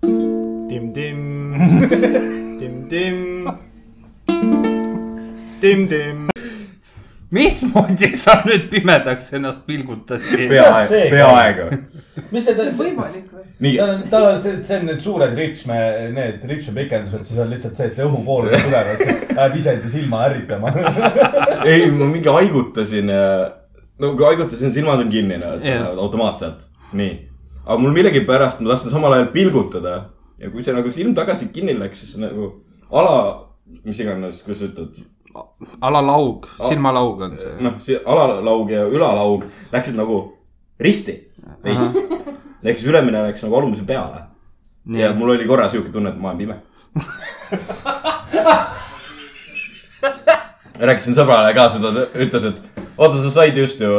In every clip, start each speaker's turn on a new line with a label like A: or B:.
A: dim dim dim dim dim
B: mismoodi sa nüüd pimedaks ennast pilgutasid ?
C: Kuidas
D: peaaegu
C: see , käib?
D: peaaegu .
C: mis see ,
E: see on võimalik või ?
D: nii ,
C: tal on , tal on , see on need suured ripsme , need ripsmepikendused , siis on lihtsalt see , et see õhupool tuleb , et läheb isendi silma ärritama .
D: ei , ma mingi haigutasin . no kui haigutasin , silmad on kinni
B: Jah.
D: yeah. automaatselt , nii . aga mul millegipärast , ma tahtsin samal ajal pilgutada ja kui see nagu silm tagasi kinni läks , siis nagu ala , mis iganes , kuidas sa ütled ,
B: alalaug , silmalaug on see .
D: noh , see alalaug ja ülalaug läksid nagu risti veits . ehk siis ülemine läks nagu alumise peale ja mul oli korra sihuke tunne , et ma olen pime . rääkisin sõbrale ka seda , ütles , et oota , sa said just ju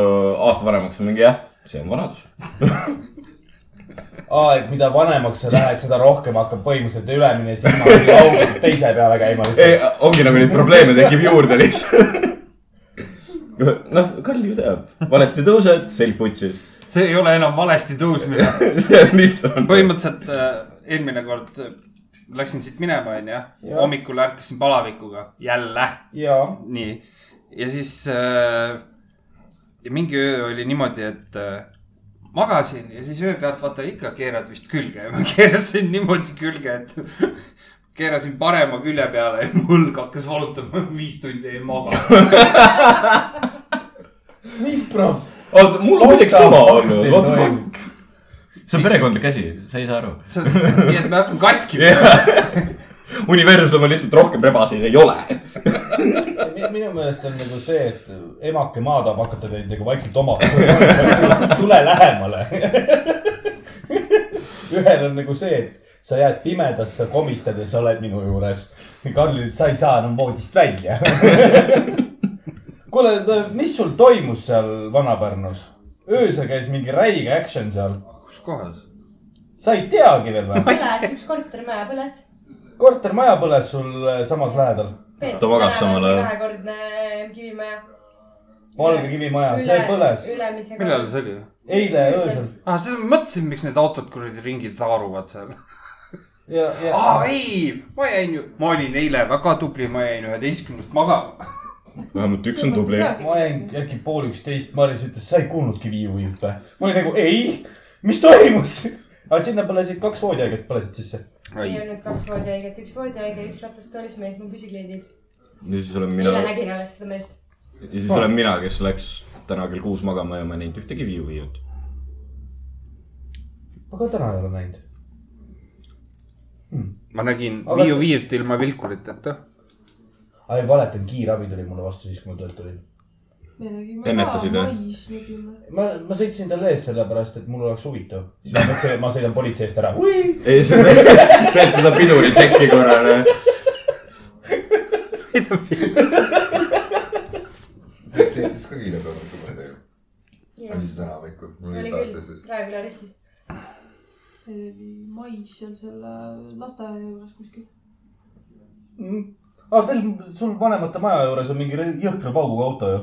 D: aasta vanemaks , mingi jah , see on vanadus .
C: aa , et mida vanemaks sa lähed , seda rohkem hakkab põhimõtteliselt ülemine silma augud teise peale käima lihtsalt .
D: ongi nagu neid probleeme tekib juurde lihtsalt . noh , Karl ju teab , valesti tõused , selg putsis .
B: see ei ole enam valesti tõusmine .
D: põhimõtteliselt .
B: põhimõtteliselt äh, eelmine kord äh, läksin siit minema , onju .
C: Jah.
B: hommikul ärkasin palavikuga , jälle ,
C: jaa ,
B: nii . ja siis äh, ja mingi öö oli niimoodi , et äh, magasin ja siis öö pealt vaata ikka keerad vist külge ja ma keerasin niimoodi külge , et keerasin parema külje peale ja mu õlg hakkas valutama , viis tundi ei maganud .
C: mis prob- ?
D: oota , mul on muideks sama olnud , what the fuck .
C: fuck .
D: see on perekondlik asi , sa ei saa aru .
B: nii et me hakkame katki yeah. .
D: Jah. universum on lihtsalt rohkem rebaseid ei ole .
C: minu meelest on nagu see , et emake maa tahab hakata teid nagu vaikselt omaks . tule lähemale . ühel on nagu see , et sa jääd pimedasse , komistad ja sa oled minu juures . Karl ütleb , sa ei saa enam voodist välja . kuule , mis sul toimus seal Vana-Pärnus ? öösel käis mingi räige action seal .
B: kus kohas ?
C: sa ei teagi veel või ?
F: põles , üks kortermaja põles .
C: kortermaja põles sul äh, samas lähedal .
D: Ta magas samal ajal.
F: kahekordne ähm, kivimaja .
C: Valge kivimaja , see põles .
F: ülemisega .
B: millal see oli ?
C: eile öösel .
B: ah , siis ma mõtlesin , miks need autod kuradi ringi taaruvad seal .
C: ja , ja
B: aa , ei , ma jäin ju , ma olin eile väga tubli , ma jäin üheteistkümnest magama .
D: vähemalt üks on tubli .
C: ma jäin äkki pool üksteist , Maris ütles , sa ei kuulnudki Viiu juppe . ma olin nagu ei , mis toimus ? aga sinna põlesid kaks voodihaiget põlesid sisse .
F: ei olnud kaks voodihaiget , üks voodihaige , üks ratastoolis mees , mu püsikleidid .
D: ja siis olen mina ,
F: eile
D: ja
F: nägin alles seda meest .
D: siis olen mina , kes läks täna kell kuus magama ja ma ei näinud ühtegi viiuviiut .
C: ma ka täna ei ole näinud .
B: ma nägin
C: Aga-
B: Viiu viiut ilma vilkuriteta .
C: ai , valetan , kiirabi tuli mulle vastu siis , kui ma töölt tulin .
D: Ennetasid, jah?
E: jah ?
C: ma , ma sõitsin talle ees sellepärast , et mul oleks huvitav . siis ma mõtlesin , et ma sõidan politsei eest ära .
D: ei , seda , teed seda piduri tšeki korra , noh .
G: sõitis ka kiirelt , ma ei tea , oli see täna hommikul , mul
F: oli
G: oli
F: küll
G: kaasa siis ,.
F: praegu üle ristis .
E: see oli mais seal selle lasteaia juures kuskil .
C: aga Mm. teil , sul vanemate maja juures on mingi rõi- jõhkra pauguga auto ju ?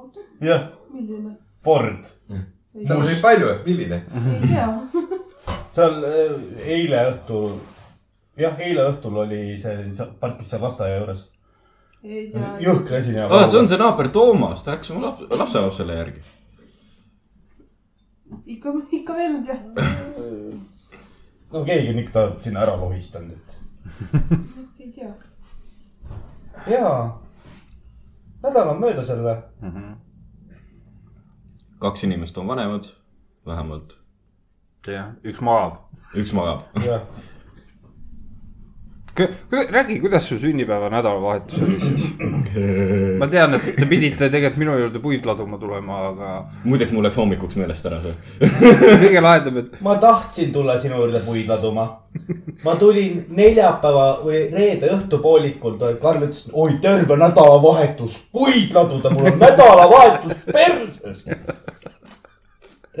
E: auto ,
C: jah ,
E: milline ?
C: Ford .
E: ei
G: seal oli palju , milline ?
E: ei tea .
C: seal äh, eile õhtul , jah , eile õhtul oli see , parkis seal lasteaia juures .
E: ei tea .
C: jõhkra esineja .
D: aa , Ah, see on see naaber Toomas , ta läks oma laps , lapselapsele järgi .
E: ikka , ikka veel on seal .
C: no keegi on ikka ta sinna ära lohistanud , et .
E: ei tea .
C: jaa . nädal on möödas jälle .
B: Mhm,
D: kaks inimest on vanemad , vähemalt .
B: jah , üks magab .
D: üks magab .
C: jah .
B: räägi , kuidas su sünnipäeva nädalavahetus oli siis ? ma tean , et te pidite tegelikult minu juurde puid laduma tulema , aga
D: muideks mul läks hommikuks meelest ära see .
B: kõige lahedam , et
C: ma tahtsin tulla sinu juurde puid laduma . ma tulin neljapäeva või reede õhtupoolikul , Karl ütles , oi terve nädalavahetus puid laduda , mul on nädalavahetus perses .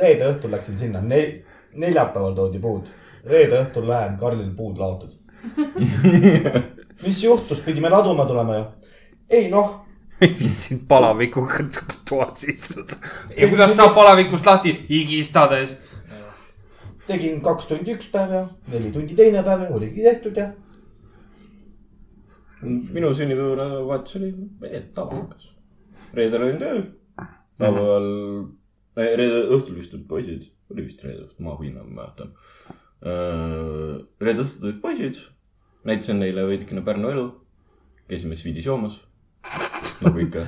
C: reede õhtul läksin sinna ne , neljapäeval toodi puud . reede õhtul lähen , Karlil puud laotud . mis juhtus , pidime laduma tulema ju ? ei noh
B: ma ei viitsinud palavikuga toas istuda . ja kuidas saab palavikust lahti higistades ?
C: tegin kaks tundi üks päev ja neli tundi teine päev ja oligi tehtud ja
D: minu sünnipäevavahetus oli eh, tavakas . reedel olin tööl , laupäeval , reede õhtul vist tulid poisid , oli vist reede õhtul , ma võin , ma mäletan . reede õhtul tulid poisid , näitasin neile veidikene Pärnu elu , käisime sviidis joomas , nagu ikka .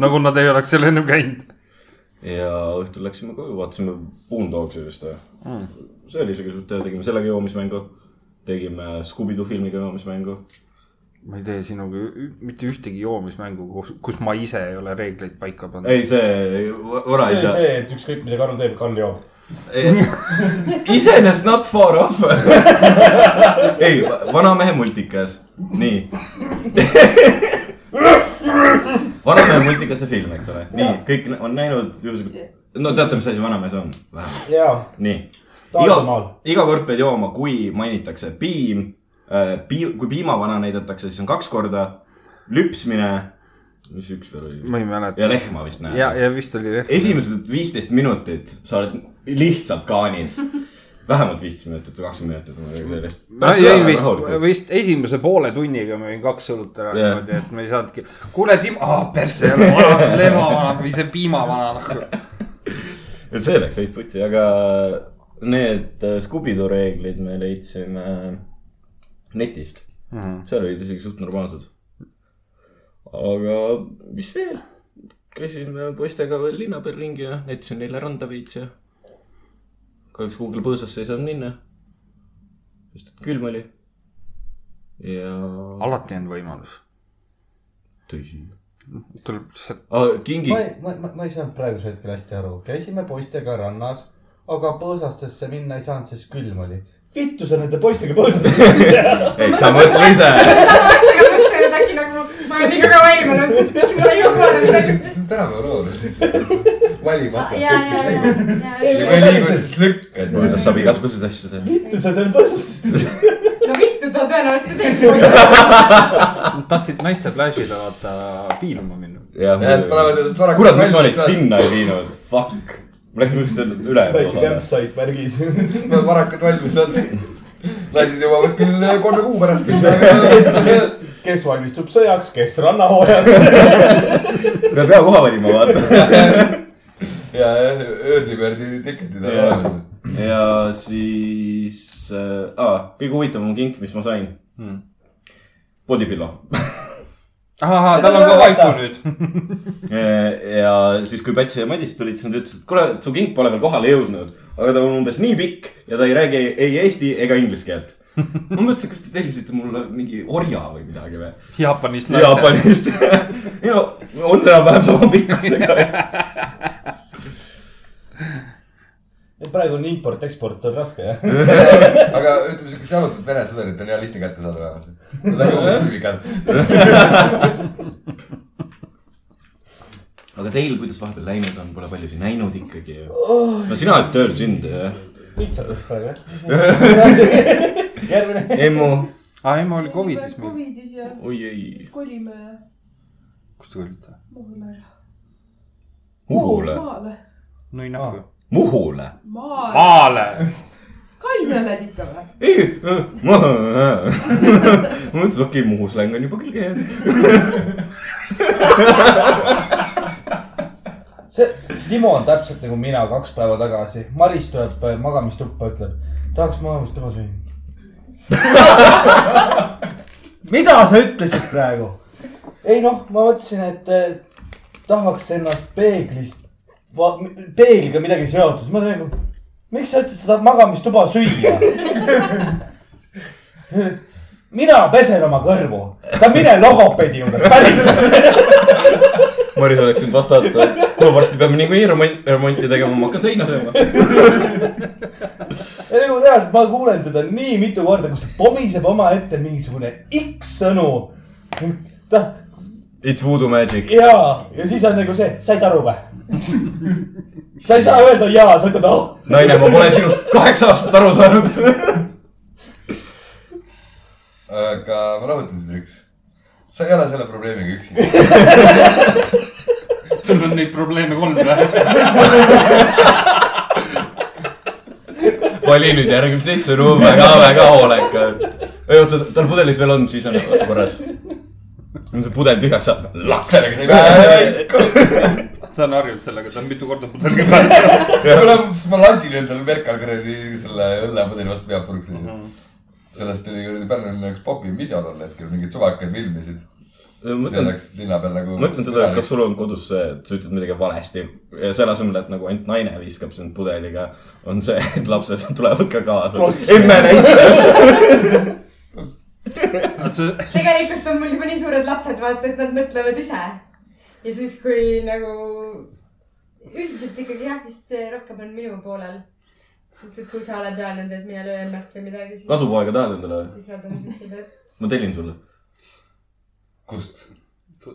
B: nagu nad ei oleks seal ennem käinud
D: ja õhtul läksime koju , vaatasime Boondogs'i vist või ?
B: mm. .
D: see oli isegi suht hea , tegime sellega joomismängu , tegime Scooby-Doo filmiga joomismängu
B: ma ei tee sinuga ü- mitte ühtegi joomismängu , kus , kus ma ise ei ole reegleid paika pannud .
D: ei , see vara ei
C: see ,
D: saa .
C: see , et ükskõik mida Karl teeb , Karl joob .
D: iseenesest Eh, not far off . ei , vanamehe multikas , nii . vanamehe multikas see film , eks ole , nii kõik on näinud juhuslikult . no teate , mis asi vanamees on ?
C: jaa ,
D: nii ,
C: Tartumaal .
D: iga kord pead jooma , kui mainitakse piim . Piim , kui piimavana näidatakse , siis on kaks korda lüpsmine . mis üks veel oli ?
B: ma ei mäleta .
D: ja lehma vist näed .
B: ja , ja vist oli jah .
D: esimesed viisteist minutit sa oled lihtsalt kaanid . vähemalt viisteist minutit või kakskümmend minutit , ma ei tea sellest .
B: ma jõin vist , vist esimese poole tunniga ma jõin kaks õlut ära
D: Jah.
B: niimoodi , et ma ei saanudki . kuule , Tim , aa persse ei ole vana , lehmavana või see noh. piimavana .
D: et see läks veits putsi , aga need äh, Scooby-Doo reeglid me leidsime äh, netist . seal olid isegi suht normaalsed . aga mis veel ? käisime poistega veel linna peal ringi ja näitasin neile randa veits ja kahjuks Google põõsasse ei saanud minna . sest et külm oli . ja .
B: alati on võimalus .
D: tõsi .
B: tuleb lihtsalt ,
D: kingi
C: ma , ei , ma , ma , ma ei saanud praegusel hetkel hästi aru , käisime poistega rannas , aga põõsastesse minna ei saanud , sest külm oli . vittu sa nende poistega põõsastesse
D: ei sa mõtle ise .
F: ma mõtlesin , et äkki nagu ma olen liiga kaua eemal olnud , ma ei jõua midagi .
G: see on tänapäeva lood , et siis valimata
F: ja ,
G: kõik ,
F: ja ja
G: mis , liigub .,
F: ja ,
G: ja
F: ja ,
G: kui ei liigu , siis lükkad .
D: kuidas saab igasuguseid asju teha .
C: vittu sa seal põõsastesse tegid ?
F: no vittu ta tõenäoliselt teeb .
B: nad tahtsid naiste flash'ile vaata piiluma minna .
D: jah
G: jah , et panevad . ennast varakult .
D: kurat , miks ma neid . sinna ei viinud ? Fuck . ma läksin just selle ülejäänud
C: väike
D: osale .
C: kämpsait , märgid .
G: panevad varakult valmis otsa . naised jõuavad küll äh, kolme kuu pärast sinna .
C: kes valmistub sõjaks , kes rannahooajaks .
D: peab hea koha valima , vaata .
G: ja , ja early-bird'i tiketid on
D: Jah.
G: olemas .
D: ja siis äh, , aa , kõige huvitavam kink , mis ma sain . Bodypillo .
B: ahah , tal on ka waifu nüüd .
D: ja siis , kui Päts ja Madis tulid , siis nad ütlesid , et kuule , su king pole veel kohale jõudnud , aga ta on umbes nii pikk ja ta ei räägi ei eesti ega inglise keelt . ma mõtlesin , kas te tellisite mulle mingi orja või midagi või ?
B: Jaapanist naised .
D: Jaapanist . ei no , on enam-vähem sama pikkusega .
C: praegu on import-eksport on raske , jah ?
G: aga ütleme , siukest jalutatud Vene sõdurit on hea lihtne kätte saada vähemalt . Nad on jõudnud pikalt .
D: aga teil , kuidas vahepeal läinud on , pole paljusid näinud ikkagi ju . no sina oled tööl sünd jah ?
C: lihtsalt oleks praegu , jah ? järgmine .
D: emu ,
B: aa , ei , ma olin Covidis meil .
E: Covidis ja
D: oi ei ,
E: kolime
B: kus te olite ?
E: Muhumäele .
D: Muhule ,
E: maale ,
B: no ei nähku .
D: Muhule .
E: maale ,
B: maale .
E: kainele ikka või ?
D: ei , ma , ma mõtlesin , okei , Muhu släng on juba külge jäänud .
C: see , Timo on täpselt nagu mina kaks päeva tagasi . Maris tuleb äh, magamistuppa , ütleb , tahaks magamistubas minna . mida sa ütlesid praegu ? ei noh , ma mõtlesin , et äh, tahaks ennast peeglist , peegliga midagi seotud . ma olen nagu , miks sa ütlesid , sa tahad magamistuba süüa ? mina pesen oma kõrvu , sa mine logopeedi juurde , päriselt .
D: Maris oleks siin vastata , et kuule , varsti peame niikuinii remont , remonti tegema , ma hakkan seina sööma .
C: ja nagu reaalselt ma kuulen teda nii mitu korda , kus ta pomiseb omaette mingisugune X sõnu . ta
D: It's voodoo magic .
C: ja , ja siis on nagu see , said aru või ? sa ei saa öelda jaa , sa ütled oh .
D: naine , ma pole sinust kaheksa aastat aru saanud .
G: aga ma rahutan sind , Riks . sa ei ole selle probleemiga üksi .
B: sul on neid probleeme kolm või ?
D: vali nüüd järgmine seitse ruumi , väga , väga hoolekalt . ei oota , tal pudelis veel on , siis on korras . kui see pudel tühjaks saab , las .
G: sellega sai vähe .
B: ta on harjunud sellega , ta on mitu korda pudeliga pääsenud .
G: kuule , siis ma lasin endale Merkal kuradi selle õllepudeli vastu pead puruks lüüa .
D: Mhm.
G: sellest oli kuradi Pärnul üks popi video tol hetkel , mingid suvakad filmisid . see
D: mõtlen ,
G: läks linna peal nagu .
D: mõtlen seda , et kas sul on kodus see , et sa ütled midagi valesti ja selle asemel , et nagu ainult naine viskab sind pudeliga , on see , et lapsed tulevad ka kaasa . emme näitas .
B: see ,
F: tegelikult on mul juba nii suured lapsed , vaata , et nad mõtlevad ise . ja siis , kui nagu üldiselt ikkagi jah , vist rohkem on minu poolel . sest et kui sa oled öelnud , et mina löön märk või midagi , siis ,
D: kasupoega tahad endale või ?
F: siis nad on siuksed , et
D: ma tellin sulle .
G: kust ?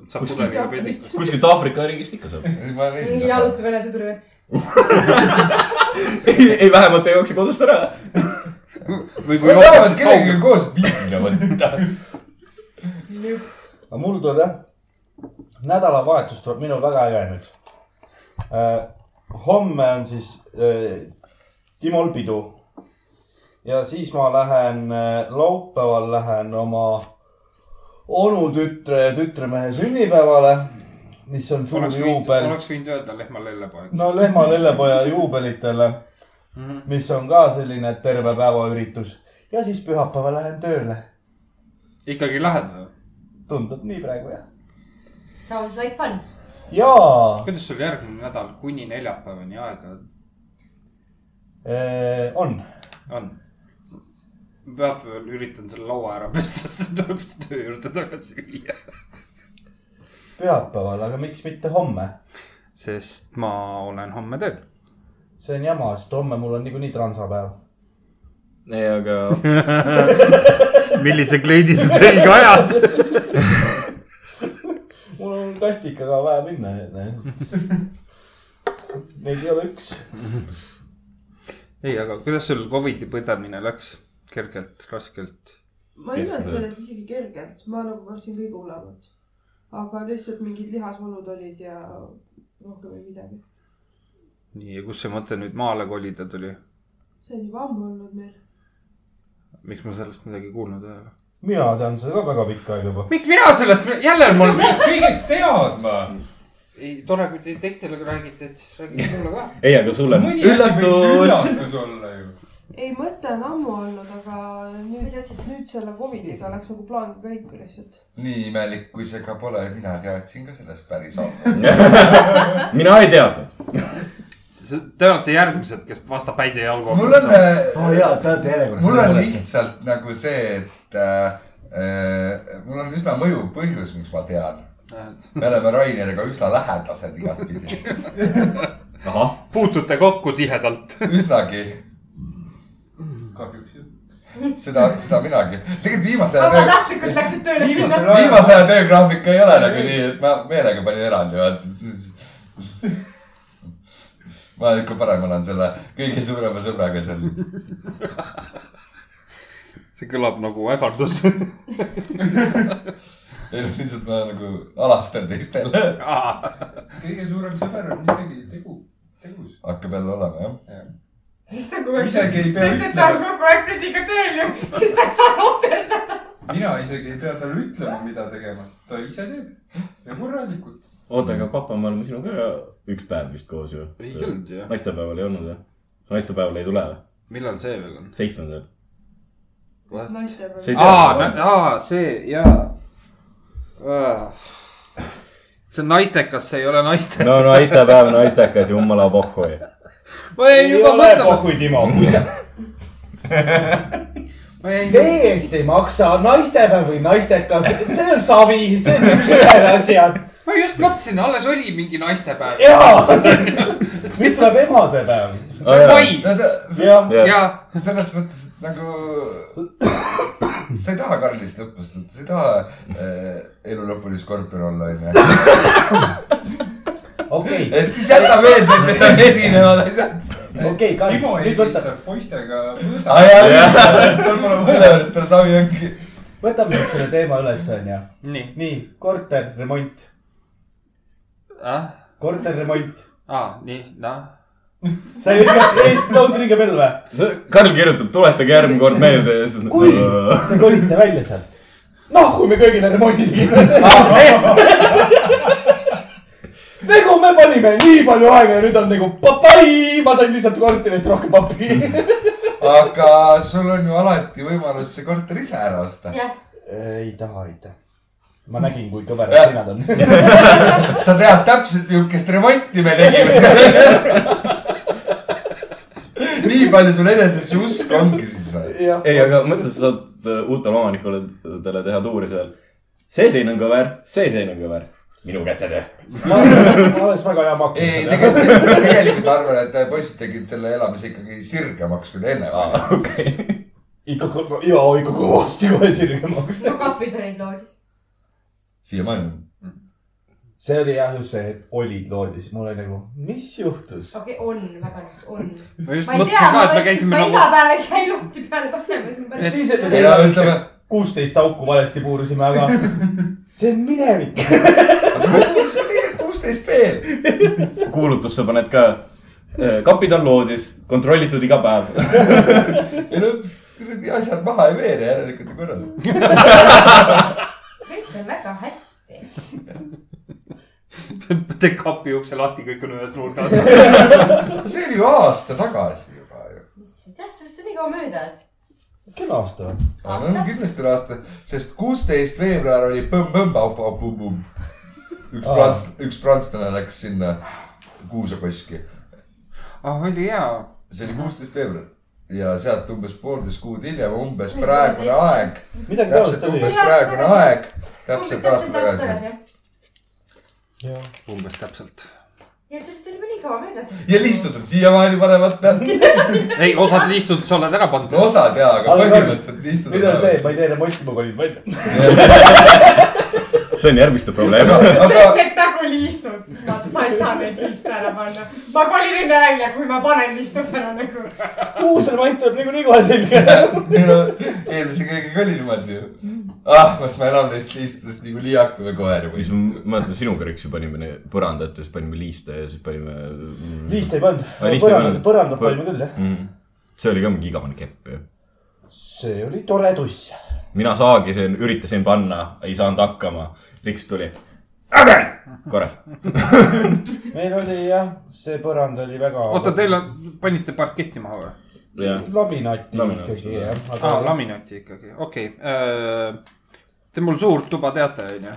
B: saab pudeliga peidust .
D: kuskilt Aafrika riigist ikka saab .
G: ma leidsin
F: mingi . jalutab üle sõduri .
D: ei , vähemalt ei jookse kodust ära .
B: või
G: ma
B: kui
G: tahan
B: jooksis
G: kellegagi
B: kaugelt ,
G: koos piibli võtta .
C: aga mul tuleb jah , nädalavahetus tuleb minul väga äge nüüd äh, . homme on siis äh, Timol pidu . ja siis ma lähen äh, , laupäeval lähen oma onu tütre ja tütremehe sünnipäevale , mis on suur
B: oleks võinud ,
C: juubel .
B: oleks võinud öelda lehma lellepoeg .
C: no lehma lellepoja juubelitele ,
B: Mhm.
C: mis on ka selline terve päeva üritus ja siis pühapäeval lähen tööle .
B: ikkagi lähed või ?
C: tundub nii praegu jah ?
F: Sounds like fun .
C: jaa
B: kuidas sul järgmine nädal kuni neljapäevani aega
C: äh, , on
B: on ? pühapäeval üritan selle laua ära pesta , siis tuleb töö juurde tagasi viia .
C: pühapäeval , aga miks mitte homme ?
B: sest ma olen homme tööl .
C: see on jama , sest homme mul on niikuinii transapäev .
D: ei , aga
B: millise kleidi sa selga ajad ?
C: mul on kastikaga vaja minna . Neid ei ole üks .
B: ei , aga kuidas sul Covidi põdemine läks ? kergelt , raskelt ?
E: ma imestan , et isegi kergelt , ma nagu kartsin kõige hullemat . aga lihtsalt mingid lihasvalud olid ja rohkem ei midagi .
B: nii , ja kus see mõte nüüd maale kolida tuli ?
E: see on juba ammu olnud meil .
B: miks ma sellest midagi kuulnud ei ole ?
C: mina tean seda ka väga pikka aega juba .
B: miks mina sellest , jälle on mul .
G: kõigest teadma .
B: ei , tore , kui te teistele räägite , et siis räägite mulle ka .
D: ei , aga sul on üllatus .
G: üllatus olla ju .
E: ei , mõte on ammu olnud , aga nüüd , nüüd selle Covidiga läks nagu plaan käiku lihtsalt .
G: nii imelik , kui see ka pole , mina teadsin ka sellest päris ammu .
D: mina ei teadnud .
B: Te olete järgmised , kes vastab häid ja jalgu .
G: mul on , äh,
C: te olete järjekorras
G: mul on . lihtsalt nagu see , et äh, äh, mul on üsna mõjuv põhjus , miks ma tean .
B: noh.
G: me oleme Raineriga üsna lähedased igatpidi ,
D: ahah ,
B: puutute kokku tihedalt .
G: üsnagi . kahjuks jah . seda , seda minagi . tegelikult viimase aja töö ,
F: vabatahtlikult läksid tööle sinna .
C: viimasel ajal ,
G: viimase aja töögraafik ei ole nagu nii , et ma meelega panin eraldi , vaata . ma olen ikka parem olen selle kõige suurema sõbraga seal .
B: see kõlab nagu ähvardus .
G: ei noh , lihtsalt ma nagu alastan teistele .
H: kõige suurem sõber on ikkagi tegu , tegus .
G: hakkab jälle olema jah .
F: siis ta kogu aeg ,
H: Isegi ei pea
F: sest et ta on
H: ütlema.
F: kogu aeg Priidiga tööl ju , siis ta ei saa ohverdada .
H: mina isegi ei pea talle ütlema , mida tegema , ta ise teeb ja korralikult .
D: oota , aga papa , me oleme sinuga üks päev vist koos ju .
B: Mm. ei olnud jah .
D: naistepäeval ei olnud või ? naistepäeval ei tule või ?
B: millal see veel on ?
D: seitsmendal .
E: naistepäev .
D: Ei tea,
B: aa
D: aga- ,
B: aa , see jaa . see on naistekas , see ei ole naiste .
D: no naistepäev , naistekas , jumala pohhu .
B: ma jäin
C: ei
B: juba
C: ole
B: mõtlema ,
C: pohhui , Timo , kui sa
B: ma jäin ,
C: täiesti ei maksa , naistepäev või naistekas , see on savi , see on üks-ühele asjad .
B: ma just mõtlesin , alles oli mingi naistepäev .
C: jaa , nüüd tuleb emadepäev .
B: see on mais .
C: jah ,
B: jaa ,
G: selles mõttes , et nagu sa ei taha Karlist õppust võtta , sa ei taha äh, elu lõpuni skorpion olla , onju .
C: okei ,
G: et siis jäta meelde , et need on erinevad asjad .
C: okei , Kai ,
H: Timo
C: nüüd võta ,
H: eelistab poistega
G: aa
H: mõõsa .
G: jaa , tal pole sellepärast tal savi ongi .
C: võtame nüüd selle teema üles , onju .
B: nii .
C: nii , korter , remont ,
B: ah ,
C: korter , remont
B: aa , nii , noh .
C: sa ei ütle , ei , don't ring a bell või ?
D: Karl kirjutab , tuletage järgmine kord meelde ja siis .
C: kui te kolite välja sealt . noh , kui me kõigile remondi tegime . nagu me panime nii palju aega ja nüüd on nagu papai , ma sain lihtsalt korterist rohkem pappi .
G: aga sul on ju alati võimalus see korter ise ära osta .
F: jah ,
C: ei taha , ei taha . ma nägin , kui kõverad
G: Jah.
C: hinnad on .
G: sa tead täpselt , millist remonti me tegime seal . nii palju sul enesesse usku ongi siis või ?
C: jah ,
D: ei , aga mõtle , sa saad äh, uutele omanikele teha tuuri seal . see sein on kõver , see sein on kõver . minu kätetöö .
C: ma ma oleks väga hea
G: ei ,
C: makkuda .
G: tegelikult , tegelikult ma arvan , et poiss tegid selle elamise ikkagi sirgemaks kui ta enne oli .
D: okei .
C: ikka , ja ikka kõvasti kohe sirgemaks .
F: no kapid olid loodis .
G: siiamaani .
C: see oli jah , just see , et olid loodis , mul oli nagu , mis juhtus ?
F: okei okay, , on , vabandust , on .
B: ma just
F: ma ei
B: mõtlesin ka ,
F: tea , ma
B: et me
F: võin-
B: käisime
F: ma
B: nagu
F: iga päev ei käi lahti peale panemas , ma pärast
C: siis , et me
G: ei no ütleme
C: saime , kuusteist auku valesti puurisime , aga see on minevik .
G: kuusteist veel .
D: kuulutusse paned ka . kapid on loodis , kontrollitud iga päev .
G: ja no kuradi asjad maha ei veere , järelikult on korras .
F: kõik on väga hästi .
B: teed kapi ukse lahti , kõik on ühes nurgas .
G: see oli ju aasta tagasi juba ju .
F: issand jah , sellest on nii kaua möödas .
C: kena aasta või ?
G: aga no kindlasti on aasta , sest kuusteist veebruar oli põmm-põmm-paup-paup-põmm . üks
C: Aa.
G: prants , üks prantslane läks sinna Kuusakoski ,
B: ah , oli hea .
G: see oli kuusteist veebruar ja sealt umbes poolteist kuud hiljem , umbes praegune aeg ,
C: midagi
G: täpselt
C: taolist oli .
G: umbes praegune aeg , täpselt aasta tagasi .
F: tagasi .
B: umbes täpselt .
F: ja sellest oli juba nii kaua möödas .
G: ja liistud on siiamaani panemata ,
B: ei , osad liistud sa oled ära pannud .
G: osad jaa , aga
C: Aga-
G: põhimõtteliselt liistud
C: nüüd on see , et ma ei tee remonti , ma kolin välja .
G: see .
D: see on järgmiste probleem .
G: aga
F: sellest , et nagu liistud , vaata sa ei saa neid liiste ära panna . ma kolin enne välja , kui ma panen liistud ära nagu .
C: uus remont tuleb niikuinii kohe selga .
G: ei no eelmise kõigega oli niimoodi ju . ah , kas ma enam neist liistudest nagu liiaku või koer või
D: siis ?
C: Mm.
D: ma mäletan sinuga üks ju panime ne- põrandat ja siis panime liiste ja siis panime . mm.
C: liist ei pannud
D: Aa, liist ei .
C: põrandat
D: pannud. ,
C: põrandat
D: Põr-
C: panime küll jah .
D: mm. . see oli ka mingi igavene kepp ju .
C: see oli tore tuss .
D: mina saagisin , üritasin panna , ei saanud hakkama . Riks tuli . äge , korras .
C: meil oli jah , see põrand oli väga .
B: oota , teil on , panite parketti maha või ?
D: jah ,
C: laminaati
D: Laminaat,
C: ikkagi
D: seda.
C: jah .
B: aa , laminaati ikkagi , okei okay. . Te mul suurt tuba teate , onju .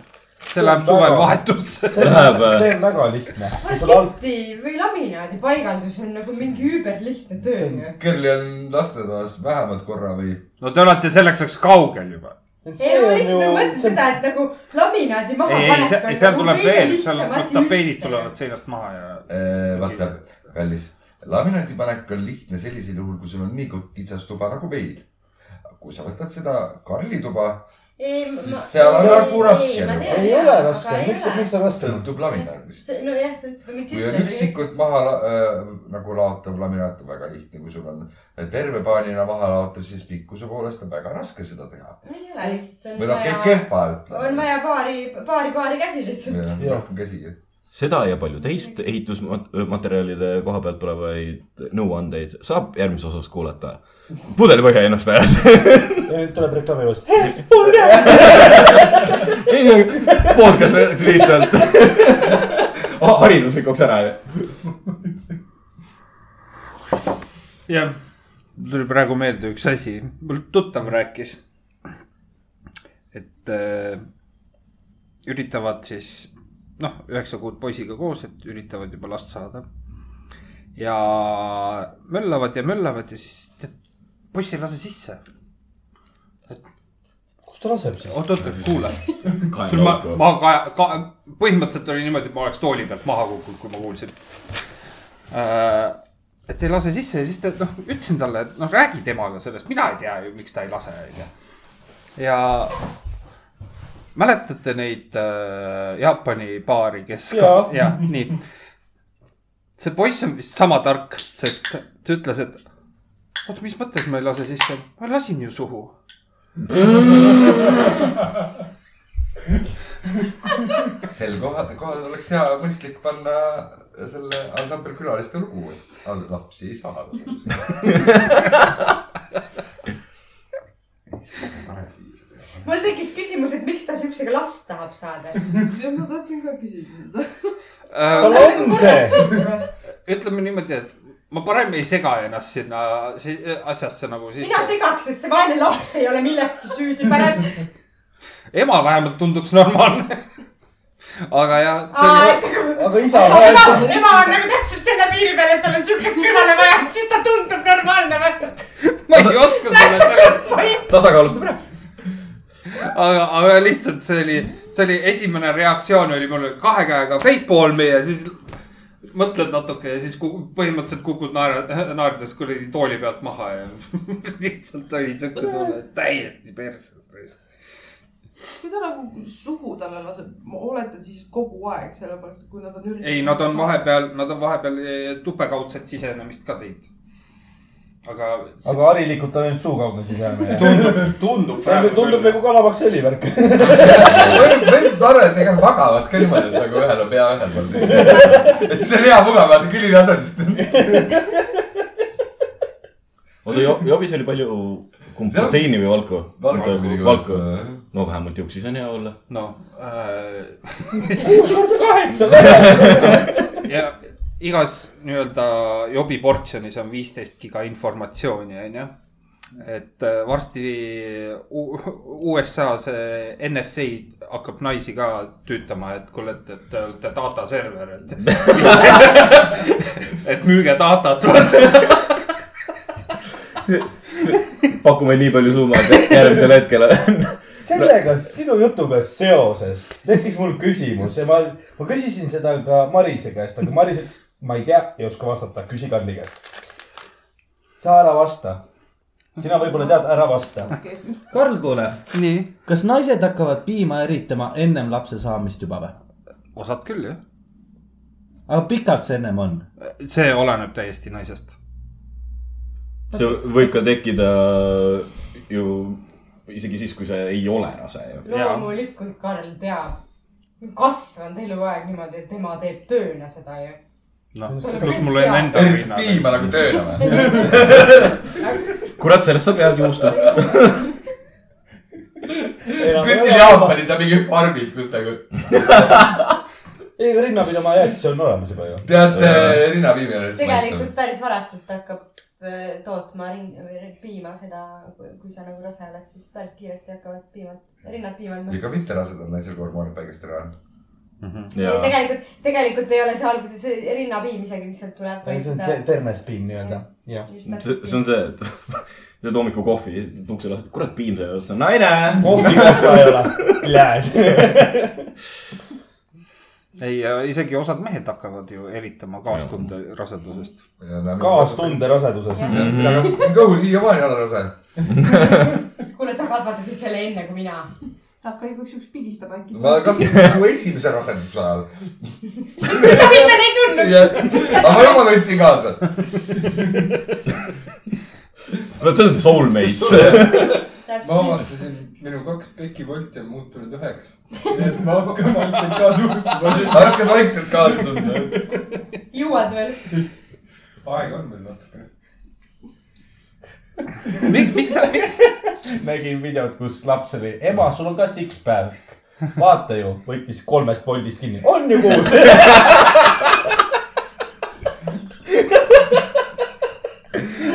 B: see läheb
C: Väga.
B: suvel vahetusse .
C: see
D: Läheb,
C: on ,
D: äh,
C: see on väga lihtne . sul on
F: parketi või laminaadi paigaldus on nagu mingi üüberlihtne töö ju .
G: Kerli on lastetoas vähemalt korra või ?
B: no te olete selleks ajaks kaugel juba .
F: ei , ma
C: see on ju-
F: lihtsalt nagu
C: see
F: mõtlen
C: on-
F: seda , et nagu laminaadi maha
B: ei , ei ,
F: panek on
B: ei , seal
F: nagu
B: tuleb
F: kõige
B: veel ,
F: lihtsam
B: seal
F: asi
B: tapeedid
F: üldse.
B: tulevad seinast maha ja .
G: eh, vaata , kallis , laminaadipanek on lihtne sellisel juhul , kui sul on nii kitsas tuba nagu meil . kui sa võtad seda Karli tuba ,
F: Ei,
G: Siis
F: ma-
G: seal on
F: ei,
G: nagu
F: ei,
G: raske
F: ma
G: nagu.
F: tean,
C: ei
F: jaa,
C: ole
F: aga
C: raske ,
F: ei
C: miks ,
F: ole.
C: miks on raske ?
G: sõltub laminaadist .
F: See- nojah , sõltub mingist
G: kui on üksikud maha la- äh, nagu laotav laminaat on väga lihtne , kui sul on terve paanina maha laotav , siis pikkuse poolest on väga raske seda teha .
F: ei ole lihtsalt , on
G: või noh ,
F: vaja ,
G: kehva
F: on
G: ütleme .
F: vaja paari , paari , paari käsi lihtsalt .
G: jah , rohkem käsi .
D: seda ja palju teist ehitusmaterjalide koha pealt tulevaid nõuandeid saab järgmises osas kuulata . pudelipõhja ennustajad .
C: ja nüüd tuleb reklaami juures .
D: podcast läks nagu lihtsalt oh, hariduslikuks ära .
B: jah , mul tuli praegu meelde üks asi , mul tuttav rääkis , et äh, üritavad siis noh , üheksa kuud poisiga koos , et üritavad juba last saada . ja möllavad ja möllavad ja siis tead, poiss ei lase sisse .
C: kus ta laseb siis ?
B: oot , oot , oot , kuule . ma , ma ka, ka , põhimõtteliselt oli niimoodi , et ma oleks tooli pealt maha kukkunud , kui ma kuulsin äh, . et ei lase sisse ja siis ta , noh , ütlesin talle , et noh , räägi temaga sellest , mina ei tea ju , miks ta ei lase , onju . ja mäletate neid äh, Jaapani paari , kes ,
C: Jaa.
B: jah , nii . see poiss on vist sama tark , sest ta ütles , et oot , mis mõttes ma ei lase sisse , ma lasin ju suhu
G: sel kohal , kohal oleks hea mõistlik panna selle ansambel külaliste lugu , et lapsi ei saa .
F: mul tekkis küsimus , et miks ta siuksega last tahab saada .
E: ma tahtsin ka küsida .
C: tal
B: äh, .
C: on see .
B: ütleme niimoodi , et ma parem ei sega ennast sinna si- asjasse nagu
F: mina
B: sisse .
F: segaks , sest see vaene laps ei ole milleski süüdi pärast .
B: ema vähemalt tunduks normaalne . aga jah , see oli ,
C: aga isa
F: ema
C: vahel ,,
F: ema on nagu täpselt selle piiri peal , et tal on siukest kõrvale vaja , siis ta tundub normaalne või ?
B: ma ei oska sulle seletada ,
D: tasakaalustab ära .
B: aga , aga lihtsalt see oli , see oli esimene reaktsioon oli mul kahe käega facepalm'i ja siis mõtled natuke ja siis kuku, põhimõtteliselt kukud naer- , naerdes kuradi tooli pealt maha ja lihtsalt oli siuke tunne , et täiesti perses .
E: kui ta nagu suhu talle laseb , ma oletan siis kogu aeg , sellepärast et kui nad on üritanud .
B: ei , nad on . vahepeal , nad on vahepeal eh, tupekaudset sisenemist ka teinud . aga,
C: aga harilikult on ainult suu kaudu sisemine .
B: tundub , tundub
C: tundub nagu kalapakseli värk .
G: päris tore , et ega magavad ka niimoodi , et nagu ühel on pea ühel pool . et siis on hea mugav , vaata külili asendist .
D: oota , jobis oli palju , kumb
G: See on-
D: proteiini või valku ?
G: Valku.
D: valku . no vähemalt juuksis on hea olla .
B: noh äh, ,
C: kuus korda kaheksa .
B: ja igas nii-öelda jobi portsjonis on viisteist giga informatsiooni , onju . et äh, varsti U- USA-s eh, NSA hakkab naisi ka tüütama , et kuule , et , et te olete data server , et , et müüge datat , vaata .
D: pakume nii palju summat , et järgmisel hetkel on .
C: sellega , sinu jutuga seoses tekkis mul küsimus ja ma , ma küsisin seda ka Marise käest , aga Maris ütles , ma ei tea , ei oska vastata , küsi Karli käest . sa ära vasta . sina võib-olla tead , ära vasta . Karl , kuule ,
B: nii ,
C: kas naised hakkavad piima eritama ennem lapse saamist juba või ?
B: osad küll jah .
C: aga pikalt see ennem on ?
B: see oleneb täiesti naisest .
D: see võib ka tekkida ju isegi siis , kui see ei ole rase ju .
F: loomulikult Karl teab . kasvanud eluaeg niimoodi , et tema teeb tööna seda ju .
B: noh ,
C: Seda
B: pluss
F: küll
B: mul on
F: tean.
B: enda
G: eriti
B: pinnal .
G: piima nagu tööle või ?
D: kurat , sellest saab head juustu .
G: kuskil . Jaapanis on mingi farmid , kus nagu ,
C: ei , aga rinnapidama jäätis on olemas juba ju .
G: tead see rinnapiimine .
F: tegelikult päris varakult hakkab äh, tootma rin- , või piima seda , kui sa nagu rase oled , siis päris kiiresti hakkavad piimad , rinnad piimad .
G: ega mitte rasedad naisel hormoonid päikest ära on .
B: Mhm.
D: ja ,
F: tegelikult , tegelikult ei ole see alguses see rinnapiim isegi , mis sealt tuleb , vaid
C: see on
F: seda
C: te- . termespiim nii-öelda . jah .
D: see see on see , et teed hommikul kohvi , ukse lahti , kurat piim sai otsa , naine .
C: kohvikohta ei ole . Lähed .
B: ei , isegi osad mehed hakkavad ju eritama kaastunde rasedusest .
C: kaastunde . raseduses .
G: nagu mina kasvatasin kõhu siiamaani alla rase .
F: kuule , sa kasvatasid selle enne kui mina .
E: ta ka igaks juhuks pigistab äkki .
G: ma kasvatasin nagu esimese raseduse ajal .
F: sa mind ei tundnud .
G: aga ma juba võtsin kaasa .
D: vot see on see soulmate .
H: ma
F: täpselt .
H: avastasin , minu kaks pekivolti on muutunud üheks . nii et ma hakkan vaikselt ka suhtuma .
G: hakka vaikselt kaasa tundma .
F: jõuad veel .
H: aega on veel natukene .
B: miks , miks sa , miks ,
C: nägin videot , kus laps oli , ema , sul on ka siks päev . vaata ju , võttis kolmest voldist kinni , on ju kuus .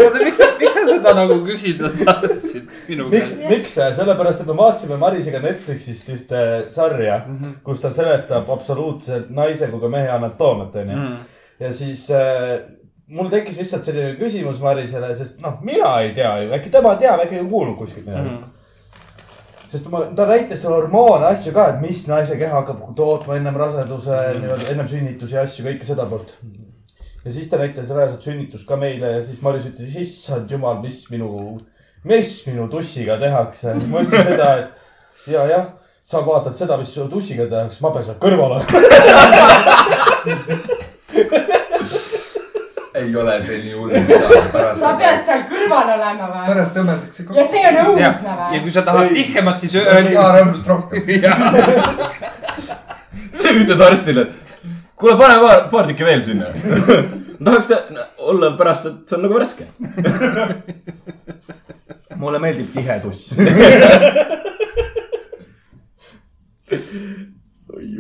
B: oota , miks sa , miks sa seda nagu küsida tahtsid minu
C: miks
B: käest ?,
C: miks , sellepärast et me vaatasime Marisega Netflixist ühte sarja , kus ta seletab absoluutselt naise kui ka mehe anatoomiat ,
B: Mhm,
C: onju . ja siis äh, mul tekkis lihtsalt selline küsimus Marisele , sest noh , mina ei tea ju , äkki tema teab , äkki on kuulnud kuskilt midagi .
B: mhm.
C: sest ma , ta näitas seal hormoone asju ka , et mis naise keha hakkab tootma ennem raseduse mm. , nii-öelda ennem sünnitusi ja asju , kõike seda poolt . ja siis ta näitas reaalselt sünnitust ka meile ja siis Maris ütles , issand jumal , mis minu , mis minu tussiga tehakse . ma ütlesin seda , et ja jah , sa vaatad seda , mis su tussiga tehakse , ma pean seal kõrval olema .
G: ei ole see nii hull , mida pärast
F: sa . pead seal kõrval olema või ?
G: pärast õmmeldakse
F: ja see on
B: ja ,
F: õudne
B: ja
F: või ?
B: kui sa tahad tihkemat , siis öelge .
G: iga rõõmust rohkem .
D: sa ütled arstile , kuule , pane paar , paar tükki veel sinna . tahaks ta olla pärast , et see on nagu värske .
C: mulle meeldib tihedus .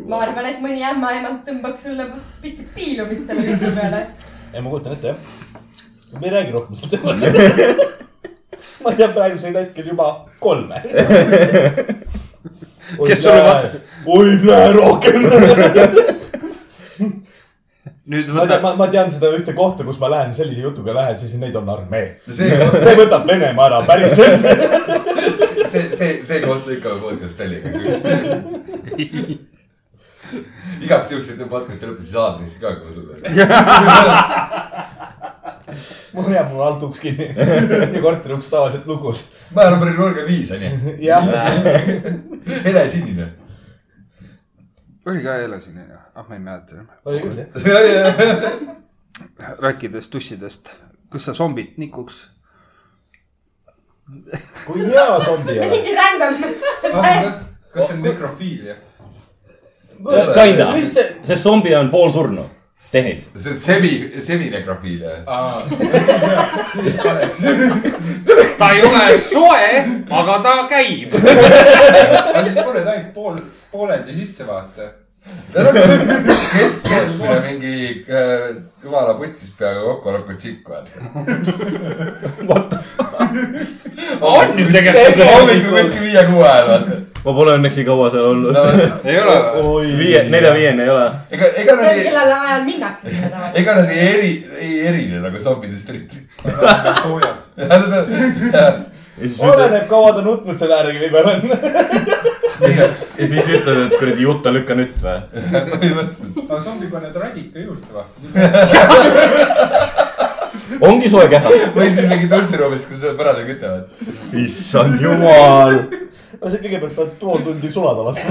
F: ma arvan , et mõni ämmaemand tõmbaks sulle vast pikki piilumist selle jutu peale .
C: ei , ma kujutan ette , jah . me ei räägi rohkem seda teemat . ma tean praegusel hetkel juba kolme .
B: Kes sulle vastas? ?
C: oi , näe rohkem .
B: nüüd
C: ma tean ,
B: võta ,
C: ma , ma tean seda ühte kohta , kus ma lähen sellise jutuga lähen , siis neid on armee .
G: see koht ,
C: see võtab Venemaa ära päriselt .
G: see , see , see koht ikka podcast oli , eks ju . igaks juhuks , et podcast'i lõpus siis aadressi ka kohe sulle .
C: mul jääb mul alt uks kinni ja korteri uks tavaliselt lukus .
G: määrab oli nurga viis , onju .
C: jah ,
G: hele sinine .
B: oli ka elasin , ah ma ei mäleta enam .
C: oli küll jah .
B: rääkides tussidest , kas sa zombit nikuks ?
C: kui hea zombi
F: mis
C: oleks .
F: mingi räng on ?
H: kas kas see on nekrofiilia ?
D: Kinda , see zombi on poolsurnu , tehniliselt .
G: see on semi , seminekrofiilia .
H: siis paneks .
B: ta ei ole soe , aga ta käib .
H: aga siis paned ainult pool , pooleldi sissevaate .
G: kes , kes mulle mingi äh, jumala putsis peaga kokku hakkab tsikku vaata .
B: on ju tegelikult .
G: hommikul kuskil viie-kuue ajal vaata .
D: ma pole õnneks nii kaua seal olnud .
B: ei ole või ?
D: viie , nelja-viieni ei ole .
G: ega , ega nad ei ,
F: sellel ajal minnakse sinna tavaliselt .
G: ega nad ei eri , ei erine nagu zombidest eriti .
H: soojad .
D: ja siis ütled ,
C: oleneb , kaua ta nutnud selle ääriga peal on .
D: ja siis ütled , et kuradi jutta lükka nüüd või .
G: põhimõtteliselt .
H: aga zombi paned radika juurde vaata .
D: ongi soe keha .
G: või siis mingi tantsiruumis , kus sa pärade kütavad .
D: issand jumal .
C: no see kõigepealt pead pool tundi sulada laskma .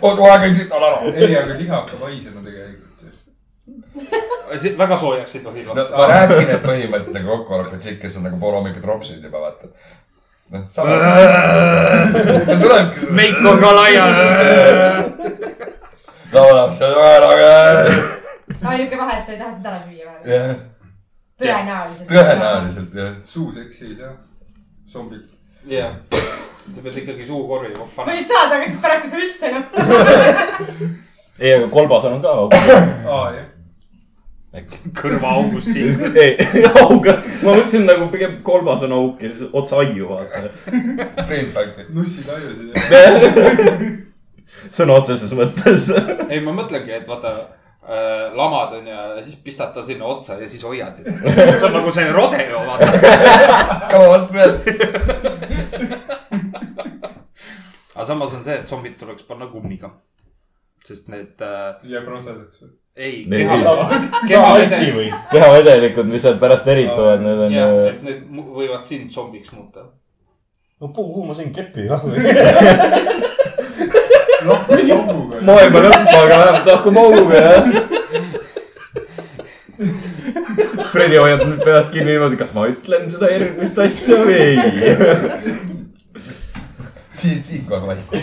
G: kogu aeg on siit , ala ära .
H: ei , aga liha hakkab haisema tegelikult ju .
B: väga soojaks ei tohi
G: no ma räägin , et põhimõtteliselt nagu kokku hakkab tsikk , kes on nagu pool hommikut ropsinud juba vaata . noh , sama . see tulebki sulle .
B: meik on ka laiali .
G: laulab seal väga-väga .
F: ainuke vahe , et ta ei taha seda ära süüa vähemalt .
G: jah ,
F: tõenäoliselt .
G: tõenäoliselt jah .
H: suuseks ei saa . zombid .
B: jah , sa pead ikkagi suukorvi panema .
F: võid saada , aga siis pärast ei saa üldse enam .
D: ei , aga kolbasel on ka .
H: aa jah .
B: kõrvaaugust sisse .
D: ei , auga , ma mõtlesin nagu pigem kolbas on auk ja siis otse aiu vaata .
G: Priit Pank .
H: nussid ajusid ja
D: sõna otseses mõttes .
B: ei , ma mõtlengi , et vaata äh, lamad on ja siis pistad ta sinna otsa ja siis hoiad . see on nagu see rodeo , vaata .
G: kaua vastu pead ?
B: aga samas on see , et zombid tuleks panna kummiga . sest need äh, ,
H: jääb rosedaks .
B: ei .
D: Need
B: kehavedelikud ,
C: või ?
D: kehavedelikud , mis sealt pärast erituvad , need on äh,
B: jah ,
D: ju
B: et need mu- võivad sind zombiks muuta .
C: no puhu , ma sõin kepi ka .
H: lahku lauguga .
D: maailma lõpp , aga vähemalt lahkume auga , jah . Fredi hoiab nüüd peast kinni niimoodi , kas ma ütlen seda järgmist asja või ei .
G: siin , siin kohe vaikne .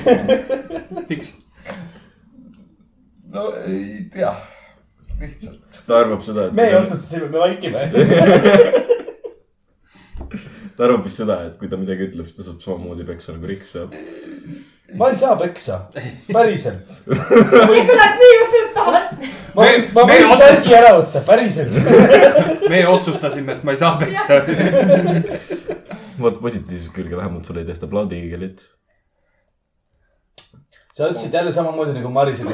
B: miks ?
G: no ei tea , lihtsalt .
D: ta arvab seda ,
C: me
D: et ,
C: otsustasime , me vaikime .
D: ta arvab vist seda , et kui ta midagi ütleb , siis ta saab samamoodi peksa nagu Riks saab .
C: ma ei saa peksa , päriselt .
F: miks sul läks nii usutavalt ?
C: ma
B: Me-
C: võin , ma
B: me
C: võin
B: otsustasime-
C: käsi ära võtta , päriselt .
B: me otsustasime , et ma ei saa peksa .
D: vaata positiivset külge , vähemalt sul ei tehta plaadikeelit .
C: sa ütlesid jälle samamoodi nagu Marisel . ma ,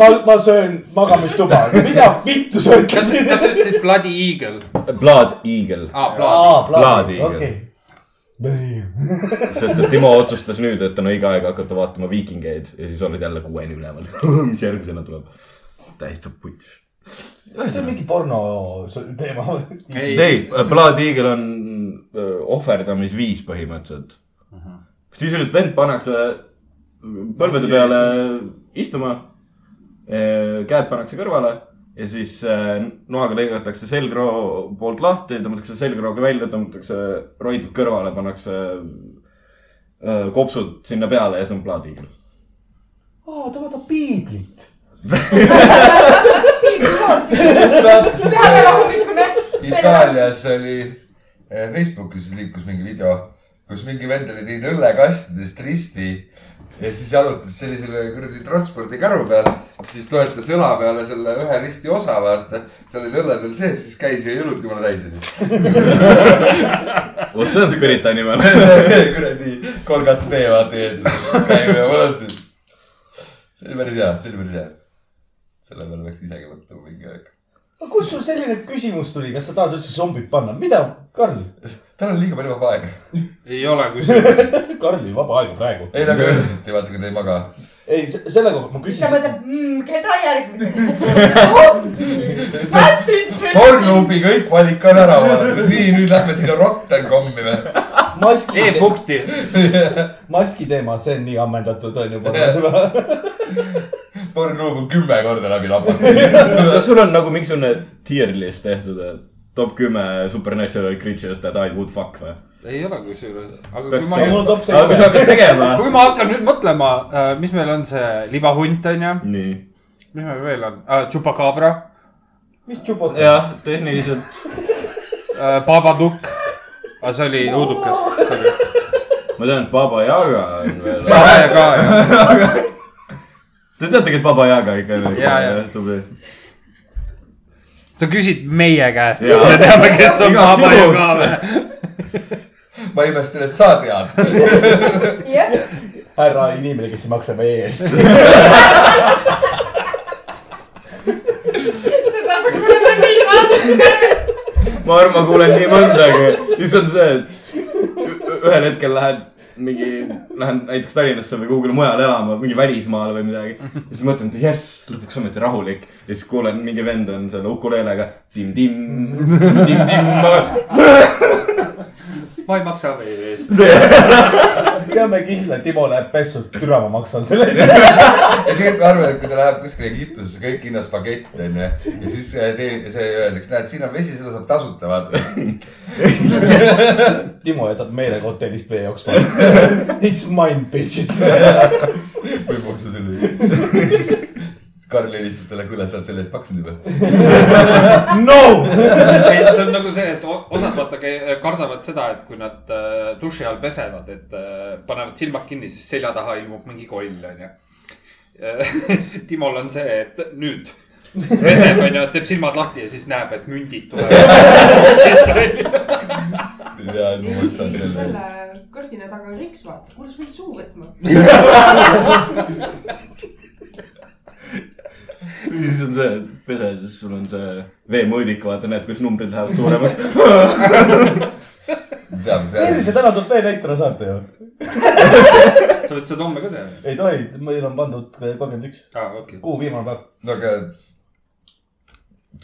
C: ma , ma söön magamistuba . mida vittu sa
B: kas ,
C: ütlesid ?
B: kas sa ütlesid Bloody Eagle ?
D: plaadiigel ,
B: aa , Bloody .
C: aa , plaadi ,
D: Plaadiga.
C: okei .
D: sest et Timo otsustas nüüd , et on õige aeg hakata vaatama viikingeid ja siis oled jälle kuueni üleval . mis järgmisena tuleb ? täiesti putš .
C: see on mingi porno teema või ?
D: ei , plaadiigel on öö, ohverdamisviis põhimõtteliselt . äh, sisuliselt vend pannakse põlvede peale istuma , käed pannakse kõrvale ja siis öö, noaga lõigatakse selgroo poolt lahti , tõmmatakse selgrooga välja , tõmmatakse roidud kõrvale , äh, pannakse öö, kopsud sinna peale ja see on plaadiigel .
C: aa , ta vaatab piiblit .
F: peame rahulikuna .
G: Itaalias oli , Facebookis liikus mingi video , kus mingi vend oli teinud õllekastidest risti ja siis jalutas sellisele kuradi transpordikäru peal , siis toetas õla peale selle ühe risti osa , vaata , seal olid õlled veel sees , siis käis ja jõulud jumala täis oli .
D: vot see on see Pirita nimel .
G: kuradi kolgat tee vaata ees , käime ja vaatame . see oli päris hea , see oli päris hea . selle peale peaks isegi mõtlema mingi aeg .
C: aga kust sul selline küsimus tuli , kas sa tahad üldse zombid panna , mida , Karl ,
G: tal on liiga palju vaba aega .
B: ei ole kusjuures .
C: Karlil vaba aega praegu .
G: ei , nagu öösiti vaata , kui ta ei maga .
C: ei , selle kohta ma
F: siis ta
C: küsisin .
F: mõtleb , "Mm, keda järgmine . tantsin .
G: Pornhubi kõik valik on ära vaadatud , nii nüüd lähme sinna Rottenkomi või ?
C: maski ,
B: E-fukti .
C: maski teema , see on nii ammendatud , on juba .
G: Pornhub on kümme korda läbi lapatud .
D: kas sul on nagu mingisugune tier list tehtud , et top kümme supernatural creatures that I would fuck või ?
B: ei ole kusjuures . aga
D: Peaks
B: kui ma
D: tegema.
C: mul on
B: nüüd ,
C: top
D: aga kui sa
C: seitse .
D: hakkad tegema .
B: kui ma hakkan nüüd mõtlema , mis meil on see libahunt onju ,
D: nii .
B: mis meil veel on uh, , Chupacabra
C: mis tšupot ?
D: jah , tehniliselt .
B: uh, , Babadukk aga see oli õudukas .
D: ma tean , et Baba Yaga on veel .
B: Baba ja ka ja ,
D: Te teate , kes Baba Yaga ikka on ?
B: Jaa, jaa.
D: tubli .
B: sa küsid meie käest ,
D: Jaa.
B: me teame , kes on
D: Igaks
B: Baba ja ka
D: juhuks.
B: või .
G: ma imestan , et sa tead .
F: jah ,
C: härra inimene , kes ei maksa meie eest .
F: seda saab kuulata kõik aastad .
D: ma arvan , ma kuulen nii mõndagi . siis on see , et ü- ühel hetkel lähen mingi , lähen näiteks Tallinnasse või kuhugile mujale elama , mingi välismaale või midagi . siis mõtlen , et jess , lõpuks ometi rahulik . ja siis kuulen , mingi vend on seal ukuleelega tim-tim , tim-tim .
B: ma ei maksa meie eest .
C: teame kindlalt , Timo läheb pessu , türa ma maksan selle eest .
G: ja tegelikult ma arvan , et kui ta läheb kuskile Egiptusesse , kõik hinnas pakett onju . ja siis see tee- see öeldakse , näed , siin on vesi , seda saab tasuta vaata .
C: Timo jätab meelega hotellist meie jaoks . It's mine bitches .
G: või puhta selle . Karl helistab talle , kuule , sa oled selle eest maksnud juba .
C: no .
B: ei , see on nagu see , et o- osad vaata käi- kardavad seda , et kui nad äh, duši all pesevad , et äh, panevad silmad kinni , siis selja taha ilmub mingi koll , onju . Timol on see , et nüüd peseb , onju , teeb silmad lahti ja siis näeb , et mündid tulevad .
G: ja , et ma maksan selle .
E: selle kõrgina taga on riks , vaata , kuule , sa pead suu võtma .
D: siis on see , pese , siis sul on see veemõõdik , vaata , näed , kuidas numbrid lähevad suuremaks .
C: tervise täna tuleb veel Eitra saate ju .
B: sa võid seda homme ka teha .
C: ei tohi , meil on pandud kolmkümmend üks ,
B: aa , okei .
C: kuu viimane päev .
G: no aga .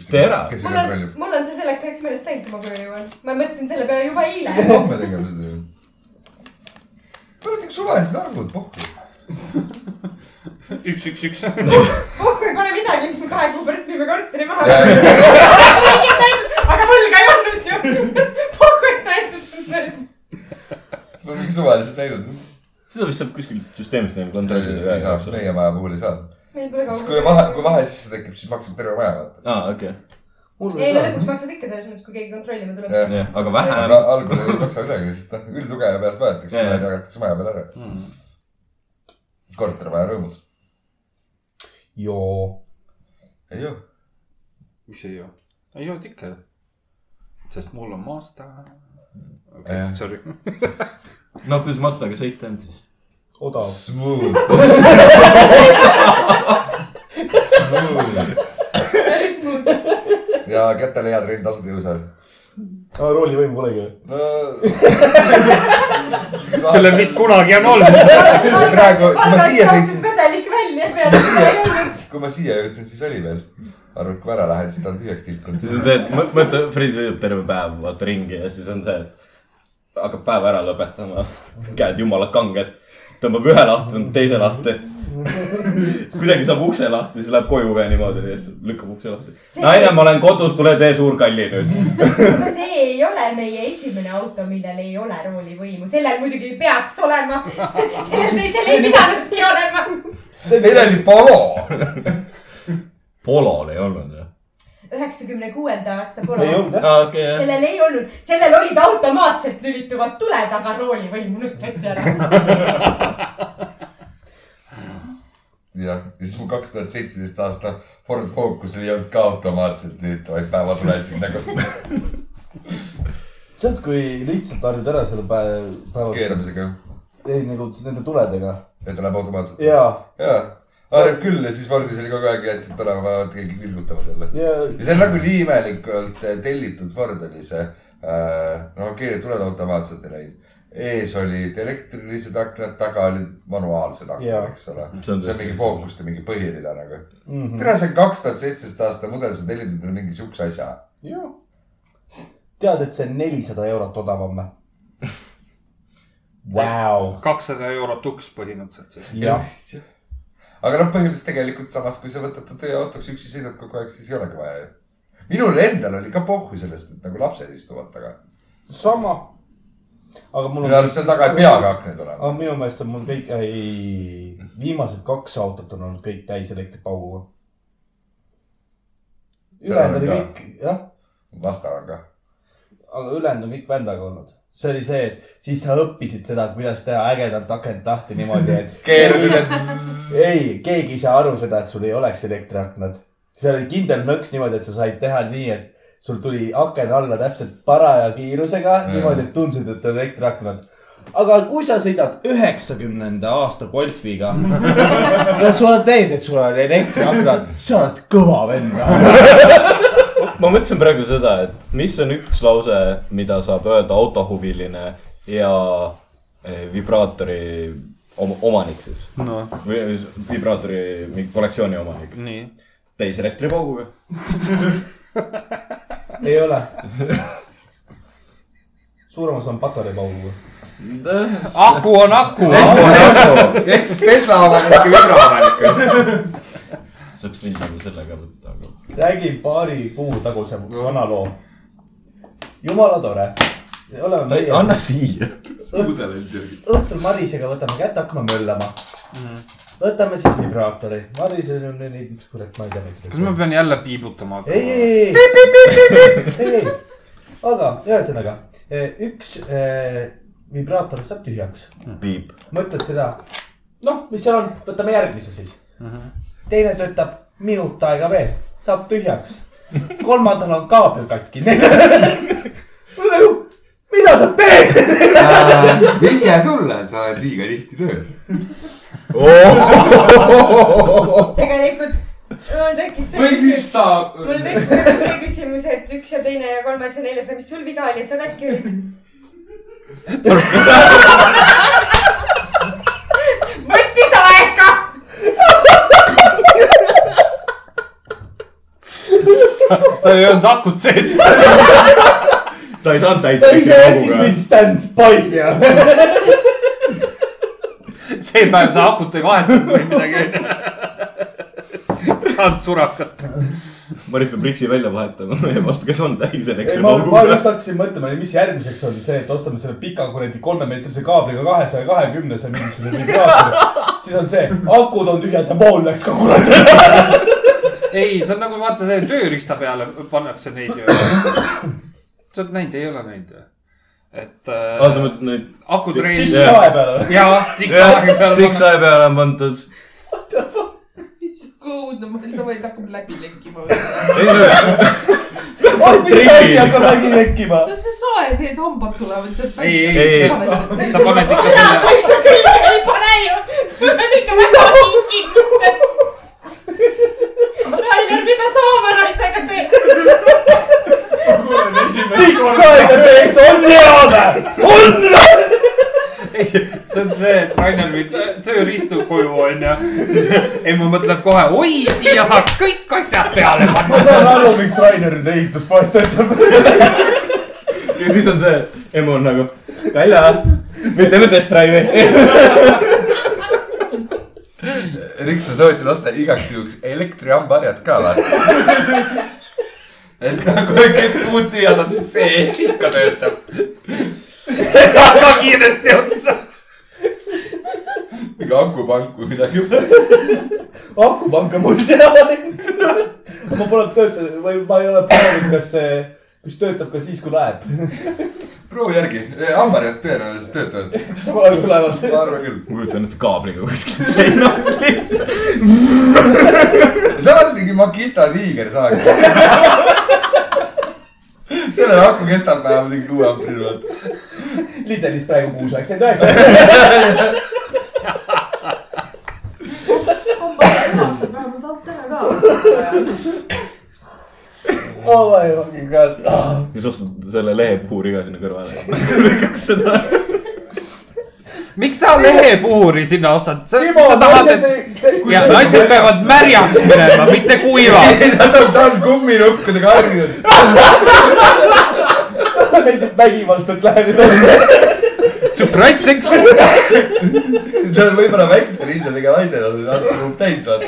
D: tee ära.
G: kes see
F: mul on
G: kontrollib ?,
F: mul on see selleks ajaks meeles täitsa , ma koju jõuan . ma mõtlesin selle peale juba eile .
G: homme tegema seda ju . paned üks suvalised arvud puhku .
B: üks , üks , üks .
F: oh , kui pole midagi , siis me kahe kuu pärast müüme korteri maha .
G: ja ,
F: aga võlga ei olnud ju . pohhuid näidatud .
G: ja mingi suvalised näidud .
D: seda vist saab kuskilt süsteemist nagu
G: ei saa ,
D: kontrollida .
G: meie maja puhul ei saa .
F: meil pole
G: siis kui vahe , kui vahe sisse tekib , siis maksab terve maja vaata .
D: aa , okei ,
C: mul
F: ei
C: ei
F: no
C: saa .
F: lõpuks maksad ikka selles mõttes , kui keegi kontrollima tuleb .
G: jah ,
D: jah , aga vähem
G: aga . algul ei maksa midagi , sest noh , üldlugeja pealt võetakse
D: Jaa.
G: ja jagatakse maja peale ära .
B: Hmm.
G: korter vaja rõõmus .
C: joo .
G: ei joo .
B: miks ei joo ? ei jood ikka . sest mul on maasta . okei
G: Jah.
B: okay, , sorry .
D: noh , kuidas Mazdaga sõita on siis ?
C: odav .
G: Smooth . Smooth .
F: päris muud .
G: ja kätele head rind tasuda jõusaal .
C: roolivõimu polegi ju .
G: no .
B: sellel vist . kunagi on olnud .
G: praegu , kui ma siia sõitsin ,
F: pedelik välja peale , seda ei olnud .
G: kui ma siia jõudsin , siis oli veel . arvad , kui ma ära lähen , siis ta on tühjaks tilkunud
D: siis . on see , et mõ- mõtle , Freeh sõidab terve päev , vaata ringi ja siis on see , et hakkab päeva ära lõpetama , käed jumala kanged , tõmbab ühe lahti , tõmbab teise lahti . kuidagi saab ukse lahti , siis läheb koju ka niimoodi ja siis lükkab ukse lahti . naine , ma olen kodus , tule tee suur kalli nüüd .
F: see ei ole meie esimene auto , millel ei ole roolivõimu , sellel muidugi peaks olema . sellel teisel ei pidanudki olema .
G: Neil oli polo .
D: Polol ei olnud jah ?
F: üheksakümne kuuenda aasta
C: ei
F: polo .
C: olnud jah ?
D: aa , okei jah .
F: sellel ei olnud , sellel olid automaatselt lülituvad tuled , aga roolivõim unustati ära .
G: jah , ja siis mu kaks tuhat seitseteist aasta Ford Focusel ei olnud ka automaatselt lülitavaid päevatulesid nagu .
C: tead , kui lihtsalt harjud ära selle päev , päeva ,
G: keeramisega ,
C: ei nagu nende tuledega
G: et ta läheb automaatselt .
C: ja ,
G: jaa , arvab küll ja siis Fordis oli kogu aeg , jätsid põlema , vaevalt keegi vilgutavad jälle .
C: ja
G: ja see on nagu nii imelikult äh, tellitud Ford oli see äh, , no okei , need tuled automaatselt ei läinud . ees olid elektrilised aknad , taga olid manuaalsed aknad
C: Jaa. ,
G: eks ole .
D: see on
G: see on mingi . fookuste mingi põhirida nagu .
C: mm . -hmm.
G: tere , see on kaks tuhat seitseteist aasta mudel , sa tellid endale mingi siukse asja .
C: Jah. tead , et see on nelisada eurot odavam või ? Vau ,
B: kakssada eurot uks põhimõtteliselt siis .
C: jah ,
G: aga noh , põhimõtteliselt tegelikult samas , kui sa võtad ta tööautoks üksi sõidad kogu aeg , siis ei olegi vaja ju . minul endal oli ka pohhu sellest , et nagu lapsed istuvad taga .
C: sama . aga mul on .
G: minu arust seal taga ei peagi aknaid olema .
C: aga minu meelest on mul kõik , ei , viimased kaks autot on olnud kõik täis elektripauguga .
G: Seal
C: ülejäänud oli
G: on ka.
C: kõik , jah ,
G: vastav on ka .
C: aga ülejäänud on kõik vändaga olnud . see oli see , et siis sa õppisid seda , kuidas teha ägedat akent lahti niimoodi , et
G: keerud üle .
C: ei , keegi ei saa aru seda , et sul ei oleks elektriaknad . seal oli kindel nõks niimoodi , et sa said teha nii , et sul tuli aken alla täpselt paraja kiirusega
G: Mm.
C: mm. , niimoodi , et tundsid , et on elektriaknad . aga kui sa sõidad üheksakümnenda aasta Golfiga , no sa teed , et sul on elektriaknad , sa oled kõva vend .
D: ma mõtlesin praegu seda , et mis on üks lause , mida saab öelda autohuviline ja eh, vibraatori om- omanik siis .
A: noh ,
D: või või vibraatori mingi kollektsiooni omanik .
A: nii .
D: täis elektripauguga .
C: ei ole . suurem osa on patareipauguga .
B: aku on aku .
G: ehk siis Tesla omanik ja Vibra omanik .
D: saaks nii nagu sellega võtta , aga
C: räägin paari kuu taguse vana loo . jumala tore . oleme
D: Ta ei-
C: meie .
D: anna siia .
H: pudeleid sirgib .
C: õhtul Marisega võtame kätte , hakkame möllama .
B: Mhm.
C: võtame siis vibraatori . Marisel on nii , kurat , ma ei tea .
B: kas ma ? pean jälle piibutama
C: ei ,
B: hakkama ?
C: ei , ei , ei , ei , ei , aga ühesõnaga eh, üks eh, vibraator saab tühjaks .
D: piip .
C: mõtled seda , noh , mis seal on , võtame järgmise siis .
B: Mhm.
C: teine töötab minut aega veel , saab tühjaks . kolmandal on kaabel katki . mida sa teed ?
G: vihje Äh, sulle , sa oled liiga tihti tööl .
F: tegelikult mul tekkis see
H: või siis
F: küsimus ,
H: saab .
F: mul tekkis nagu see küsimus , et üks ja teine ja kolmas ja neljas ja mis sul viga oli , et sa katki olid ? võttis aega .
B: tal ei olnud akut sees .
D: ta ei saanud täis
C: sa ise jättis mind
D: elektripauguga .
C: stand-by ja .
B: see päev sa akut ei vahetanud või midagi . saad surakat .
D: Maris peab riksi välja vahetama , vastu , kes on täis
C: ei , ma , ma just
D: elektripauguga .
C: hakkasin mõtlema , mis järgmiseks on see , et ostame selle pika kuradi kolmemeetrise kaabliga kahesaja kahekümnese mingisuguse vibraatori . siis on see , akud on tühjad ja vool läks ka kuradi .
B: ei , see on nagu vaata see tööriista peale pannakse neid ju . sa oled näinud , ei ole näinud või ? et äh,
D: aa , Ah, sa mõtled neid ?
B: akutrell
D: Jah.
C: kae peale või ?
B: ja tiksaagi peal .
D: tiksae peale on pandud .
E: mis õudne , ma seda veel hakkab läbi lekkima .
D: ei no ,
C: oh , mis asi hakkab läbi lekkima ?
E: no see sae , need hambad tulevad sealt
B: ei ,
E: välja .
B: ei ,
D: Ei,
B: ei , sa paned ikka
F: ära
B: selle
F: sa , ikka külge ei pane ju , sul on ikka väga kingi . Rainer , mida sa oma naisega teed ?
C: pikk saega sees on hea või ? on või ?
B: ei , see on see , et Rainer viib tö- tööriistu koju , onju . emme mõtleb kohe , oi , siia saab kõik asjad peale
C: ma
B: panna .
C: saan aru , miks Rainer nüüd ehituspoes töötab .
D: ja siis on see , emu on nagu , välja , me teeme test drive'i .
G: Riks , ma soovitan osta igaks juhuks elektrihambaharjad ka või ? et nagu kõik muud tühjad on , siis see ikka töötab .
B: see saab ka kiiresti otsa .
G: mingi mingi akupank või midagi .
C: akupank on mul teadlik . ma pole töötanud või ma ei ole proovinud , kas see , kas töötab ka siis , kui läheb .
G: proovi järgi , hambarid tõenäoliselt töötavad .
C: samal ajal kui
G: ma
C: lähevad .
G: arvan küll .
D: ma kujutan ette kaabliga kuskilt seinast lihtsalt .
G: samas mingi Makita tiiger saagi . selle aku kestab vähemalt mingi kuue aprilli pealt .
C: Lidlis praegu kuus üheksakümmend üheksa .
E: puhastab vähemalt alt ära ka .
C: oh my fucking god ah. .
D: siis ostad selle lehepuhuri ka sinna kõrvale . kakssada .
B: miks sa lehepuhuri sinna ostad ? sa
C: Timo ,
B: sa tahad ,
C: naised
B: et
C: ei , see .
B: ja naised peavad märjaks minema , mitte kuivaks .
G: ta on , ta on kumminukkudega harjunud .
C: meeldib vägivaldselt läheneda .
B: Surprise seks .
G: ta on võib-olla väikeste rindadega naine , ta on akupank täis vaata .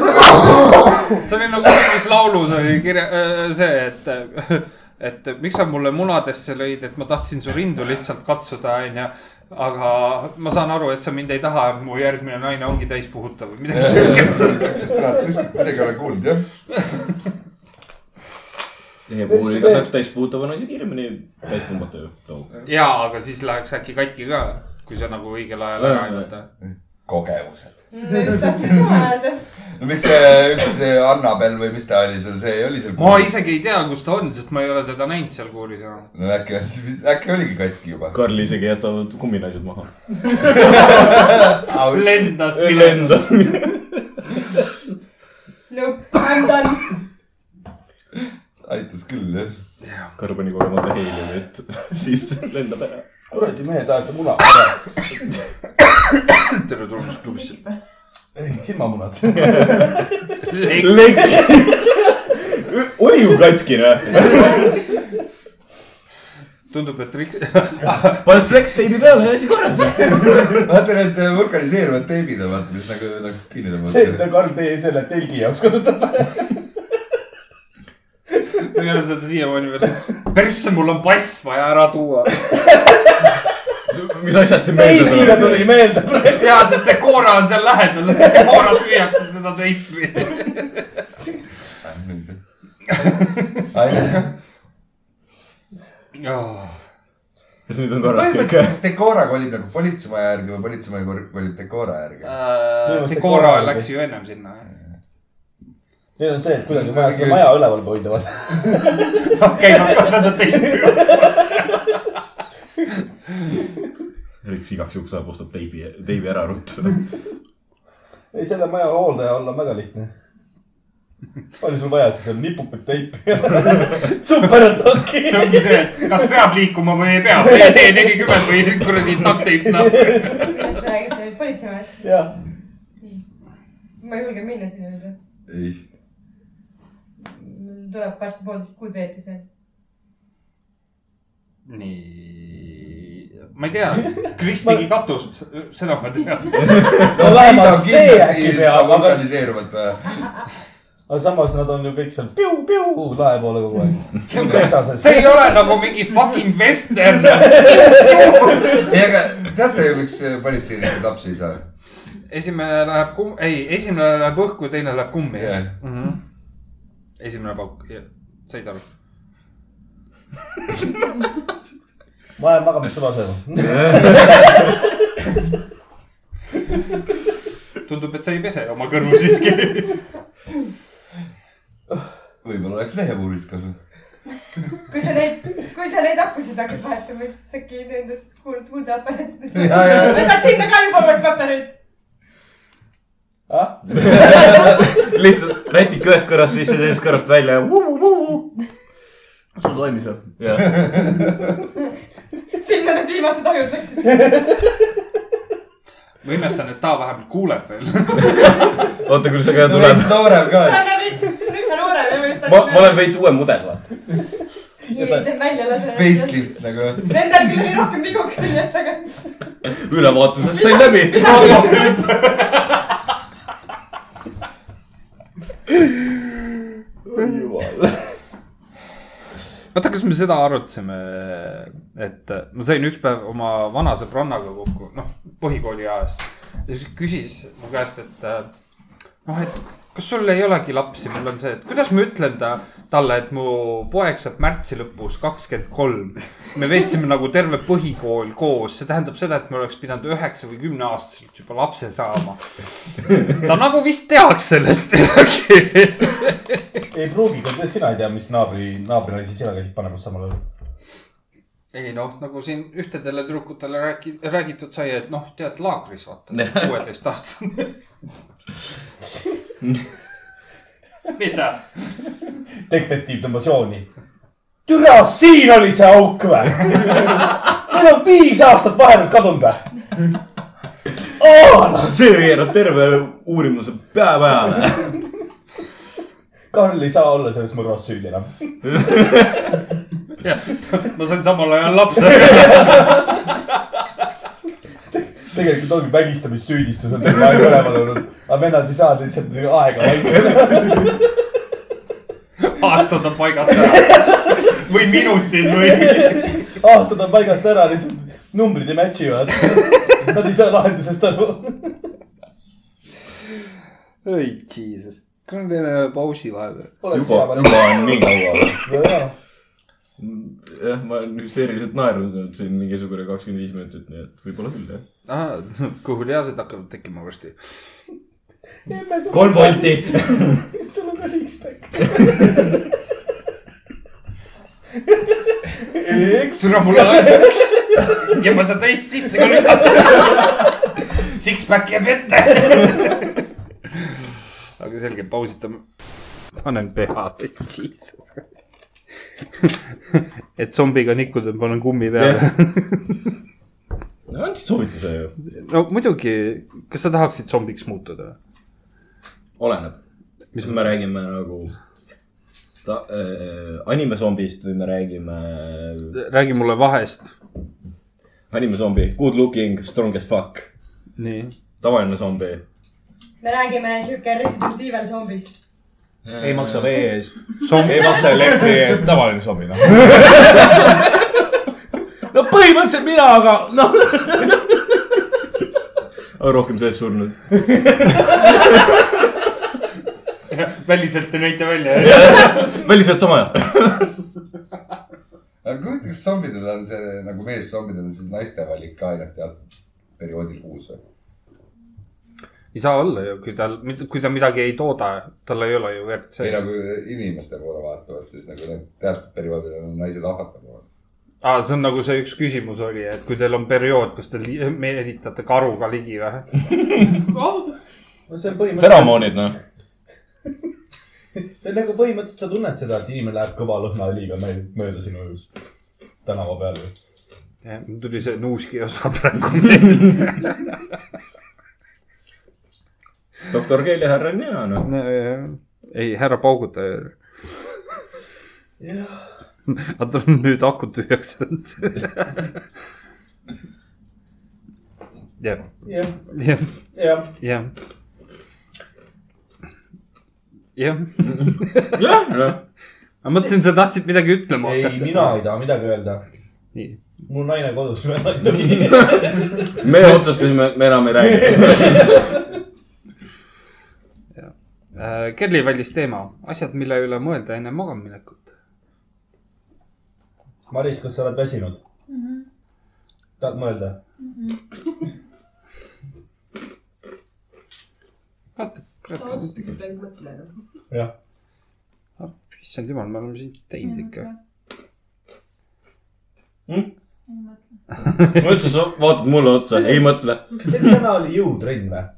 B: see oli nagu mingis laulus oli kirja , see , et , et miks sa mulle munadesse lõid , et ma tahtsin su rindu lihtsalt katsuda , onju . aga ma saan aru , et sa mind ei taha , mu järgmine naine ongi täispuhutav või midagi siukest .
G: kuskilt isegi ei ole kuulnud jah .
D: lehepuhuriga saaks täispuutava naise kiiremini täis pumbata ju .
B: ja , aga siis läheks äkki katki ka , kui sa nagu õigel ajal ära ei võta .
G: kogemused .
F: ma just tahtsin sama öelda .
G: no miks see üks see Annabel või mis ta oli seal , see oli seal .
B: ma isegi ei tea , kus ta on , sest ma ei ole teda näinud seal kuuris enam .
G: no äkki , äkki oligi katki juba .
D: Karl isegi jätavad kumminaised maha .
B: lendas .
D: lenda .
F: Nope , I m done .
G: aitas küll jah .
D: Karl pani kogemata heliumit , siis lendab ära .
C: kuradi mehed ajate muna .
B: tere tulemast klubisse .
C: silmamunad .
D: oli ju katkine .
B: tundub , et Riks ,
D: paned flex teibi peale ja asi korras .
G: vaata need äh, vulkaniseeruvad teibid on vaata , mis nagu , nagu kinni
C: see , mida
G: tõmbavad .
C: Karl teie selle telgi jaoks kasutab .
B: ma ei ole seda siiamaani veel . persse , mul on pass vaja ära tuua .
D: mis asjad siin
C: telgiga tuli meelde praegu .
B: ja , sest Decora on seal lähedal , Decoras müüakse seda teistpidi .
G: Ah,
D: kas nüüd on korras kõik ?
G: põhimõtteliselt , kas Decora kolib nagu politseimaja järgi või politseimaja kor- kolib Decora järgi ?
B: Äh, Decora läks ju ennem sinna .
C: Neil on see , et kuidagi on vaja seda maja üleval hoida , vaata .
B: käivad ka seda teipi .
D: Riks igaks juhuks läheb , ostab teibi , teibi ära ruttu .
C: ei , selle maja hooldaja olla on väga lihtne . palju sul vaja siis on , nipupid teipi . super , et okei
B: see . ongi see , kas peab liikuma või ei pea . tee nelikümmend või kuradi takteip nappi .
F: millest te räägite , politseimees ?
C: jah ,
F: ma ei julge minna sinna nüüd .
G: ei .
F: mul tuleb varsti poolteist kuud veeta seal .
B: nii , ma ei tea , Kris tegi katust , seda ma tean .
C: No vähemalt see äkki peab, aga-
G: vulkaniseeruvad või ?
C: aga samas nad on ju kõik seal piu-piu lae poole kogu aeg . kessases
B: see . ei ole nagu mingi fucking vestern .
G: ei , aga teate ju , miks politseinikud lapsi ei saa ?
B: esimene läheb kum- , ei , esimene läheb õhku , teine läheb kummi
G: Jah.
B: mm . -hmm. esimene pauk , said aru ?
C: ma lähen magamistoa sööma .
B: tundub , et sa ei pese oma kõrvu siiski .
G: võib-olla oleks lehepuuris kasu .
F: kui sa neid , kui sa neid akusid hakkad vahetama , siis äkki nendest kuuld , kuulda aparatidest .
G: Ja, ja, ja.
F: võtad sinna ka juba uued patareid .
C: Ah?
D: lihtsalt rätik ühest kõrvast sisse , teisest kõrvast välja ja vuu-vuu-vuu . sul toimis või ?
F: sinna need viimased ajud läksid .
B: ma imestan , et ta vähemalt kuuleb veel .
D: oota , küll see ka tuleb
G: veits . noorem ka .
F: ta on nagu üsna noorem ja ma just
D: ma , ma olen . veits uuem mudel , vaata .
F: hilisem välja lase .
G: Facelift nagu .
F: Nendel küll oli rohkem vigu küljes , aga
D: ülevaatusest sain läbi .
B: oota , kas me seda arutasime , et äh, ma sain üks päev oma vana sõbrannaga kokku , noh , põhikooli ajast . ja siis küsis mu käest , et äh, noh , et kas sul ei olegi lapsi , mul on see , et kuidas ma ütlen ta , talle , et mu poeg saab märtsi lõpus kakskümmend kolm . me veetsime nagu terve põhikool koos , see tähendab seda , et me oleks pidanud üheksa või kümne aastaselt juba lapse saama . ta nagu vist teaks sellest midagi .
C: ei pruugi , kuidas sina ei tea , mis naabri , naabrinaisi sina käisid panemas samal ajal ?
B: ei noh , nagu siin ühtedele tüdrukutele räägi- , räägitud sai , et noh , tead laagris vaata , kuueteistaastane . mida ?
C: detektiiv tõmbas jooni . türa , siin oli see auk või ? meil on viis aastat vahele kadunud või ? aa , noh ,
D: see keerab terve uurimuse pea peale .
C: Karl ei saa olla selles mõrvas süüdi enam .
B: ma sain samal ajal lapse .
C: tegelikult ongi vägistamissüüdistus on tema aeg üleval olnud , aga vennad ei saa lihtsalt nagu aega vaikida .
B: aastad on paigast ära . või minutid või .
C: aastad on paigast ära , lihtsalt numbrid ei match ivad . Nad ei saa lahendusest aru .
B: oi , jesus . kas me teeme pausi vahepeal ?
D: juba , juba on nii kaua .
C: jah ,
D: jah , ma olen hüsteeriliselt naernud siin mingisugune kakskümmend viis minutit , nii et võib-olla küll jah .
B: kõhuliased Ah, hakkavad tekkima varsti .
D: kolm volti .
C: sul on ka six-pack . eks ,
B: sõna mulle laekus . ja ma saan teist sisse ka lükata . Six-pack jääb ette . aga selge , pausitame . panen peale , jesus . et zombiga nikkuda , panen kummi peale .
D: andsid soovituse ju .
B: no muidugi , kas sa tahaksid zombiks muutuda ?
D: oleneb , mis me räägime nagu ta, äh, animesombist või me räägime
B: räägi mulle vahest .
D: animesombi , good looking , strong as fuck ,
B: nii .
D: tavaline zombi .
F: me räägime siuke Resident Evil zombist .
C: ei maksa vee eest ,
B: Zombi ,
C: ei maksa elektri eest , tavaline sobi noh . no põhimõtteliselt mina , aga noh ,
D: rohkem sees surnud .
B: väliselt ei näita välja .
D: väliselt sama jah .
G: aga kujuta , kas zombidel on see nagu mees zombidel on see naiste valik ka ainult teatud perioodil kuus või ?
B: ei saa olla ju , kui tal , kui ta midagi ei tooda , tal ei ole ju verd
G: või
B: sees .
G: nagu inimeste poole vaatavalt , siis nagu need teatud perioodil on naised ahvatlevad .
B: aa , see on nagu see üks küsimus oli , et kui teil on periood , kas te li- meelitate karuga ligi või ?
C: no see on põhimõtteliselt ,
D: feromoonid noh .
C: see on nagu põhimõtteliselt sa tunned seda , et inimene läheb kõva lõhnaõliga möö- mööda sinu ujus tänava peal või ?
B: tuli see Nuuski osa praegu meelde .
D: doktor Keeli härra on hea noh .
B: ei , härra paugutaja . aga tal on nüüd aku tühjaks jäänud . jah ,
C: jah ,
B: jah ,
C: jah ,
B: jah . jah ,
D: jah , noh .
B: ma mõtlesin , sa tahtsid midagi ütlema
C: ei , mina . ei taha midagi öelda .
B: nii ,
C: mul naine kodus veel naine .
D: me otsustasime , me enam ei räägi .
B: Äh, Kerli valis teema , asjad , mille üle mõelda enne magamaminekut .
C: Maris , kas sa oled väsinud ? tahad mõelda ?
B: vaata , kurat ,
C: jah ,
B: issand jumal , me oleme siin teinud ikka .
D: ma ütlesin , sa vaatad mulle otsa , ei mõtle .
C: kas teil täna oli jõutrenn või ?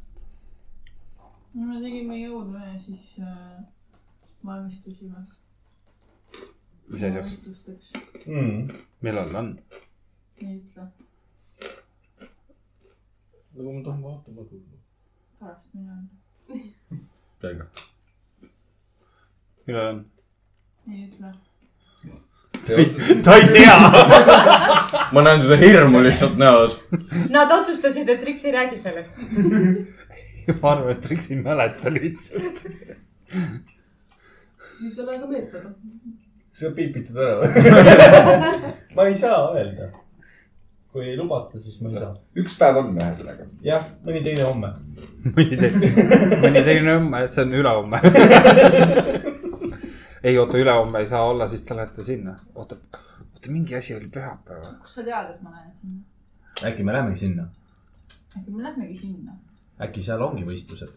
E: no me tegime jõudu ja siis äh, valmistusime .
B: mis asjaks ,
E: valmistusteks ,
C: mm. ?
B: millal on ?
E: ei ütle ,
D: nagu ma tahan vaatama .
E: pärast mina
B: millal on ?
E: ei ütle .
D: ta ei tea . ma näen seda hirmu lihtsalt näos .
F: Nad otsustasid , et Riks ei räägi sellest .
B: ma arvan , et Riks ei mäleta lihtsalt .
E: nüüd on aega meeldida .
C: sa piipitad ära või ? ma ei saa öelda . kui ei lubata , siis ma ei saa .
G: üks päev on vähe sellega .
C: jah , mõni teine homme .
B: mõni teine , mõni teine homme , see on ülehomme . ei oota , ülehomme ei saa olla , siis te lähete sinna . oota , oota mingi asi oli pühapäeval .
I: kust sa tead , et ma lähen sinna ?
C: äkki me lähemegi sinna ?
I: äkki me lähmegi sinna ?
C: äkki seal ongi võistlused ?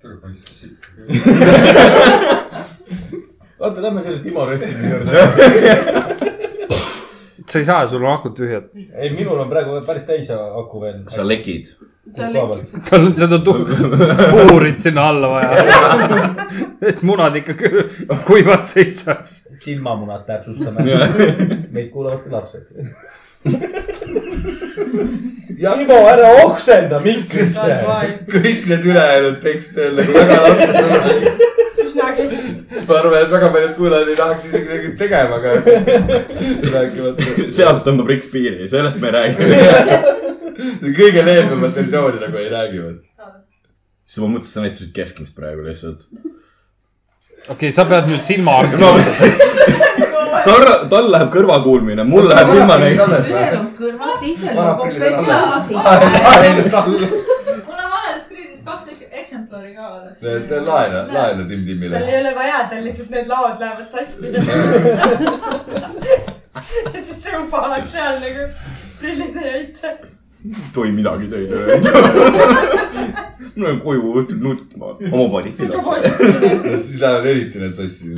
H: tere poiss , siit .
C: vaata , lähme selle Timo röstimise juurde .
B: sa ei saa , sul on akud tühjad .
C: ei , minul on praegu päris täis aku veel .
D: sa lekid .
C: kus koha peal ?
B: tal on seda tu- puurit sinna alla vaja . et munad ikka kü- kuivad seisaks .
C: silmamunad täpsustame . meid kuulavad ka lapsed . Timo , ära oksenda minkrisse .
G: kõik need ülejäänud tekstil nagu väga lapsed .
F: üsnagi .
G: ma arvan , et väga paljud kuulajad ei tahaks isegi midagi tegema , aga rääkimata
D: sealt tõmbab Riks piiri , sellest me ei räägi .
G: kõige leebemat versiooni nagu ei räägi .
D: siis ma mõtlesin , sa näitasid keskmist praegu lihtsalt .
B: okei okay, , sa pead nüüd silmaarsti no. .
D: tal , tal läheb kõrvakuulmine , mul läheb silmanäik .
I: ühel on kõrvad , teisel on
G: vanaprillid
I: komplekt
G: on
I: klaasi .
G: alles .
I: mul on vanemas kriisis kaks ek- eksemplari ka alles .
G: laena , laena Tim
F: tal ei
G: Timmile .
F: ole vaja , tal lihtsalt need laod lähevad sassi . ja siis sa juba oled seal nagu prillid ei aita .
D: tohi midagi teile öelda . ma lähen koju õhtul nutma , oma padikilas .
G: siis lähevad eriti need sassi .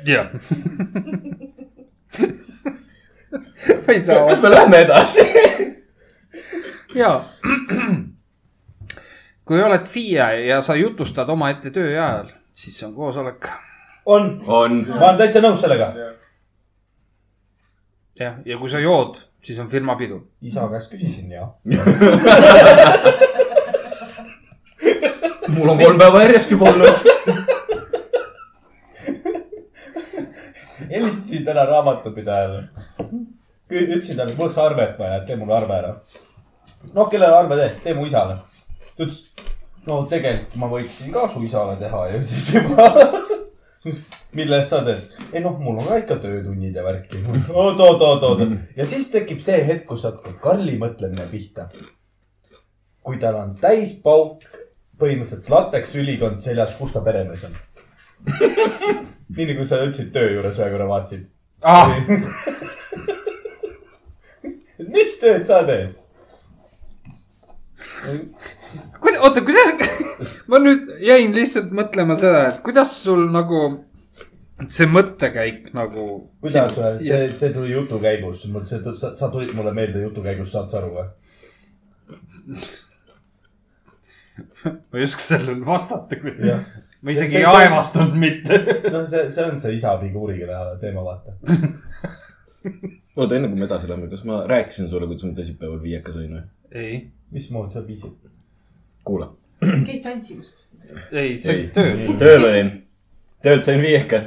B: jah . ma ei saa .
D: kas me lähme edasi ?
B: ja kui oled FIE ja sa jutustad omaette töö ajal , siis see on koosolek .
C: on ,
D: on .
C: ma olen täitsa nõus sellega .
B: jah , ja kui sa jood , siis on firma pidu .
C: isa käest küsisin ja .
D: mul on kolm päeva järjest juba olnud .
C: helistasin täna raamatupidajale . ütlesin talle , mul oleks arvet vaja , tee mulle arve ära . noh , kellele arve teed , tee mu isale . ta ütles , no tegelikult ma võiksin ka su isale teha ju siis juba . mille eest sa teed ? ei noh , mul on ka ikka töötunnid ja värki . oot , oot , oot , oot . ja siis tekib see hetk , kus hakkab Karli mõtlemine pihta . kui tal on täispauk , põhimõtteliselt lateksülikond seljas , kus ta peremees on ? nii nagu sa ütlesid töö juures ühe korra vaatasid .
B: Ah,
C: mis tööd sa teed ?
B: kuida- oota , kuidas , ma nüüd jäin lihtsalt mõtlema seda , et kuidas sul nagu see mõttekäik nagu .
C: kuidas see , see tuli jutu käigus , see , sa, sa tulid mulle meelde jutu käigus , saad sa aru või ?
B: ma ei oska sellele vastata , kui
C: jah ,
B: ma isegi
C: See-
B: ei
C: see-
B: aevastanud mitte .
C: noh , see , see on see isa figuuriga teema , vaata .
D: oota , enne kui me edasi läheme , kas ma rääkisin sulle , kuidas ma teisipäeval viiekas olin või ?
B: ei ,
C: mismoodi sa viisid ?
D: kuula .
I: käis tantsimas .
B: ei , see oli töö .
D: tööl olin , töölt sain viieka .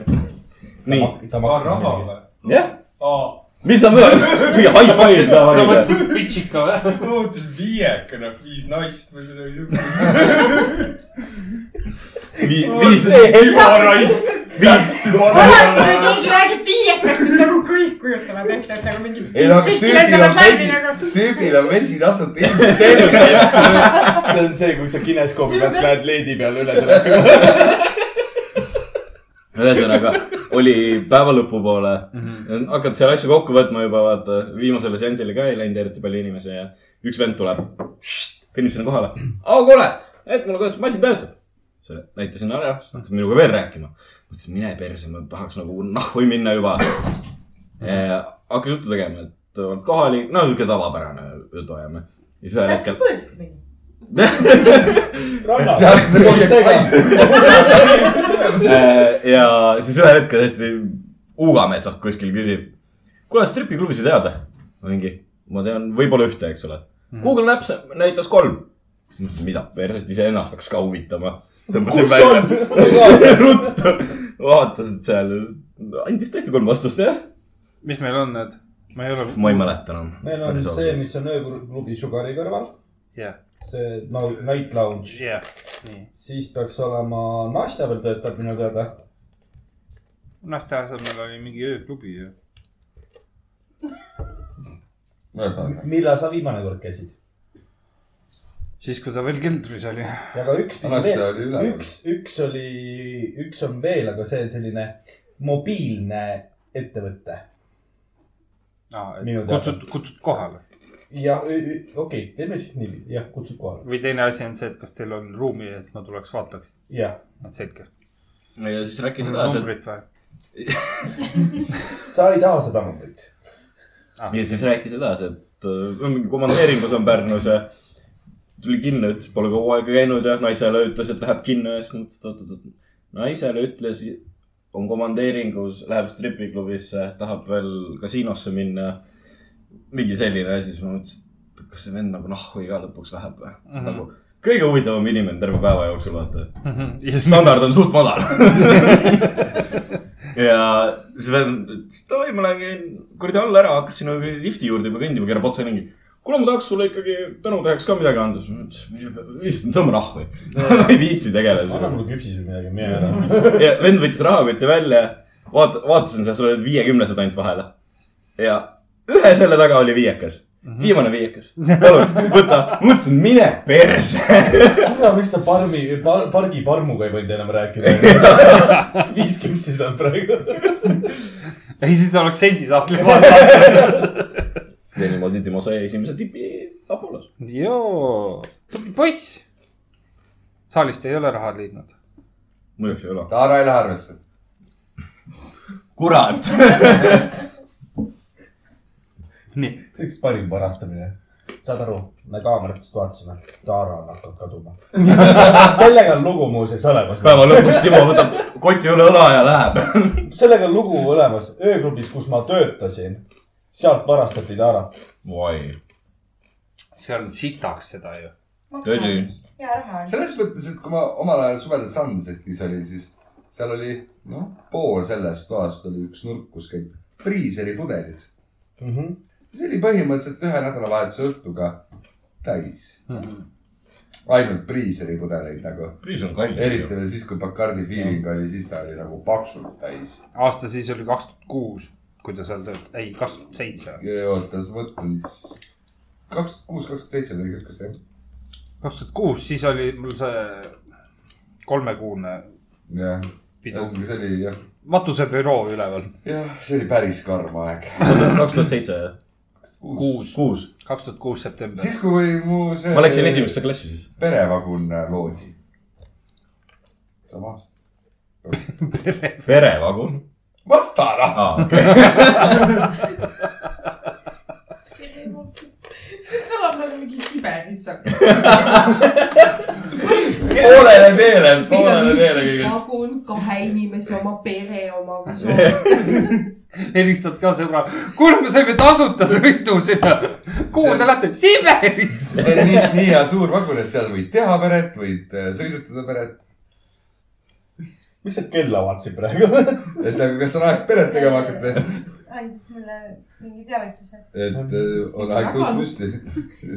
D: nii ,
C: ta
H: aa ,
C: maksis
H: raha
C: meile
H: või ?
D: jah ,
H: aa ,
D: mis sa mõtled , mingi high five
B: sa
D: tavaline .
B: võtsid pitsika või ?
H: ma ootasin viiekana , viis naist või midagi siukest .
D: viis ,
H: raisk .
D: viis ,
F: alati , kui keegi räägib viiekast , siis nagu kõik kujutavad ette , et nagu mingi .
G: ei no aga tüübil on vesi ,
F: nagu.
G: tüübil on vesi tasuta ilmselgelt .
C: see on see , kui sa kineskoobi pealt lähed leedi peale üle selle .
D: ühesõnaga oli päeva lõpupoole , hakkad seal asju kokku võtma juba vaata , viimasele seansile ka ei läinud eriti palju inimesi ja üks vend tuleb , kõnnib sinna kohale . au , kuule , näita mulle , kuidas masin töötab . näitasin ära , siis ta hakkas minuga veel rääkima . mõtlesin , mine perse , ma tahaks nagu nahhu minna juba . hakkas juttu tegema , et oled kohalik , no sihuke tavapärane jutuajamine . ja siis ühel
F: täpselt
D: hetkel ,
F: põskmine .
G: seal on see kõige kallim .
D: Äh, ja siis ühel hetkel tõesti Uugametsast kuskil küsib . kuule , stripiklubisid tead või ? ma mingi , ma tean võib-olla ühte , eks ole . Google Maps näitas kolm . mida , perset iseennast hakkas ka huvitama . tõmbasin välja . ruttu , vaatasin seal , andis tõesti kolm vastust jah .
B: mis meil on need ? ma ei ole .
D: ma ei mäleta enam .
C: meil on see , mis on ööklubi Sugari kõrval .
B: Jah.
C: see no, night lounge ,
B: jah , nii .
C: siis peaks olema naiste peal töötab minu teada .
B: naiste asemel oli mingi ööklubi ju .
C: millal sa viimane kord käisid ?
B: siis , kui ta veel keldris oli .
C: ja ka üks pidi
G: Vanasti oli
C: veel ,
G: üleval.
C: üks , üks oli , üks on veel , aga see on selline mobiilne ettevõte Minu teada.
B: kutsud , kutsud kohale .
C: ja ü- ü- okei okay, , teeme siis niiviisi , jah , kutsud kohale ,
B: või teine asi on see , et kas teil on ruumi , et ma tuleks vaataks .
C: jah .
B: selge .
D: ja siis rääkis edasi ,
B: numbrit või ?
C: sa ei taha seda numbrit ?
D: et ja siis rääkis edasi , et äh, on mingi komandeeringus on Pärnus ja tuli kinno , ütles , pole kaua aega käinud ja naisele ütles , et läheb kinno ja siis mõtles , et oot-oot-oot . naisele ütles , on komandeeringus , läheb stripiklubisse , tahab veel kasiinosse minna . mingi selline asi , siis ma mõtlesin , et kas see vend nagu nahhu iga lõpuks läheb või mm
B: Mhm.
D: -hmm. nagu kõige huvitavam inimene terve päeva jooksul , vaata standard
B: standard .
D: on suht madal ja Sven ütles , davai , ma lähen käin kuradi alla ära , hakkasin nagu lifti juurde juba kõndima , keerab otse ringi . kuule , ma tahaks sulle ikkagi tänuteheks ka midagi anda . siis ma ütlesin , tõmba nahku . ma ei viitsi
C: anna
D: tegeleda .
C: mulle küpsis või midagi , mine ära .
D: ja vend võttis rahakotti välja , vaata , vaatasin , seal olid viiekümnesed ainult vahele . ja ühe selle taga oli viiekas . viimane viiekas . palun , võta . mõtlesin , mine perse .
C: kuule , miks ta parmi par, , pargi parmuga ei võinud enam rääkida ? viis küpsis on praegu .
B: ei , siis oleks sendisahtli vaadanud .
D: ja niimoodi Timo sai esimese tipi Apollos .
B: joo , tubli poiss . saalist ei ole raha leidnud .
D: muidugi ei ole .
G: ta ära ei lähe arvesse .
D: kurat .
B: nii .
C: see oleks parim varastamine . saad aru , me kaameratest vaatasime , Taara on hakanud kaduma . sellega on lugu muuseas olemas .
D: päeva lõpuks Timo võtab koti üle õla ja läheb .
C: sellega on lugu olemas , ööklubis , kus ma töötasin , sealt varastati taarat .
D: oi ,
B: see on sitaks seda ju .
D: tõsi .
F: hea raha on .
G: selles mõttes , et kui ma omal ajal suvel Sunsetis olin , siis seal oli , noh , pool sellest toast oli üks nurk , kus käib priiseri pudelid .
C: Mm -hmm.
G: see oli põhimõtteliselt ühe nädalavahetuse õhtuga täis . ainult priiseri pudeleid nagu ,
D: priis on kallis .
G: eriti veel siis , kui Bacardi feeling oli , siis ta oli nagu paksult täis .
B: aasta siis oli kaks tuhat kuus , kui ta seal töötas , ei , kaks tuhat seitse .
G: oota , ma mõtlen siis kaks , kuus , kaks , seitse midagi siukest jah .
B: kaks tuhat kuus , siis oli mul see kolmekuune
G: jah ,
B: pidu ,
G: ühesõnaga see oli jah ,
B: matusebüroo üleval .
G: jah , see oli päris karm aeg .
D: kaks tuhat seitse ,
B: kuus ,
D: kuus .
B: kaks tuhat kuus september .
G: siis , kui mu see .
D: ma läksin esimesse klassi siis .
G: perevagun äh, loodi . sama aasta .
D: verevagun .
G: vastara .
D: aa , okei .
I: see kõlab nagu mingi Siberis .
D: poolele teele , poolele teele kõigest .
E: pagun kahe inimese oma pere omaga .
B: helistad ka sõbra , kuule , me saime tasuta sõidu sinna . kuhu te lähete ? Siberisse .
G: see oli nii , nii hea suur vagun , et seal võid teha peret , võid äh, sõidutada peret .
C: miks sa kella vaatasid praegu ?
G: et nagu , kas on aeg peret tegema hakata ,
F: andis mulle mingi teavituse .
G: et äh, on aeg kuus musti .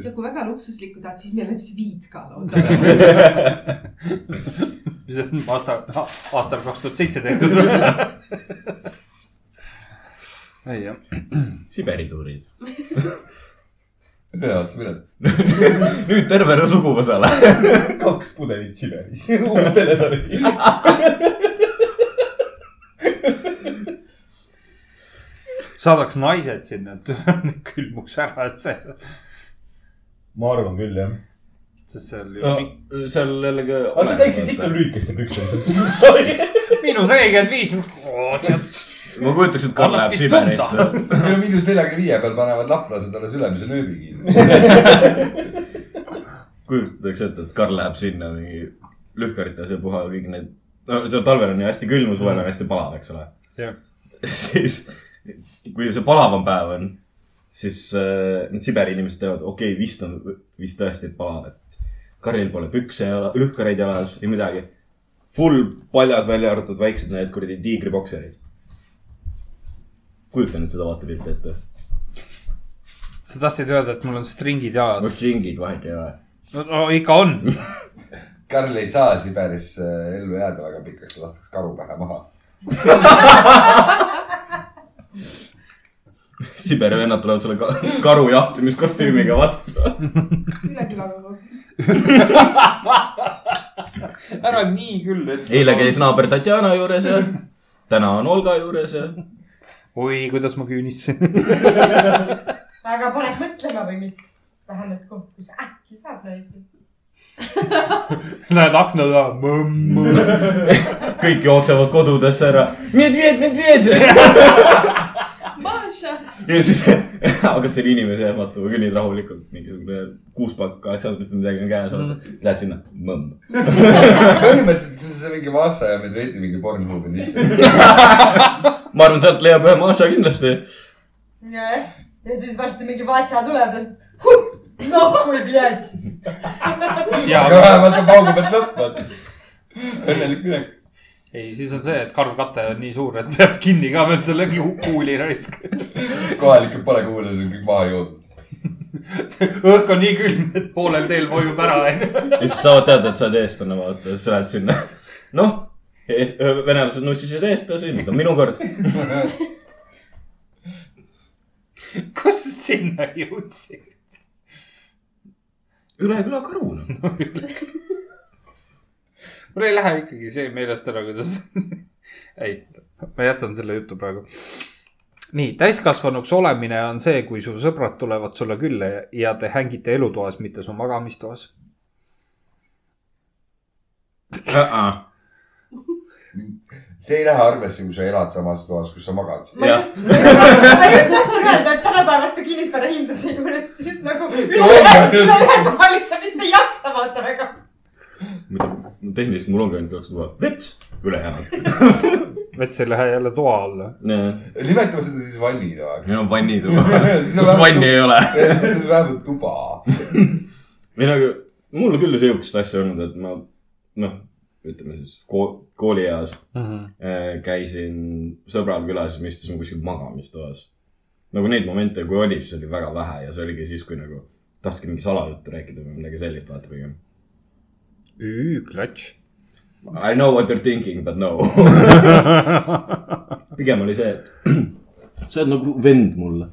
E: ja kui väga luksuslikku tahad , siis meil on sviit ka lausa .
B: mis on aasta , aastal kaks tuhat seitse tehtud . ei jah ,
D: Siberi tuurid .
G: ühe otsa peret .
D: nüüd terve suguvõsale .
C: kaks pudelit Siberis , uus telesari .
B: saadaks naised sinna , et külmuks ära , et see ,
C: ma arvan küll , jah .
B: sest seal ju
D: no
B: no.
D: seal jällegi .
C: aga sa käiksid ikka . lühikeste pükstega .
B: miinus nelikümmend viis , tead ,
D: ma kujutaks , et Karl
B: Annab
D: läheb
B: siis
D: Siberisse .
G: miinus neljakümne viie peal panevad laplased alles ülemise nööbi kinni .
D: kujutaks ette , et Karl läheb sinna mingi lühkarites ja puha kõik need , no seal talvel on ju hästi külm , suvel on hästi palav , eks ole
B: Jah. .
D: siis , kui see palavam päev on , siis äh, need Siberi inimesed teavad , okei okay, , vist on , vist tõesti palav , et Karlil pole pükse ja lühkareid jalas , ei midagi . Full paljad , välja arvatud väiksed need kuradi tiigribokserid . kujuta nüüd seda vaatepilti ette .
B: sa tahtsid öelda , et mul on stringid jalas
D: mul džingid vahet ei ole .
B: no, no ikka on .
G: Karl ei saa Siberis äh, ellu jääda väga pikaks , ta lastakse karu pähe maha .
D: Siberi vennad tulevad sulle ka karu jahtimiskostüümiga vastu .
E: üle küla kogu .
B: ära nii küll , et .
D: eile käis . naaber Tatjana juures ja täna on Olga juures ja .
B: oi , kuidas ma küünistasin .
F: aga paneb mõtlema või mis ? vähemalt koht , kus äkki saab naisi .
B: Lähed akna taha , mõmm .
D: kõik jooksevad kodudesse ära . medved , medved .
I: Maša ,
D: ja siis hakkad selle inimese jääb vaatama küll nii rahulikult , mingisugune kuus pakk , kaheksa aastat midagi on käes olnud . Lähed sinna , mõmm .
G: põhimõtteliselt see on see mingi Maša ja Medvedi mingi Pornhubi nišš .
D: ma arvan , sealt leiab ühe Maša kindlasti .
F: nojah , ja siis varsti mingi vatsa tuleb ja huh, noh , kui tead .
G: aga
B: ja ,
G: vähemalt on paugu pealt lõppenud . õnnelik minek .
B: ei , siis on see , et karvkate on nii suur , et peab kinni ka veel selle ku- kuuli raisk .
G: kohalikud pole kuulanud , on kõik maha joodud .
B: see õhk on nii külm , et poolel teel vojub ära , onju .
D: ja siis saavad teada , et sa oled eestlane , vaata , siis lähed sinna . noh , venelased nussisid eestlasi , nüüd on minu kord .
B: kus sa sinna jõudsid ?
D: üle küla noh. karuna .
B: mul ei lähe ikkagi see meelest ära , kuidas . ei , ma jätan selle jutu praegu . nii , täiskasvanuks olemine on see , kui su sõbrad tulevad sulle külla ja- ja te hängite elutoas , mitte su magamistoas .
G: see ei lähe arvesse , kui sa elad samas toas , kus sa magad .
F: ma
D: Jah.
F: just , ma just tahtsin öelda , et tänapäevaste kinnisvarahindade juures siis nagu ületoalis sa vist ei jaksa vaata väga .
D: tehniliselt mul ongi ainult kaks tuba , vets , ülejäänud .
B: vets ei lähe jälle toa alla .
G: nimetame seda siis vannitoaks .
D: minu vannituba , kus vanni ei ole .
G: vähemalt tuba .
D: ei no aga mul küll sihukest asja olnud , et ma noh , ütleme siis kool, koolieas
B: Mhm.
D: äh, käisin sõbral külas ja me istusime kuskil magamistoas . nagu neid momente , kui oli , siis oli väga vähe ja see oligi siis , kui nagu tahtsidki mingi salajuttu rääkida või midagi sellist vaata pigem .
B: Üü , klatš .
D: I know what you are thinking but no pigem oli see , et sa oled nagu vend mulle .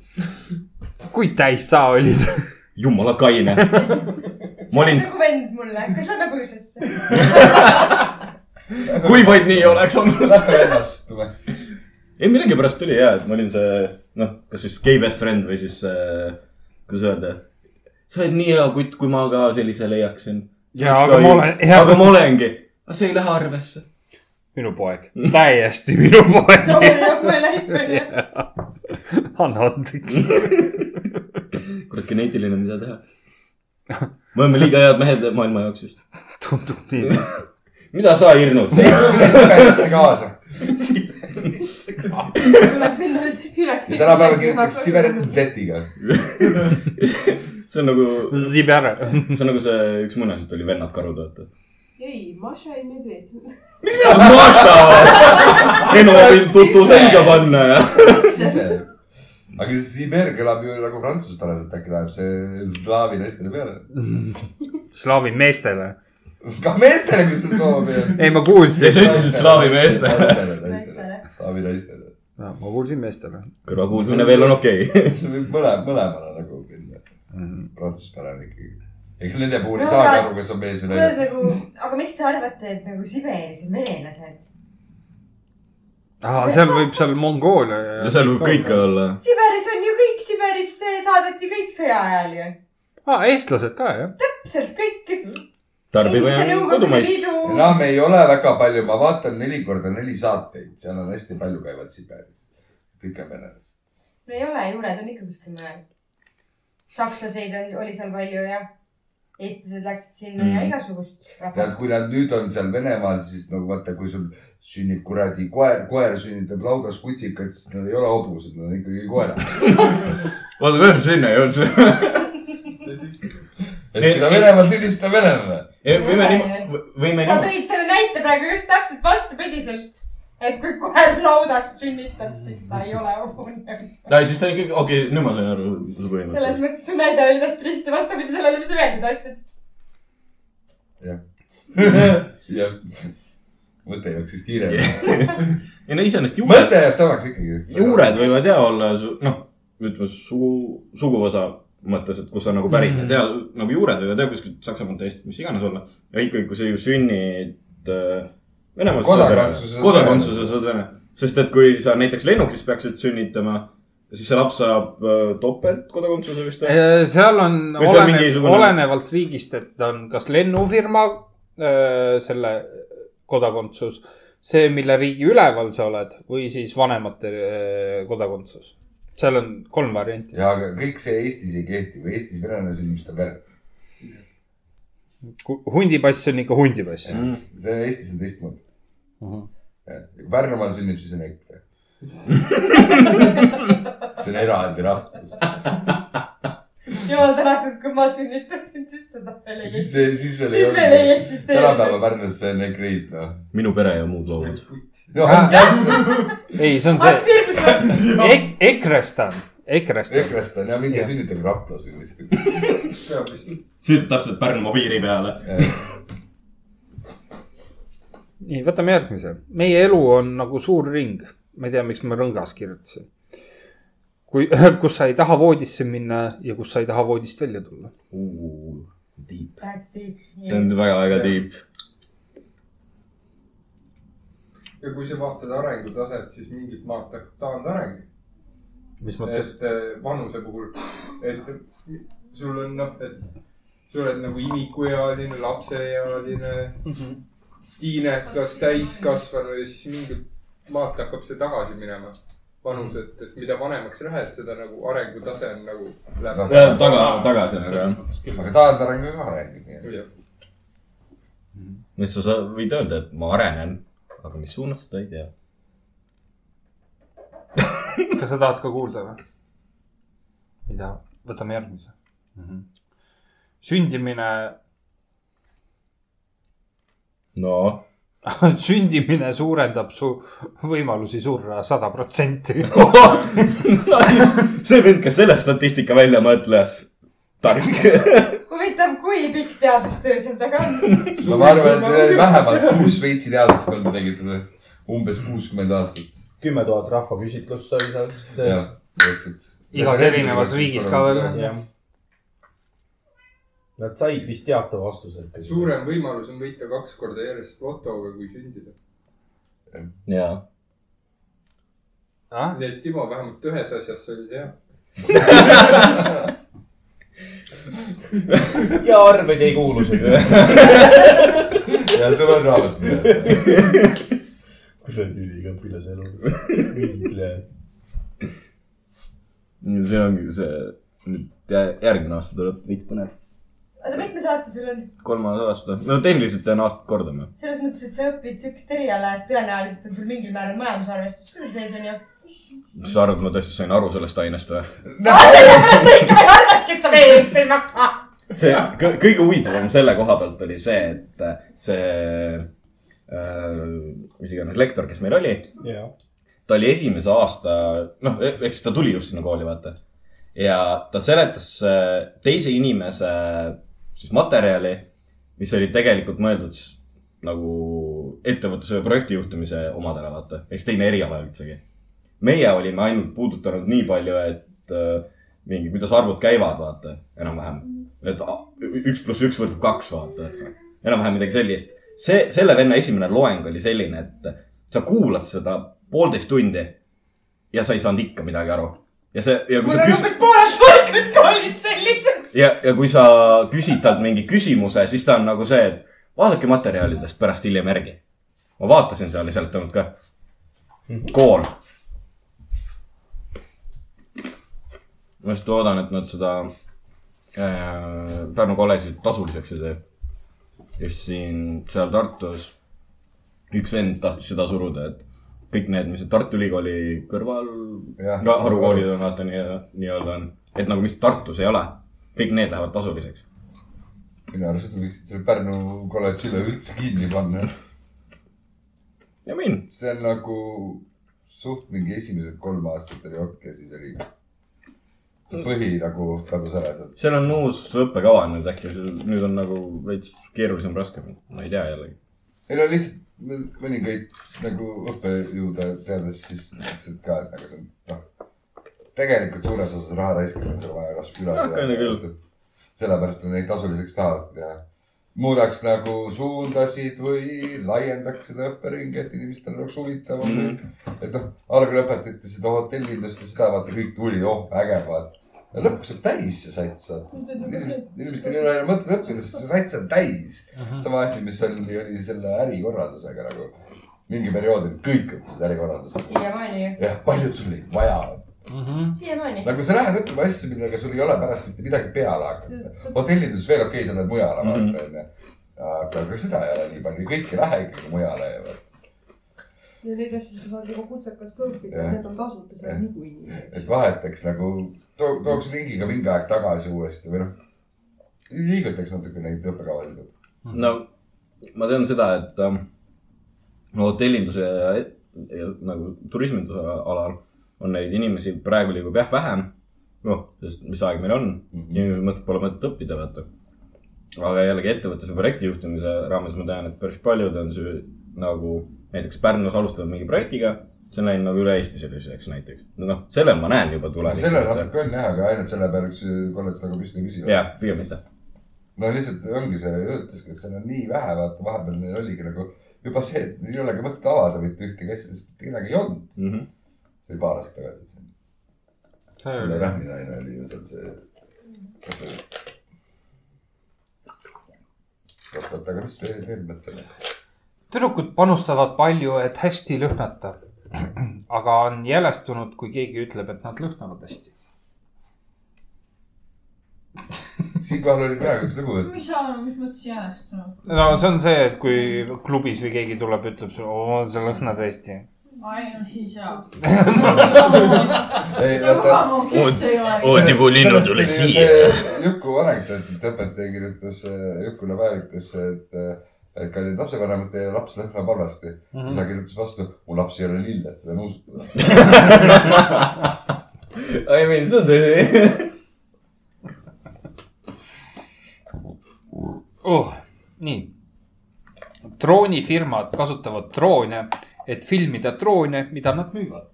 B: kui täis sa olid ?
D: jumala kaine . ma olin ,
F: nagu vend mulle , nagu kas lähme põõsasse ?
D: kui vaid nii oleks olnud .
G: Lähme edastume .
D: ei , millegipärast tuli ja , et ma olin see , noh , kas siis gay best friend või siis äh, , kuidas öelda . sa oled nii hea kutt , kui ma ka sellise leiaksin .
B: ja , aga ma olen hea
D: aga . ma olengi . aga see ei lähe arvesse .
B: minu poeg , täiesti minu
F: no
B: poeg .
F: nagu me lähme .
B: anna andeks .
D: kurat , geneetiline , mida teha . me oleme liiga head mehed maailma jaoks vist .
B: tundub nii .
D: mida sa , Irnu ?
G: Siberisse kaasa .
F: tuleb minna vist
E: üle
G: ja tänapäeval kirjutatakse Siberit . Z-iga .
D: see on nagu ,
B: siib ära .
D: see on nagu see üks muinasjutt oli Vennad karud , vaata .
E: ei , Maša ei medved .
D: mis mina , Maša ? ei no ma võin tutu selga panna ja .
G: ise . aga see Siber kõlab ju nagu prantsuspäraselt , äkki läheb see slaavi naistele peale .
B: slaavi meestele .
G: ka meestele , kui sul soov on .
B: ei , ma kuulsin
D: Ei, . sa ütlesid slaavi meestele. .
F: Nagu
G: slaavi naistele .
B: ma kuulsin meestele .
D: kõrvakuulmine veel on okei okay. .
G: see võib mõle- , mõlemale nagu minna .
B: Mhm.
G: prantsuspärane ikkagi . ega nende puhul ei
F: No,
G: saagi
F: aga-
G: aru , kas on mees või
F: kuule
G: naine .
F: nagu , aga miks te arvate , et nagu Siberis on venelased ?
B: aa , seal võib seal Mongoolia ja
D: ja . seal võib kõike olla .
F: Siberis on ju kõik , Siberis saadeti kõik sõja ajal ju .
B: aa , eestlased ka jah .
F: täpselt kõik , kes .
D: tarbime kodumaist .
G: enam ei ole väga palju , ma vaatan neli korda neli saateid , seal on hästi palju käivad Siberis . kõik on venelased .
F: no ei ole , juured on ikka kuskil mujal . sakslaseid on , oli seal palju ja eestlased läksid sinna mm. ja
D: Mm.
F: igasugust
G: ja
F: rahvast .
G: kui nad nüüd on seal Venemaal , siis nagu vaata , kui sul sünnib kuradi koer , koer sünnitab laudas kutsikat , siis nad ei ole hobused , nad on ikkagi koerad .
D: vaata , me oleme sinna jõudnud .
G: et kui ta Venemaal sünnib , siis ta on venelane .
D: Eh, võime niimoodi , võime
F: sa
D: niimoodi .
F: tõid selle näite praegu just täpselt vastupidiselt , et kui koer laudas sünnitab , siis ta ei ole hobune .
D: ei , siis ta ikkagi , okei okay, , nüüd ma sain aru .
F: selles mõttes su näide oli täpselt risti vastupidi sellele , mis sa öelda tahtsid .
G: ja mõte jooksis kiiremini .
D: ei no iseenesest juured ,
G: mõte jääb samaks ikkagi .
D: juured võivad ja olla su- noh , ütleme sugu , suguvõsa mõttes , et kus sa nagu pärit mm. , tea nagu juured võivad ja kuskilt Saksamaalt , Eestist , mis iganes olla . aga ikkagi , kui sa ju sünnid äh, Venemaalt .
G: Kodakondsuse saad
D: kodakondsuse saad vene , sest et kui sa näiteks lennukis peaksid sünnitama , siis see laps saab äh, topeltkodakondsuse vist või ?
B: Äh, seal on
D: Või see on
B: olene,
D: mingisugune-
B: olenevalt riigist , et on kas lennufirma öö, selle kodakondsus , see , mille riigi üleval sa oled või siis vanemate öö, kodakondsus . seal on kolm varianti .
G: ja , aga kõik see Eestis ei kehti , kui Eestis venelane sünnib , siis ta on venelane .
B: hundipass on ikka hundipass mm .
G: see on Eestis on teistmoodi .
B: -hmm.
G: kui Pärnumaal sünnib , siis on EKRE . see on eraldi rahvus .
F: jumal tänatud , kui ma sünnitasin , siis seda veel ei
G: siis , siis
F: siis
G: veel
F: veel ei
G: tänapäeva
F: eksisteeri .
G: Pärnus see on EKRE-id , noh .
D: minu pere ja muud loomad .
G: no on täpselt ,
B: ei , see on
F: ah
B: see
F: sirm ,
B: ek, , ekrestan , ekrestan .
G: EKRE-st on ja minge
B: Jah.
G: sünnitage Raplas või kuskil .
H: peab vist
D: sõidad täpselt Pärnumaa piiri peale .
B: nii , võtame järgmise . meie elu on nagu suur ring . ma ei tea , miks ma rõngas kirjutasin . kui , kus sa ei taha voodisse minna ja kus sa ei taha voodist välja tulla .
D: Deep ,
F: That's deep .
D: see on väga-väga deep .
H: ja kui sa vaatad arengutaset , siis mingit maad hakkab taandareng ,
B: mis mõttes ?
H: et eh, vanuse puhul , et sul on noh , et sa oled nagu imikuealine , lapseealine , tiinekas , täiskasvanu ja siis mingit maad hakkab see tagasi minema , vanus , et , et mida vanemaks lähed , seda nagu arengutase on nagu läheb .
G: Noh,
D: taga , tagasi nagu jah .
G: aga taandareng on ka areng .
D: nüüd sa sa- võid öelda , et ma arenen , aga mis suunas , seda ei tea .
B: kas sa tahad ka kuulda või ? ei taha , võtame järgmise mm . -hmm. sündimine
D: no ,
B: sündimine suurendab su võimalusi surra sada protsenti .
D: see vend , kes selle statistika välja mõtles , tark .
F: huvitav , kui pikk teadustöö seal taga on ?
G: no ma arvan , et vähemalt kuus Šveitsi teadlaskonda tegid seda , umbes kuuskümmend aastat .
C: kümme tuhat rahvaküsitlust oli seal
G: jah
C: sees .,
G: täpselt .
B: Igas erinevas riigis ka veel.
C: jah . Nad said vist teata vastuse .
H: suurem võimalus on võita kaks korda järjest lotoga , kui sündida .
D: ja ,
B: Ah?
H: nii et Timo vähemalt ühes asjas oli hea .
C: ja arved ei kuulu sinna .
G: ja sul on raamat .
A: kuradi üliõpilase elu . õige .
D: see ongi see , nüüd jä- järgmine aasta tuleb veits põnev .
F: oota , mitmes aasta sul on ?
D: kolmas aasta , no tehniliselt teen aastat korda ma .
F: selles mõttes , et sa õpid siukest eriala , et tõenäoliselt on sul mingil määral majandusarvestus ka seal sees onju .
D: mis sa arvad , ma tõesti sain aru sellest ainest või ?
F: sellepärast Ah, sa ikka veel arvadki , et sa veel eest ei maksa .
D: see kõ- kõige huvitavam selle koha pealt oli see , et see äh, , mis iganes lektor , kes meil oli ,
C: jah .
D: ta oli esimese aasta , noh , eks ta tuli just sinna kooli , vaata . ja ta seletas äh, teise inimese äh, siis materjali , mis oli tegelikult mõeldud siis nagu ettevõtluse või projektijuhtimise omadele , vaata . eks teine eriala üldsegi . meie olime ainult puudutanud nii palju , et äh, mingi , kuidas arvud käivad , vaata , enam-vähem . et a- ü- üks pluss üks võrdub kaks , vaata . enam-vähem midagi sellist . see , selle venna esimene loeng oli selline , et sa kuulad seda poolteist tundi ja sa ei saanud ikka midagi aru . ja see , ja kui
F: mul
D: sa
F: on
D: küsid
F: umbes pooled palgad koolis sellised .
D: ja , ja kui sa küsid talt mingi küsimuse , siis ta on nagu see , et vaadake materjalidest pärast hiljem järgi . ma vaatasin , see oli sealt tulnud ka . kool . ma just loodan , et nad seda äh, Pärnu kolledžit tasuliseks ei tee . just siin , seal Tartus üks vend tahtis seda suruda , et kõik need , mis on Tartu Ülikooli kõrval no harukoolid on vaata nii , nii-öelda on , et nagu mis Tartus ei ole , kõik need lähevad tasuliseks .
G: minu arust võiksid selle Pärnu kolledži üleüldse kinni panna .
D: ja võin .
G: see on nagu suht mingi esimesed kolm aastat oli okk ja siis oli see põhi nagu kadus ära sealt .
D: seal on uus õppekava nüüd äkki , nüüd on nagu veits keerulisem , raskem , ma ei tea jällegi .
G: ei no lihtsalt mõningaid nagu õppejõude teades siis ütlesid ka , et nagu see on , noh , tegelikult suures osas raha raiskamine on seal vaja kas
D: Jah, kinda küll. .
G: sellepärast me neid tasuliseks tahavad ja muudaks nagu suundasid või laiendaks seda õpperingi , et inimestel oleks huvitavam mm . -hmm. et noh , algul õpetati seda hotellindust ja seda vaata kõik tuli , oh äge vaata . ja lõpuks saab täis see sats , inimesed , inimestel ei ole enam mõtet õppida , sest see sats on täis . sama asi , mis oli , oli selle ärikorraldusega nagu . mingi perioodil kõik õppisid ärikorraldust .
F: siiamaani ju ,
G: jah , paljud sul ei vaja .
F: Mhm. siiamaani .
G: nagu sa lähed õppima asju , millega sul ei ole pärast mitte midagi peale hakata . hotellindus veel okei okay, , sa lähed mujale
D: Mhm.
G: vaata onju . aga ka seda ei ole nii palju , kõik ei lähe ikkagi mujale ju .
E: ja neid asju sa saad juba kutsekas ka õppida
G: Jah. ,
E: need on tasuta seal
G: Jah.
E: niikuinii
G: et . vahetaks nagu , tooks ringiga mingi aeg tagasi uuesti või noh , liigutaks natuke neid õppekavasid .
D: no ma tean seda , et ähm, no hotellinduse ja, ja nagu turisminduse alal on neid inimesi praegu liigub jah vähem . noh , sest mis aeg meil on mm -hmm. , inimesel mõtet pole mõtet õppida , vaata . aga jällegi ettevõttes ja projektijuhtimise raames ma tean , et päris paljud on see nagu näiteks Pärnus alustavad mingi projektiga , see on läinud nagu üle Eesti selliseks näiteks . noh , sellel ma näen juba
G: no sellel
D: tulevikku .
G: natuke on jah , aga ainult selle peale , kus kolledž nagu püsti ei püsi .
D: jah , pigem mitte .
G: no lihtsalt ongi see , ütleski , et seal on nii vähe , vaata vahepeal neil oligi nagu juba see , et neil ei olegi mõtet avada mitte ühtegi asja , sest mitte kedagi ei olnud .
D: mhm.
G: see oli paar aastat tagasi .
B: see
G: selle
B: oli ,
G: Rähmi naine oli ju seal see . oot , oot , aga mis veel , veel mõtleme siis ?
B: tüdrukud panustavad palju , et hästi lõhnata . aga on jälestunud , kui keegi ütleb , et nad lõhnavad hästi .
G: siinkohal oli praegu üks lugu , et
I: mis sa , mis mõttes jänestunud ?
B: no see on see , et kui klubis või keegi tuleb , ütleb sulle , oo , sa lõhnad hästi .
I: ai , no siis jaa .
G: ei , vaata
I: kes ei ole ?
D: Oodipu linnud nagu tuli siia .
G: Juku anekdootide õpetaja kirjutas , Jukule päevikas , et , et kallid lapsevanemad , teie laps lõhnab halvasti mm . -hmm. isa kirjutas vastu , mu laps ei ole lill , et teda nuusutada .
D: I mean , see on tõsi .
B: oh, . nii . droonifirmad kasutavad droone , et filmida droone , mida nad müüvad .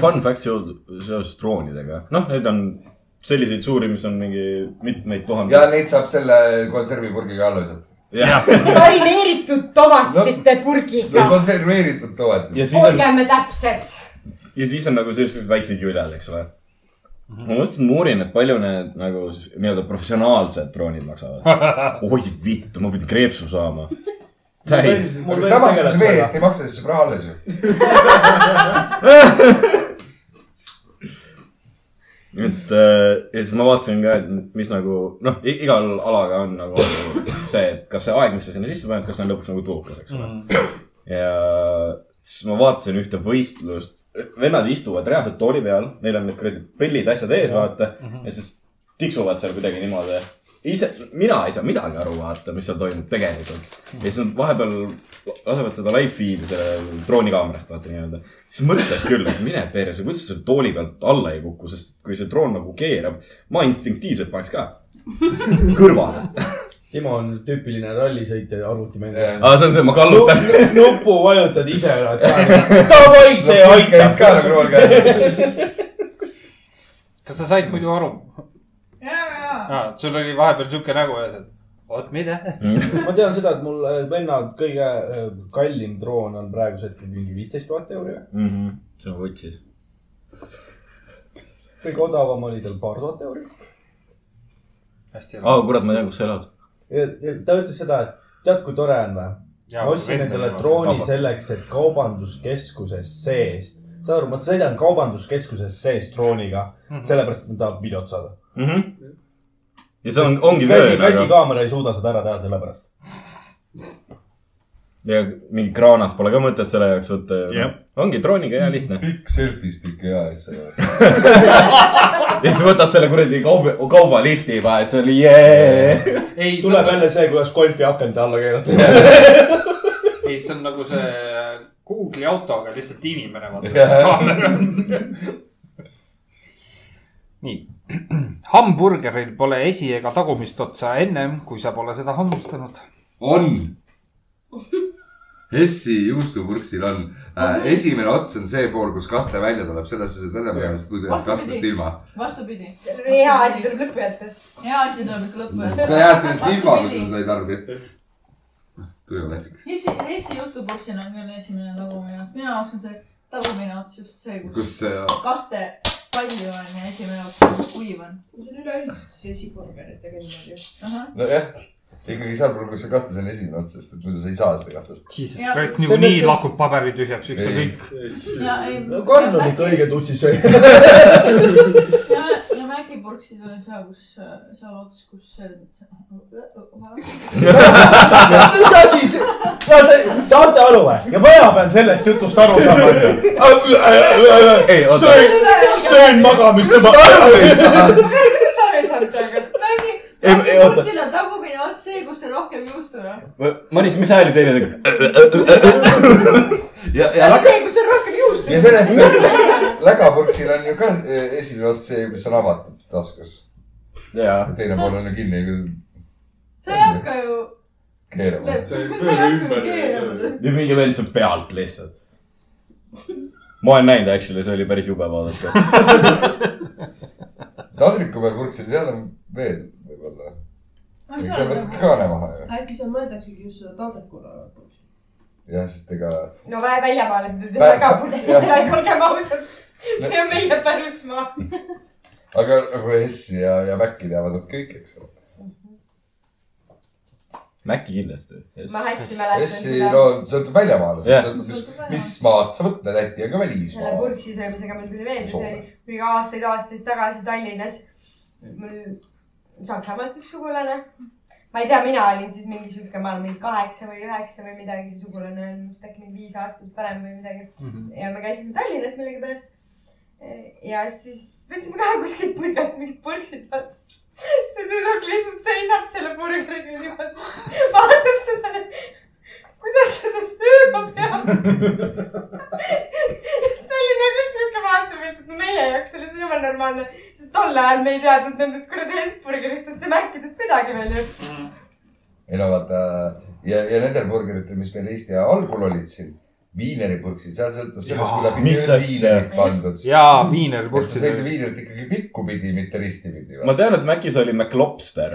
D: Fun fact seos- seoses droonidega , noh , need on selliseid suuri , mis on mingi mitmeid
G: ja
D: tuhandeid .
G: neid saab selle konservipurgiga alla visata .
D: jah ,
F: marineeritud tomatite purgiga
G: või . konserveeritud tomat .
D: ja siis on ,
F: olgeme täpsed .
D: ja siis on nagu sellised väiksed jüljad , eks ole . ma mõtlesin , ma uurin , et palju need nagu s- nii-öelda professionaalsed droonid maksavad . oi vittu , ma pidin kreepsu saama . täis .
G: aga samas , kui sa vee eest ei maksa , siis saab raha alles ju .
D: et äh, ja siis ma vaatasin ka , et mis nagu noh , igal alaga on nagu see , et kas see aeg , mis sa sinna sisse paned , kas see on lõpuks nagu tulukas , eks
B: Mm.
D: ole . ja siis ma vaatasin ühte võistlust , vennad istuvad reaalselt tooli peal , neil on need kuradi prillid , asjad ees , vaata .
B: Mhm.
D: ja siis tiksuvad seal kuidagi niimoodi . ise , mina ei saa midagi aru , vaata , mis seal toimub tegelikult . ja siis nad vahepeal lasevad seda live feed'i selle droonikaamerast , vaata nii-öelda . siis mõtled küll , et mine perse , kuidas sa tooli pealt alla ei kuku , sest kui see droon nagu keerab , ma instinktiivselt paneks ka kõrvale .
C: Timo on tüüpiline rallisõitja ja arvutimängija .
D: aga see on see , ma kallutan .
C: nupu vajutad ise ära , et davai , see
G: käis ka
C: aitab .
G: nagu rool käes .
B: kas sa said muidu aru
I: jaa , jaa .
B: ah, ? sul oli vahepeal sihuke nägu ees , et oot , mida ?
C: ma tean seda , et mul äh, venna kõige äh, kallim droon on praegusel hetkel mingi viisteist tuhat euri .
D: Mhm, see on vutsis .
C: kõige odavam oli tal paar tuhat euri .
B: hästi .
C: Ah,
D: aa , kurat , ma tean , kus sa elad .
C: ta ütles seda , et tead , kui tore on või ? ma ostsin endale drooni
D: Vabandust.
C: selleks , et kaubanduskeskuses sees , saad aru , ma sõidan kaubanduskeskuses sees drooniga , sellepärast et ma tahan videot saada .
D: mm . -hmm. ja see on , ongi
C: käsi ,
D: töö nagu .
C: käsikaamera ei suuda seda ära teha , sellepärast .
D: ja mingi kraanat pole ka mõtet selle jaoks võtta noh,
A: Jah. .
D: ongi drooniga hea lihtne .
G: pikk selfie-stick ja asja .
D: ja siis võtad selle kuradi kauba , kaubalifti juba , et see oli jee .
B: ei ,
C: tuleb jälle see , kuidas golfi akende alla keerata .
B: ei , ei , see on nagu see Google'i autoga lihtsalt inimene , vaata . nii . hamburgeril pole esi- ega tagumist otsa ennem , kui sa pole seda hammustanud .
G: on . Hessi juustupurksil on äh, , esimene ots on see pool , kus kaste välja tuleb , sellest sa saad enne pärast , kui teed kastest ilma .
I: vastupidi ,
F: hea asi tuleb lõppu jätta .
I: hea asi tuleb ikka lõppu
G: sa jääd sellest ilma , kui sa seda ei tarbi . tuju läksik .
I: Hessi , Hessi juustupurksil on küll esimene tagumine , minu jaoks on see tagumine ots just see , kus
G: kus äh,
I: kaste palju on ja esimene ots on kuiv on .
E: see on üleüldiselt see siburgeritega niimoodi .
G: nojah , ikkagi seal pool , kus see kastas on esimene ots , sest et muidu sa ei saa seda kastat .
B: Jesus
I: Ja-
B: Christ ,
C: See on
B: niikuinii
C: nüüd-
B: lakub paberi tühjaks , ükskõik .
I: ja ei .
C: Karl on ikka õige tutsi see .
I: ja , ja mägipurksid on seal , kus , seal ots , kus see .
C: mis asi see , saate aru või ? ja mina pean sellest jutust aru saama .
D: ei , oota ,
C: söön magamist juba .
F: kuidas sa aru ei saanud praegu ?
I: mägi ,
D: Ei, ei, oota.
I: mägipurksil on tagumine ots see , kus on rohkem juustu , noh .
D: Maris , mis hääli sa eile
G: ja , ja laga ,
F: see , kus on rohkem juustu .
G: ja selles lägapurksil on ju ka äh, esimene ots see , mis on avatud taskus .
D: tegid ? jaa .
G: teine pool on ju kinni ,
I: sa ei hakka ju .
G: keerama .
H: sa ei pööra ümber .
D: ja mingi vend saab pealt lihtsalt . ma olen näinud actually , see oli päris jube vaadata .
G: taldriku peal purksil , seal on veel võib-olla .
I: ma ei saa
G: seal võtab
I: nagu ,
G: kaane maha ju .
E: äkki seal mõeldaksegi just seda taldrikule olevat .
G: jah , sest ega .
F: no väe väljapoole seda ei saa ka purksida , olgem ausad . see on meie pärusmaa .
G: aga nagu Hessi ja , ja Mäkki teavad nad kõik , eks ole .
D: Maci kindlasti .
F: ma hästi mäletan
G: Hessi , no sõltub väljamaale ,
D: Jah.
G: sõltub , mis , mis maad sa võtad , äkki on
F: selle
G: ka välismaa .
F: purksi söömisega mul tuli meelde , see
G: Soome.
F: oli mingi aastaid-aastaid tagasi Tallinnas . mul Saksamaalt üks sugulane , ma ei tea , mina olin siis mingi sihuke , ma olen mingi kaheksa või üheksa või midagi , see sugulane on minust äkki mingi viis aastat parem või midagi ja me käisime Tallinnas millegipärast . ja siis võtsime ka kuskilt putkast mingid purksid vaata . see tüdruk lihtsalt seisab selle burgeriga niimoodi , vaatab seda , kuidas seda sööma peab . see oli nagu siuke vaatepilt , et meie jaoks oli see jumala normaalne , sest tol ajal me ei teadnud nendest kuradi Hesburgeritest ja Mäkkidest midagi veel ju .
G: ei no vaata ja , ja nendel burgeritel , mis meil Eesti ajal algul olid siin , viineripurksid , seal sõltus sellest ,
B: Jaa,
G: kuidas
D: mis
G: pidi
D: asja?
G: viinerit pandud .
B: jaa , viiner
G: et sa sõid
B: purtsid .
G: viinerit ikkagi pikkupidi , mitte ristipidi .
D: ma tean , et Macis oli McLobster ,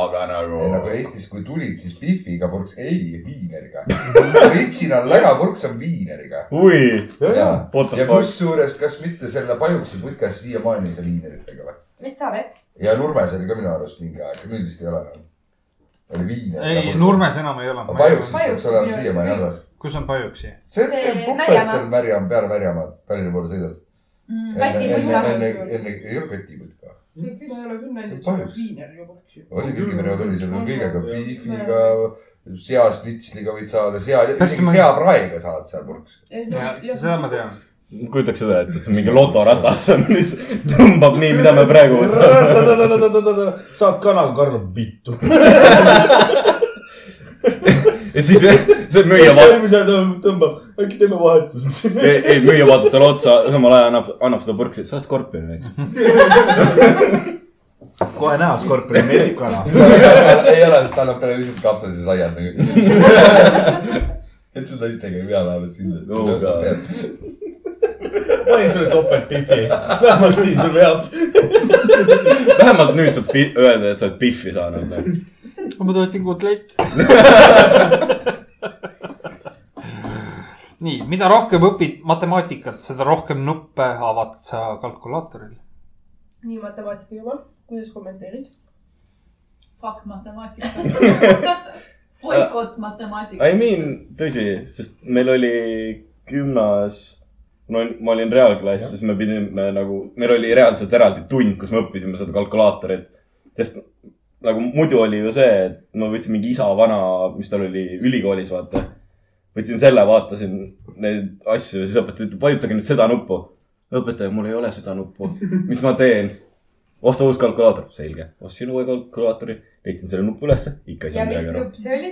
D: aga nagu
G: ei , nagu Eestis , kui tulid , siis Biffiga purks , ei viineriga . Original lägapurks on viineriga .
D: ui ,
G: ja
D: what the
G: ja
D: fuck .
G: kusjuures , kas mitte selle Pajuksi putkas siiamaani ei saa viineritega või ?
F: mis saab , et
G: ja Nurmes oli ka minu arust mingi aeg , nüüd vist ei ole enam . oli viiner .
B: ei , Nurmes enam ei
G: aga
B: ole
G: Pajuksis .
F: Pajuksis
G: peaks olema
F: minu arust
G: siiamaani
F: oli.
G: alles .
B: kus on Pajuksi ?
G: see on see
F: See
G: puhvet
F: Märjamaa.
G: seal Märjamaa , peale Märjamaad , Tallinna poole sõidad .
F: Mm, Västi
G: enne ,
F: putka.
G: enne , enne , ei ole kotiputka .
E: ma ei ole küll näinud
G: See on
E: seda
G: pahjuks.
E: viineriga purksi .
G: oli mingi periood , oli seal veel kõigega , Biffiga
E: Jah. ,
G: seaslitsliga võid saada , sea ,
B: Kas
G: isegi
B: ma-
G: seapraega saad seal purks .
B: seda ma tean .
D: kujutaks seda ette , see on mingi lotoratas on , mis tõmbab nii , mida me praegu võtame .
C: saab kanal , Karl on vittu .
D: ja siis see müüja vaatab ,
C: järgmise tõmbab , äkki teeme vahetust .
D: ei , müüja vaatab talle otsa , samal ajal annab , annab seda purksi , sa oled skorpion , eks .
C: kohe näha , Skorpion meeldib kana .
G: ei ole , sest ta annab talle lihtsalt kapsad ja saiad nagu . et sul naistega ei pea vähemalt
D: Oh god.
G: sinna .
C: panin sulle topeltpipi , vähemalt siin sul veab .
D: vähemalt nüüd saab pi- öelda , et sa oled pihvi saanud .
B: ma tahtsin kotletti . nii , mida rohkem õpid matemaatikat , seda rohkem nuppe avad sa kalkulaatoril .
E: nii matemaatika juba , kuidas kommenteerid ?
I: Fuck matemaatika . boikott matemaatika .
D: I mean , tõsi , sest meil oli gümnas , no ma olin reaalklass , siis me pidime nagu , meil oli reaalselt eraldi tund , kus me õppisime seda kalkulaatorit . sest nagu muidu oli ju see , et ma võtsin mingi isa vana , mis tal oli ülikoolis , vaata . võtsin selle , vaatasin neid asju ja siis õpetaja ütleb , vajutage nüüd seda nuppu . õpetaja , mul ei ole seda nuppu , mis ma teen ? osta uus kalkulaator , selge , ostsin uue kalkulaatori , leidsin selle nupu ülesse , ikka ei
F: ja
D: saanud
F: mis
D: midagi aru .
F: nupp see oli ?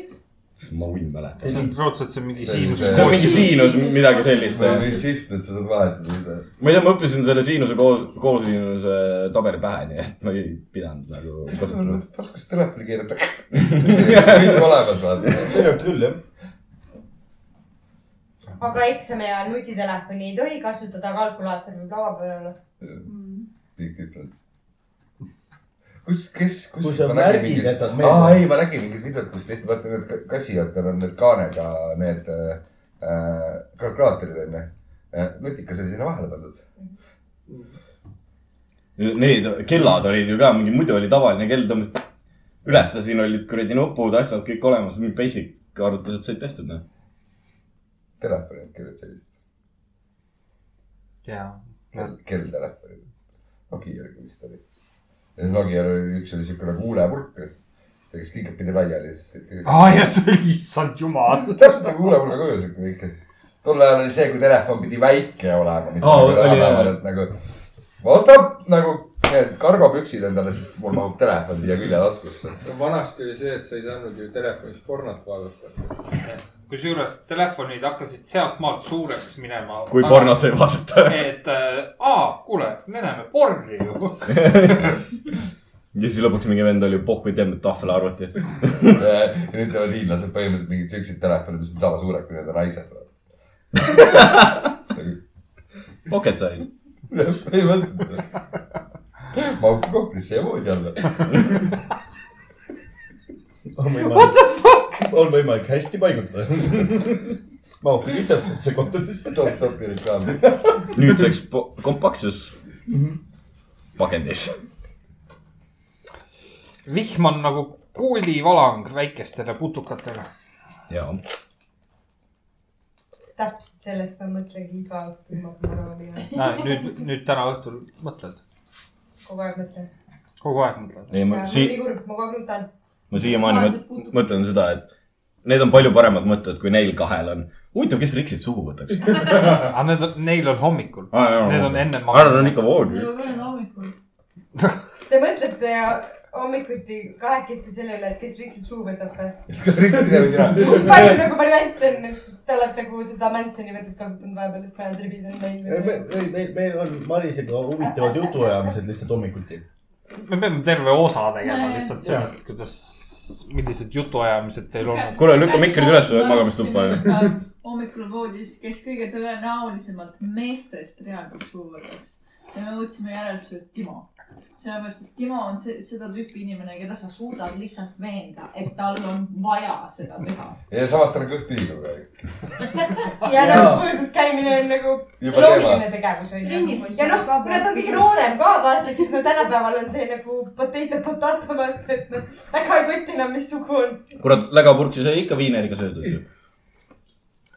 D: ma võin mäletada .
B: raudselt see on mingi
G: See oli
B: Siim .
G: see-
D: see on mingi siinus , midagi sellist .
G: mul oli
D: ma
G: siht , et sa saad vahetada seda .
D: ei tea , ma õppisin selle siinuse koos , koosliinuse tabeli pähe , nii et ma ei pidanud nagu kasutama .
G: taskust telefoni keerata . kõik olemas vaata .
C: tegelikult küll jah .
F: aga eksami ajal nutitelefoni ei tohi kasutada , kalkulaator võib laua peal olla .
G: Big difference . kus , kes , kus .
C: Kui sa märgid, jätad meelde.
G: aa , ei , ma nägin mingit videot , kus tehti , vaata need ka- kasijatel on need kaanega need äh, äh, kalkulaatorid onju äh, . nutikas oli sinna vahele pandud .
D: Need kellad olid ju ka mingi , muidu oli tavaline kell tõmmati üles , siin olid kuradi nupud , asjad kõik olemas , mingi basic arvutused said tehtud , noh .
G: Telefonid , kellelt sellised ,
B: jaa ,
G: kell telefonid . Nokia oli vist oli . ja siis Nokial oli üks oli siuke nagu huulepurk , kes kingad pidi laiali .
B: aa ja see oli issand jumal .
G: täpselt nagu huulepurga kuju siuke väike . tol ajal oli see , kui telefon pidi väike olema , mitte
D: Aa,
G: oh,
D: oli,
G: nagu tänapäeval , et nagu . ma ostan nagu need kargopüksid endale , sest mul mahub telefon siia küljetaskusse .
H: no vanasti oli see , et sa ei saanud ju telefonis pornot vaadata .
B: kusjuures telefonid hakkasid sealtmaalt suureks minema .
D: kui pornot sai vaadata .
B: et äh, aa , kuule , me näeme porni ju .
D: ja siis lõpuks mingi vend oli "Oh, pohhu tembel tahvel arvuti .
G: nüüd teevad hiinlased põhimõtteliselt mingid siuksed telefoni , mis on sama suured kui need naised .
D: Pocket size .
G: põhimõtteliselt . mahub kohvrisse ja voodi alla .
C: on võimalik , on võimalik hästi paigutada . mahub ka kitsastesse kohtadesse .
G: top-topi reklaam .
D: nüüdseks po- kompaktses pakendis .
B: vihm on nagu kuulivalang väikestele putukatele .
D: jaa .
F: täpselt sellest ma mõtlengi iga õhtu , kui ma pornoga olen .
B: nüüd , nüüd täna õhtul mõtled ,
F: kogu aeg mõtlen .
B: kogu aeg mõtled .
D: ei ,
F: ma
D: ma
F: olen
D: sii-
F: nii , kurb , ma kogu aeg nutan .
D: ma siiamaani mõt- mõtlen seda , et need on palju paremad mõtted , kui neil kahel on . huvitav , kes riksid suhu võtaks ?
B: aga need on , neil on hommikul . Need on enne
D: maganud . Arnold on
B: maganud.
D: ikka voodil .
I: juba veel on hommikul .
F: Te mõtlete hommikuti kahekesti selle üle , et kes võiksid suu võtab või ?
G: kas rikkus jääb sina ?
F: palju nagu variante on , te olete nagu seda Mansoni võtet kasutanud vahepeal , et mõned ribid on läinud .
C: ei , meil , meil on Marisega huvitavad jutuajamised lihtsalt hommikuti .
B: me peame terve osa tegema
I: Nee.
B: lihtsalt sellest , kuidas , millised jutuajamised teil on .
D: Kuule, lükka mikrid üles, magamistuppa, ju. .
I: hommikul voodis , kes kõige tõenäolisemalt meestest reaalselt suu võtaks . ja me võtsime järelduse , et Timo . sellepärast , et Timo on see , seda tüüpi inimene , keda sa suudad lihtsalt veenda , et tal on vaja seda teha .
G: ja samas tal on kõht tühi kogu aeg .
F: ja noh , kursuses käimine on nagu
G: Juba
F: loogiline tegevus onju .
I: Trennipoiss-
F: ja noh , kui nad on kõige noorem ka vaata , siis no tänapäeval on see nagu potato potato vaata , et noh , väga ei koti enam , mis sugu on .
D: kurat , lägapurksi sai ikka viineriga söödud ju .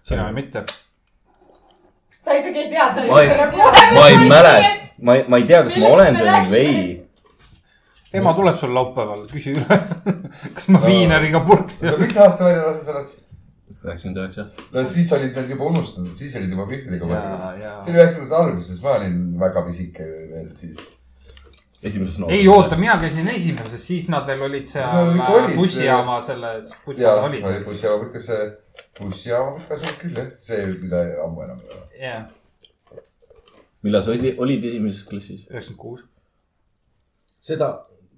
B: sina ju mitte .
F: sa isegi ei tea , sa
D: Ma ei-
F: oled nagu vahepeal .
D: ma ei mäleta , ma ei , ma ei tea , kas ma
F: Millest
D: olen
F: me
D: söönud või ei .
B: ema tuleb sul laupäeval , küsi üle , kas ma viineriga purksi
G: oota , mis aasta välja lasta sa oled ?
D: üheksakümmend üheksa .
G: no siis olid nad juba unustanud , siis olid juba pihvidega mõeldud .
B: ja , ja
G: see oli üheksakümnendate alguses , ma olin väga pisike veel siis .
D: esimeses
B: ei oota ,. mina käisin esimeses , siis nad veel olid seal
G: Nad ikka olid,
B: äh, bussijaama selles , kus
G: ja
B: nad
G: oli
B: olid .
G: bussijaama ikka see , bussijaama ikka see küll jah , see , mida ammu enam ei ole .
B: jah ,
D: millal sa oli, olid esimeses klassis ?
B: üheksakümmend kuus .
C: seda ,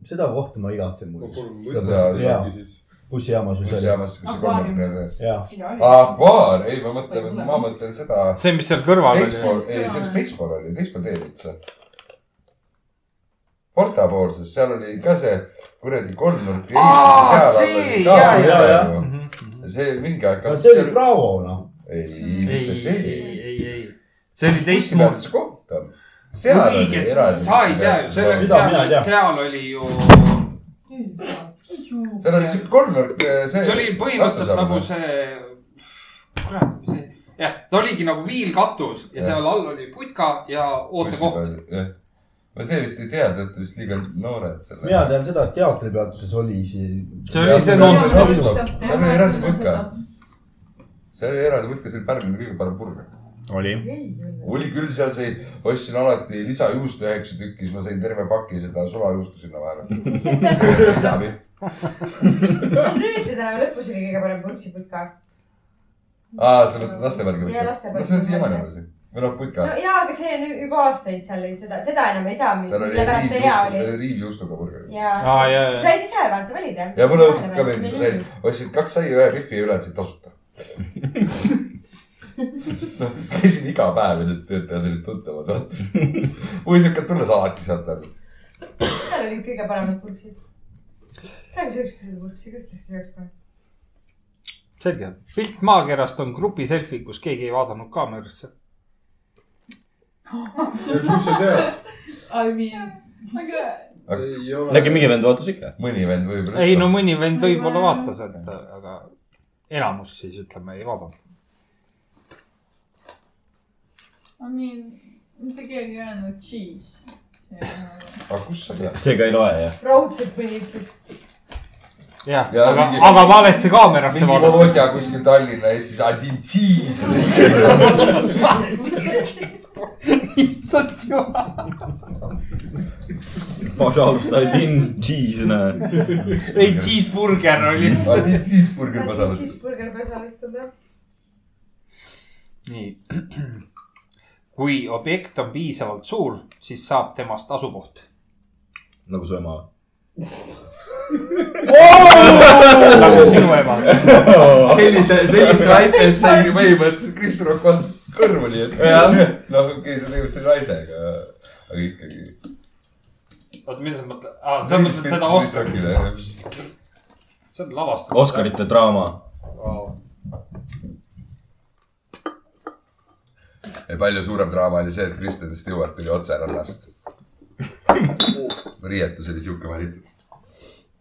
C: seda kohta ma igatsen
G: Seda-
C: muidugi . bussijaamas või seal .
G: bussijaamas , kus see
I: Akvaarium.
G: kolmekümne see .
C: jaa ,
G: akvaar , ei ma mõtlen , ma mõtlen seda .
B: see , mis seal kõrval oli .
G: teispool , ei see , mis teispool oli , teispool teed üldse . Porta pool , sest seal oli ka see kuradi kolmnurk .
B: Aa, see, jaa, Mhm,
C: jaa, jaa.
G: see mingi aeg .
C: no see oli Bravo noh .
G: ei ,
B: ei ,
G: mitte
B: ei ,
G: see .
B: ei , ei , see oli teistmoodi .
G: koht on . seal oli eraldi .
B: sa ei tea ju , seal ,
C: Seda mina ei
B: seal
C: tea. ,
B: seal oli ju ,
G: seal oli siuke kolmnurk , see .
B: see oli põhimõtteliselt nagu . see , kurat , mis see , jah , ta oligi nagu viilkatus ja
G: Jah.
B: seal all oli putka ja ootekoht .
G: eh, ma te vist ei tea , te olete vist liiga noored selle .
C: mina tean seda , et teatripeatuses oli siin .
B: see oli see nonsense koht .
G: seal oli eraldi putka , seal oli eraldi putka , see oli Pärnul kõige parem burger .
D: oli .
G: oli küll seal see , ostsin alati lisajuustu üheksa tükki , siis ma sain terve paki seda sulajuustu sinna vahele . see oli
F: see on Rüütli tänava lõpus oli kõige parem purksiputka .
G: aa , sa mõtled lastepärgi
F: Jaa, lastepargi.
G: no see on siiamaani alles ju . või noh , putka
F: no jaa , aga see on juba aastaid seal , seda , seda enam ei saa ,
G: seal
F: mille
G: oli
F: pärast see hea oli .
G: riivjuustu , riivjuustuga burger .
F: jaa
B: Aa, jaa, jaa.
F: sa said ise vaata valida .
G: ja mulle õudselt ka meeldis , ma sain , ostsin kaks saia , ühe rihvi ja ülejäänud said tasuta Sest noh, käisime iga päev ja need töötajad olid tuttavad , vaata . uisakad tulles alati sealt nagu. läbi .
F: seal olid kõige paremad purksid . praegu sööks ka seda purksi , kas tõesti sööks ka ?
B: selge , pilt maakerast on grupi selfie , kus keegi ei vaadanud kaamerasse .
H: kust sa tead ?
I: I mean , aga
H: ei ole .
D: no äkki mingi vend vaatas ikka ?
G: mõni vend võib-olla .
B: ei no . mõni vend võib-olla vaatas , et aga enamus siis ütleme ei vaadanud .
I: I mean , mitte keegi ei öelnud cheese .
G: aga kust sa tead ?
D: seega ei loe jah ?
F: raudselt mõni ütles .
B: jah
G: Ja
B: ja, , aga
G: mingi-
B: mingi... , aga ma alles see kaamerasse
G: mingi
B: vaatan .
G: Volodja kuskil Tallinna ja siis Adintsiis .
B: issand jumal .
D: Pažalust , I didn't cheese näe .
B: ei , cheeseburger oli .
G: Adintsiis burger pasalast .
F: cheeseburger pesalastada .
B: nii . kui objekt on piisavalt suur , siis saab temast asukoht .
D: nagu su ema .
B: nagu sinu ema .
G: sellise , sellise väite eest sai põhimõtteliselt Kris Rock vastu kõrvuni , et noh , okei , see tegemist oli naisega , aga ikkagi .
B: oota , mida sa mõtled ? aa , sa mõtled seda Oscarit ? see on lavastatud .
D: Oscarite draama .
G: ja palju suurem draama oli see , et Kristen Stewart tuli otse rannast . riietus oli sihuke valitud .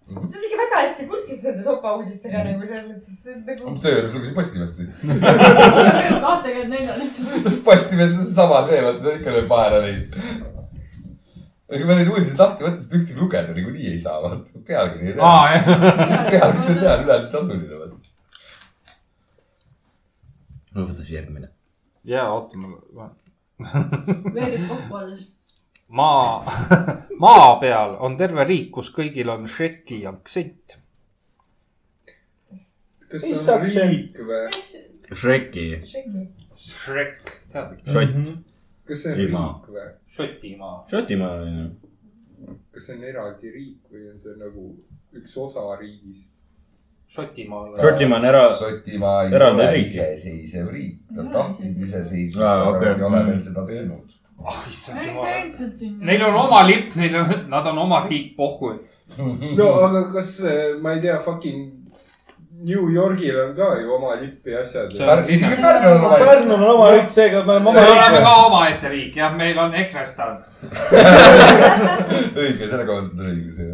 F: sa oled ikka väga hästi kursis nende sopauudistega nagu
G: Mm.
F: selles mõttes , et see on nagu .
G: töö juures lugesin Postimeest .
I: kahtekümmend nelja lihtsalt .
G: Postimees on seesama see , vaata see on ikka veel vahele läinud . aga ma neid uudiseid lahti võttes ühtegi lugeda niikuinii ei saa , vaata pealkiri ei tea .
B: aa , jah .
G: pealkiri ei tea , ülejäänud tasuline . vaata.
D: no võta siis järgmine .
B: jaa , oota , ma ,
I: veerib kokku alles .
B: maa , maa peal on terve riik , kus kõigil on Shreki aktsent .
H: kas
C: Mis
H: ta on
C: saaks see-
H: riik või ?
D: Shreki .
B: Shrek ,
C: Mhm.
B: tead ikka ?
D: Šott .
H: kas see on
D: Ei, ma-
H: riik või ?
B: Šotimaa .
D: Šotimaa on ju .
H: kas see on eraldi riik või on see nagu üks osa riigist ?
B: Šotimaal .
D: Šotimaa on era- ,
G: Šotimaa ei
D: Eraldi
G: ole
D: riik.
G: iseseisev riik , nad tahtsid iseseisvust ,
D: Aa,
G: aga
D: okei.
G: nad ei
D: Mm.
G: ole veel seda teinud .
B: ah , issand jumal .
I: täitsa tünni .
B: Neil on oma . lipp , neil on , nad on oma riik , pohhu .
H: no aga kas , ma ei tea , fucking New Yorgil on ka ju oma lipp ja asjad .
B: See on-
G: isegi Pärnu on oma
C: Pärnul on oma riik , seega me oleme
B: me
C: oma
B: oleme
C: riik .
B: ka omaette riik , jah , meil on Ekrestan .
G: õige , selle kommentaar on õigus jah .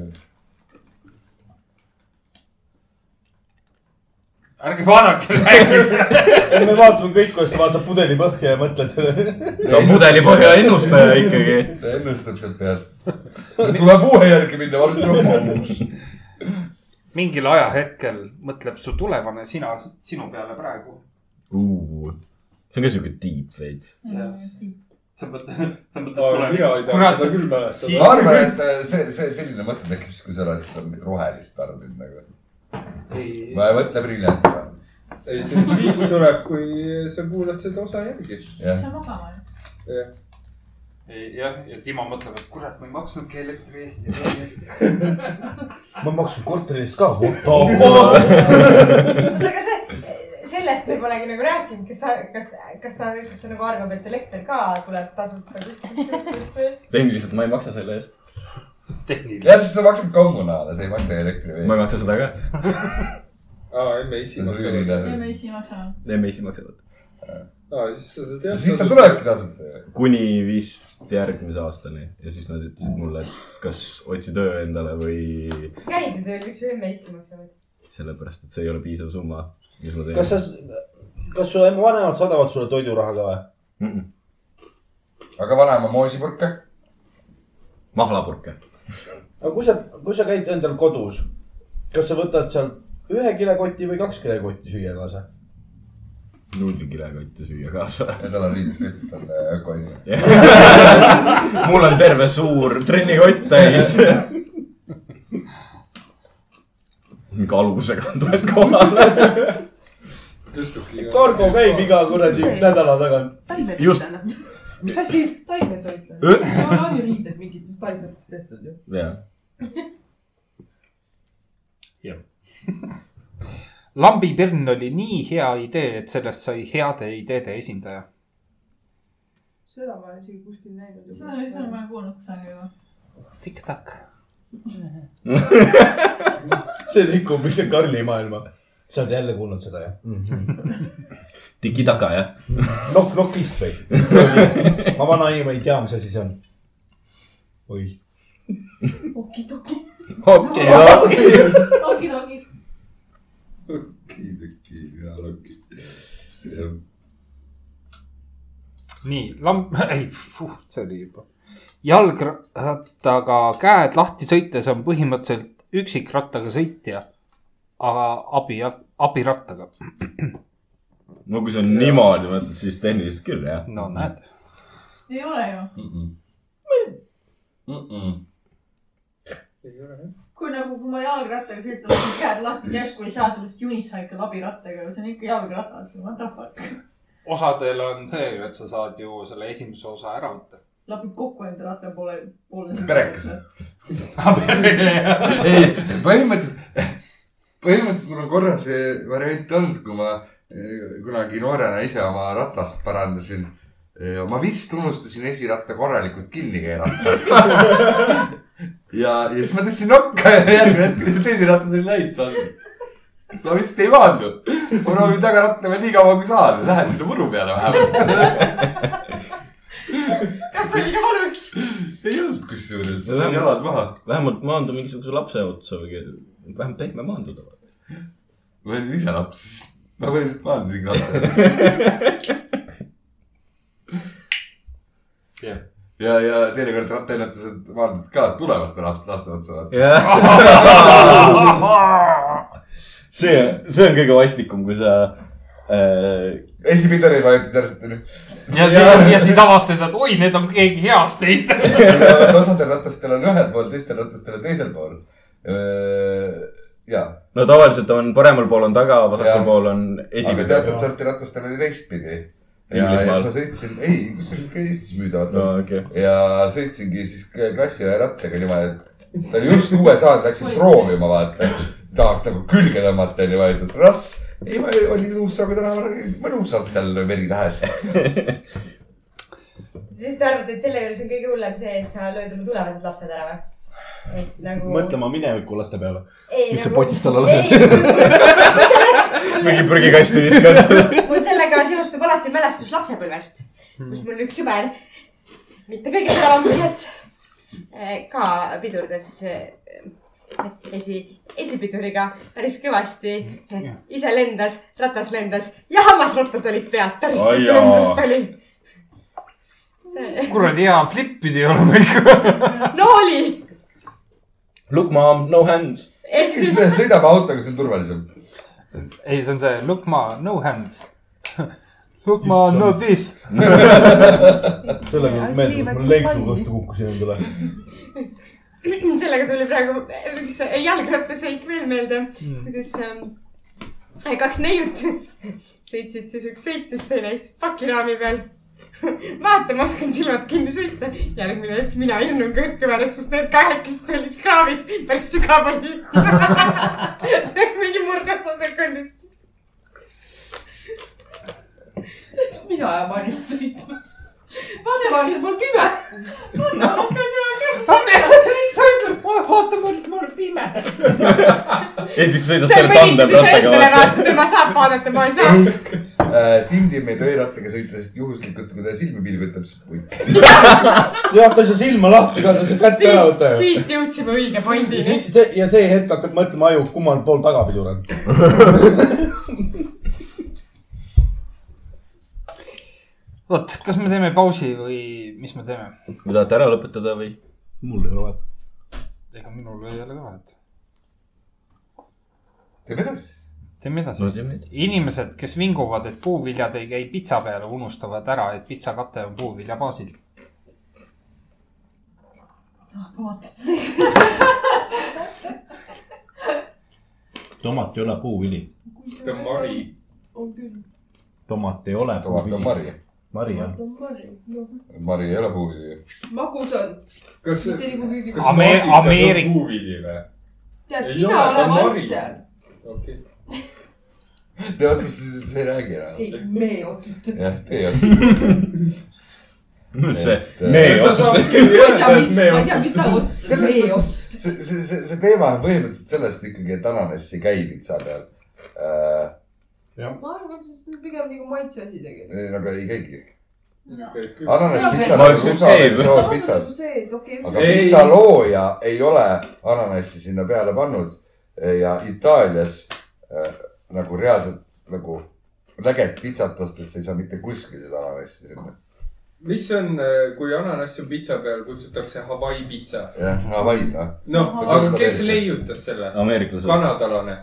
B: ärge vaadake , rääkige .
C: me vaatame kõik , kuidas vaatab pudeli põhja ja mõtled selle .
D: ta on mudelipõhja ennustaja ikkagi .
G: ta ennustab sealt pealt . tuleb uue järgi minna , varsti on hommus .
B: mingil ajahetkel mõtleb su tulevane sina , sinu peale praegu .
D: see on ka siuke deep veits .
B: sa mõtled , sa mõtled
H: mina ei
B: tulevikku .
H: taha
B: kurat
H: seda , küll mäletada .
G: ma arvan , et äh, see , see selline mõte tekib siis , kui sa oled seda mingit rohelist tarbinud nagu .
B: ei ,
G: ma ei mõtle briljanti .
H: ei , see siis tuleb , kui sa kuulad seda osa järgi .
G: jah ,
I: sa magama oled .
B: ei jah , ja Timo mõtleb , et kurat , ma ei maksnudki elektri eest ja vee eest .
C: ma maksan korteri eest ka . oota ,
F: aga see , sellest me polegi nagu rääkinud , kas sa , kas , kas sa , kas ta nagu arvab , et elekter ka tuleb tasuta kuskilt või ?
D: tehniliselt ma ei maksa selle eest .
B: tehniline .
G: jah , sest sa maksad kommunaale , sa ei maksa elektri
D: ma ei
G: veel .
D: maksa seda ka .
H: aa , emme isi
G: see on . su üürine .
I: teeme isi maksama .
D: MES-i maksavad .
H: aa , siis sa seda tead .
G: siis ta . tulebki äh, tasuta ju .
D: kuni vist järgmise aastani ja siis nad ütlesid mulle , et kas otsi töö endale või
F: käidi tööl , miks su emme issi maksavad ?
D: sellepärast , et see ei ole piisav summa , mis ma teen .
C: kas sa , kas su ema vanemad saadavad sulle toiduraha ka või ?
D: mm -mm.
G: aga vanaema moosipurke ?
D: mahlapurke ?
C: aga kui sa , kui sa käid endal kodus , kas sa võtad sealt ühe kilekoti või kaks kilekotti süüa kaasa ?
D: nullkilekotti süüa kaasa .
G: ja tal on riides kütt , on äh, ökoinimene .
D: mul on terve suur trennikott täis . kalusega tuled kohale .
H: tõstubki .
C: Targo käib iga kuradi nädala tagant .
I: taimed
D: Just.
I: tähendab . mis asi ? taimed toitlevad .
D: Ö-
I: mul on ju riided mingitest taimedest tehtud ju .
D: jah ,
B: lambipirn oli nii hea idee , et sellest sai heade ideede esindaja .
E: seda ma olen isegi kuskil näinud .
I: seda , seda ma olen kuulnud kusagil juba .
B: tikk-takk .
C: see rikub lihtsalt Karli maailma . sa oled jälle kuulnud seda jah mm -hmm. ?
D: tiki taga jah .
C: Knock Knockist või ? ma vana inimene ei tea , mis asi see on . oi .
I: okidoki .
D: okei , okei .
I: okidokis .
G: kiideki ja loki .
B: nii , lamp , ei , see oli juba . jalgrattaga käed lahti sõites on põhimõtteliselt üksikrattaga sõitja , aga abi , abirattaga .
D: no kui see on niimoodi mõtled , siis tehniliselt küll jah .
B: no näed ,
I: ei ole ju .
H: ei ole jah .
I: kui nagu , kui ma jalgrattaga sõitan , siis käed lahti , järsku ei saa sellest unicycle abirattaga , see on ikka jalgratas , what the fuck .
B: osadel on see ju , et sa saad ju selle esimese osa ära võtta .
I: lapib kokku enda ratta poole , poole .
G: Perekas. . ei , põhimõtteliselt , põhimõtteliselt mul on korra see variant olnud , kui ma eh, kunagi noorena ise oma ratast parandasin . ma vist unustasin esiratta korralikult kinni keerata . ja , ja siis ma tõstsin nokka ja järgmine hetk lihtsalt esiratas oli täitsa all . ma vist ei maandu . ma proovin taga rattama nii kaua kui saan , lähen sinna muru peale vähemalt .
F: kas oli ka valus ?
G: ei olnud kusjuures , ma sain jalad maha .
D: vähemalt maandu mingisuguse lapse otsa või ke- vähemalt pehme maanduda .
G: ma olin ise laps , ma põhimõtteliselt maandusin lapsena .
B: Jah.
G: ja , ja teinekord rattaennetused maandud ka tulevaste laste , laste otsa .
D: jah , see , see on kõige vastikum , kui sa äh,
G: esipidarid vajutad järsku onju .
B: ja siis , ja siis avastad , et oi , need on keegi heast teinud .
G: osadel ratastel on ühel pool , teistel ratastel on teisel pool . ja ,
D: no tavaliselt on paremal pool on taga , vasakul
G: Jah.
D: pool on
G: aga
D: esimene .
G: teatud sorti ratastel oli teistpidi . ja , ja siis
D: Inglismaal
G: ma . sõitsin , ei , kus see oli , Eestis müüdavad
D: no okei okay. ,
G: ja sõitsingi siis klassiõe rattaga niimoodi , et ta oli just USA-d , läksin proovima vaata . tahaks nagu külge tõmmata niimoodi , et rass , ei ma olin Uus-Saaga tänaval mõnusalt seal veri tähes .
F: siis te arvate , et selle juures on kõige hullem see , et sa lööd oma tulevased lapsed ära või ? et nagu . nagu-
C: mõtlema mineviku laste peale .
D: mis sa potist alla lased? mingi
F: lased ?
D: prügikasti viskad .
F: mul sellega seostub alati mälestus lapsepõlvest , kus mul üks sõber , mitte kõige teravam põhjus , eh, ka pidurdas eh, esi , esipiduriga päris kõvasti . ise lendas , ratas lendas ja hammasrattad olid peas , päris
D: Ai
F: mitu
D: jaa.
F: lumblust oli . see ,
B: kuradi hea flip pidi olema ikka .
F: no oli ,
D: Look mom , no hands .
F: ehk
G: siis
F: siis
G: sõidame autoga , see on turvalisem .
B: ei , see on see look ma no hands . Look ma no this .
C: selle peale meeldib , et mul lenksu kohta kukkusin endale .
F: sellega tuli praegu üks jalgrattaseik veel meelde
B: Mm.
F: kuidas ähm, kaks neiut sõitsid siis üks sõitis , teine istus pakiraami peal . vaata , ma oskan silmad kinni sõita . järgmine hetk mina hirmun kõhkõveres , sest need kahekesed olid kraavis päris sügaval . see on mingi murdosa sekundis .
I: miks mina ja Maris sõitma ? vaata , Maris , mul pime . miks sa ütled , vaata , mul , mul pime .
D: ja siis sõidad
F: see
D: selle
F: mõnikord siis
D: tandemrattaga
F: endale
D: vaata .
F: vaata , tema saab vaadata , ma ei saa .
G: ehk äh, Tindi meid öörattaga sõita , sest juhuslikult , kui ta silmi pilgutab , siis punt .
C: jah , ta ei saa silma lahti ka , ta ei saa kätt ära võtta ju .
F: siit , siit jõudsime õige
C: ja
F: pointini .
C: si- see , ja see hetk hakkad mõtlema aju , kummal pool tagapidur on .
B: vot , kas me teeme pausi või mis me teeme ?
D: kui tahate ära lõpetada või ?
A: mul ei ole vahet .
B: ega minul ei ole ka vahet .
G: teeme edasi .
B: teeme
D: no
B: edasi .
D: teeme nii .
B: inimesed , kes vinguvad , et puuviljad ei käi pitsa peale , unustavad ära , et pitsakate on puuvilja baasil .
I: Ah,
J: tomat ei ole puuvili .
H: ta on mari .
E: on küll .
J: tomat ei ole
G: tomat on
J: puuvili .
G: mari .
J: mari on .
E: ta on mari .
G: mari ei ole puuvili .
E: magus on ,
H: kas ,
E: mitte nagu kõige .
H: kas
B: Ame-
H: maasikas on
B: Ameerik-
H: puuvili või ?
E: tead ,
H: ei
E: sina
H: ole,
E: ole
H: ta on mari.
E: valtsel .
H: okei .
G: Te otsustasite , et sa ei räägi enam .
E: ei , me otsustame .
G: jah , teie otsustasite .
D: see , me
G: Me
D: ei
H: ta
D: otsusta .
H: saab ikkagi
E: ma ei tea ,
H: öelda , et
E: mis ,
H: me
E: ma ei tea , mis ta
H: otsustame .
E: otsustas ,
G: selles
E: me
G: mõttes ,
E: otsustasime .
G: see , see , see , see teema on põhimõtteliselt sellest ikkagi , et ananass ei käi vitsa peal äh, .
E: ma arvan , et see on pigem nagu maitseasi tegelikult .
G: aga ei käigi .
E: Jaa,
G: ananass pitsa
E: ma
G: peal
D: oleks
G: on
D: just
G: USA
D: käinud.
G: versioon pitsast .
E: nagu see , et okei
G: aga
H: Ei.
G: pitsalooja ei ole ananassi sinna peale pannud Äh, ja Itaalias äh, nagu reaalselt nagu läget pitsat ostes ei saa mitte kuskil seda ananassi sinna .
H: mis on , kui ananass on pitsa peal , kutsutakse Hawaii pitsa .
G: jah , Hawaii noh .
H: noh ,
G: Aha.
H: aga kes leiutas selle ?
D: ameeriklased .
H: kanadalane .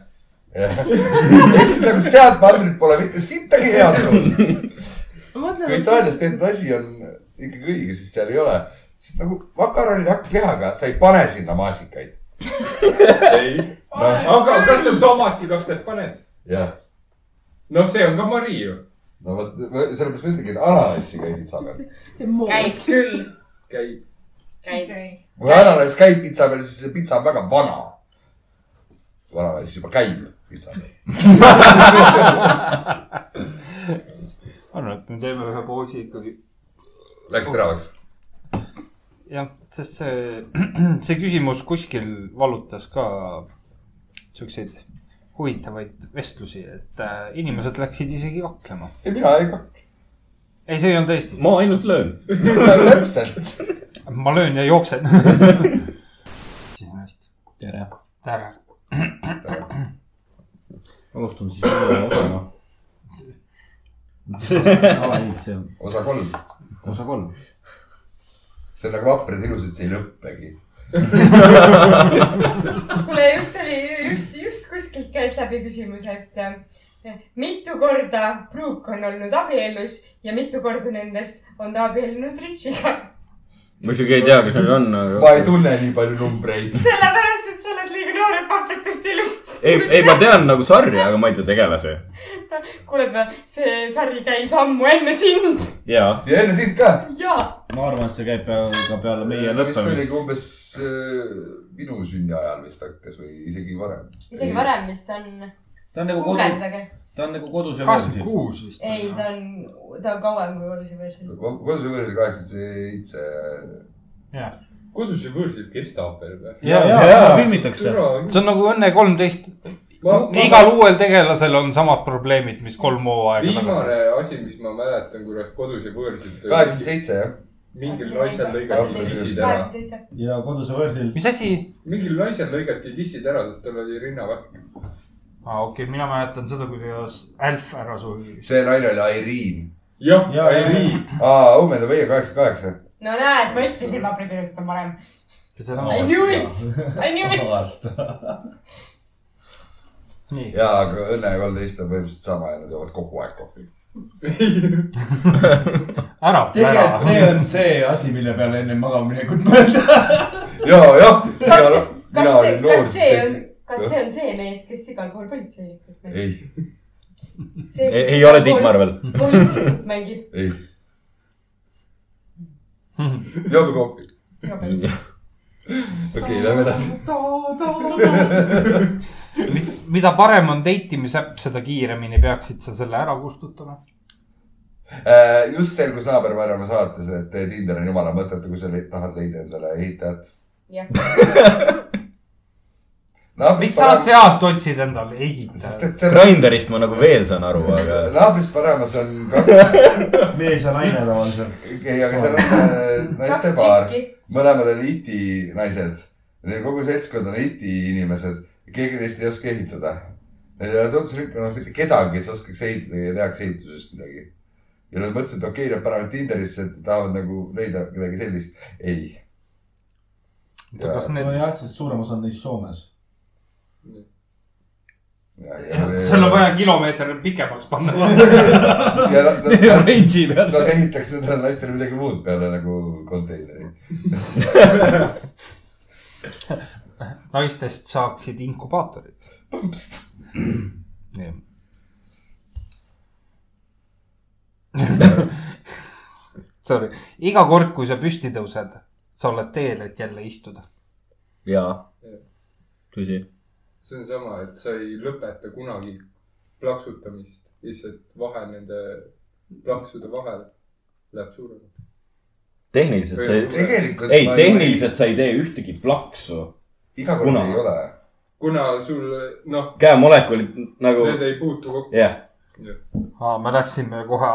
G: ehk siis nagu sealt mandrilt pole mitte sittagi head tulnud .
E: ma mõtlen ,
G: kui Itaalias tehtud asi on ikkagi õige , siis seal ei ole . sest nagu makaronid hakklihaga , sa ei pane sinna maasikaid .
H: ei .
G: noh ,
H: aga kas sa tomatikastet paned ?
G: jah ,
H: noh , see on ka mari ju .
G: no vot , sellepärast ma ütlengi , et ananassi käib pitsa peal .
I: see on moos .
F: käib küll ,
H: käib .
F: käib .
G: kui ananass käib pitsa peal , siis see pitsa on väga vana . ananass juba käib pitsa peal .
B: arvan , et me teeme ühe pausi ikkagi .
G: Läks teravaks ?
B: jah , sest see , see küsimus kuskil valutas ka siukseid huvitavaid vestlusi , et äh, inimesed läksid isegi kaklema .
G: ei , mina ei kah- .
B: ei , see ei olnud Eestis .
D: ma ainult löön .
G: täpselt .
B: ma löön ja jooksen .
J: tere .
B: tere .
J: alustame siis uue osaga . aa ei , see on
G: osa kolm .
J: osa kolm .
G: see on nagu vaprad ilusad , see ei lõppegi .
F: kuule , just oli , just , just kuskilt käis läbi küsimus , et äh, mitu korda Brooke on olnud abielus ja mitu korda nendest on ta abiellunud Richiga .
D: ma isegi ei tea , kas neil on ,
G: ma ei
D: aga .
G: tunne nii palju numbreid .
F: sellepärast , et sa oled liiga noor , et papritest ilust .
D: ei , ei , ma tean nagu sarja , aga ma ei tea tegelasi .
F: kuule , see sari käis ammu enne sind .
D: jaa .
G: ja enne sind ka .
F: jaa .
J: ma arvan , et see käib pea- ka peale meie
G: vist oligi
J: lõppemist .
G: umbes äh, minu sünni ajal vist hakkas või isegi varem .
F: isegi varem vist on ,
J: ta on nagu kodus ,
F: guugeldage .
J: ta on nagu kodus ja
B: kakskümmend
J: versi .
B: kuus vist .
F: ei , ta on , ta on kauem kui kodus ja versioon .
G: kodus oli veel kaheksakümmend seitse .
H: kodus ju võõrsil kestab veel või ?
J: ja ,
B: ja ,
J: ja ,
B: ja ,
J: ja filmitakse .
B: see on nagu Õnne kolmteist . igal uuel tegelasel on samad probleemid , mis kolm hooaega tagasi .
H: viimane asi , mis ma mäletan , kurat kodus ja võõrsil .
G: kaheksakümmend seitse jah .
H: mingil naisel lõigati
G: Kaheksakümmend
H: dissid ära .
F: kaheksakümmend seitse .
J: ja kodus ja versil .
B: mis asi ?
H: mingil naisel lõigati dissid ära , sest tal oli rinnavärk .
B: aa , Ah, okei , mina mäletan seda , kuidas Alf ära suri .
G: see naine oli Irene .
J: Jaa,
H: jah ,
J: jaa,
H: Airii .
G: aa , Omen ja meie kaheksakümmend kaheksa .
F: no näed , ma ütlesin , paprid ilusad on parem . I
B: nii .
F: knew it , I knew it .
G: ja , aga Õnne ja kolmteist on põhimõtteliselt sama ja nad joovad kogu aeg kohvi .
B: ära , ära
C: tegelikult . see on see asi , mille peale enne magamaminekut mõelda .
G: ja , jah .
F: kas , kas , kas see on , kas see on see mees , kes igal pool politseinikut mängib ?
G: ei ,
D: ei ei ole Tiit . Marvel .
F: politseinikut mängib
G: ei , joome kohvi .
F: iga päev .
G: okei , lähme edasi .
B: mida parem on deitimisäpp , seda kiiremini peaksid sa selle ära kustutama .
G: Äh, just selgus naabervanema saates , et Tinder on jumala mõttetu , kui sa le- tahad leida endale ehitajat .
F: jah ,
B: miks sa ? sealt otsid endale
G: sest
B: ehitajat ?
G: et seal
D: Grinderist ma nagu veel saan aru , aga .
G: naabris paremas on kaks ,
J: mees ja naine tavaliselt .
G: ei , aga seal on äh, naiste
F: kaks
G: paar ,
F: tšikki .
G: mõlemad on iti naised . Neil kogu seltskond on iti inimesed , keegi neist ei oska ehitada . Neil ei ole tundusrikkunud mitte kedagi , kes oskaks ehitada ja tehakse ehitusest midagi . ja nad mõtlesid , et okei okay, , nad panevad Tinderisse , et tahavad nagu leida midagi sellist . ei ,
B: kas need ,
J: nojah , sest suurem osa on neist Soomes .
G: Ja- ja- ja-
B: seal on vaja kilomeeter pikemaks panna .
G: ja nad , nad ,
J: Range'i
G: nad ehitaks nendele naistele midagi muud peale nagu konteineri .
B: naistest saaksid inkubaatorid .
G: põmpst .
B: Sorry , iga kord , kui sa püsti tõused , sa oled teel , et jälle istuda .
D: jaa , tõsi .
H: see on sama , et sa ei lõpeta kunagi plaksutamist , lihtsalt vahe nende plaksude vahel läheb suuremaks .
D: tehniliselt sa ei ,
G: tegelikult
D: ei
G: ma
D: tehniliselt sa ei tee ühtegi plaksu .
G: iga kord
D: kuna-
G: ei ole .
H: kuna sul noh ,
D: käemolekulid nagu ,
H: need ei puutu kokku ,
D: jah ,
B: aa , me läksime kohe ,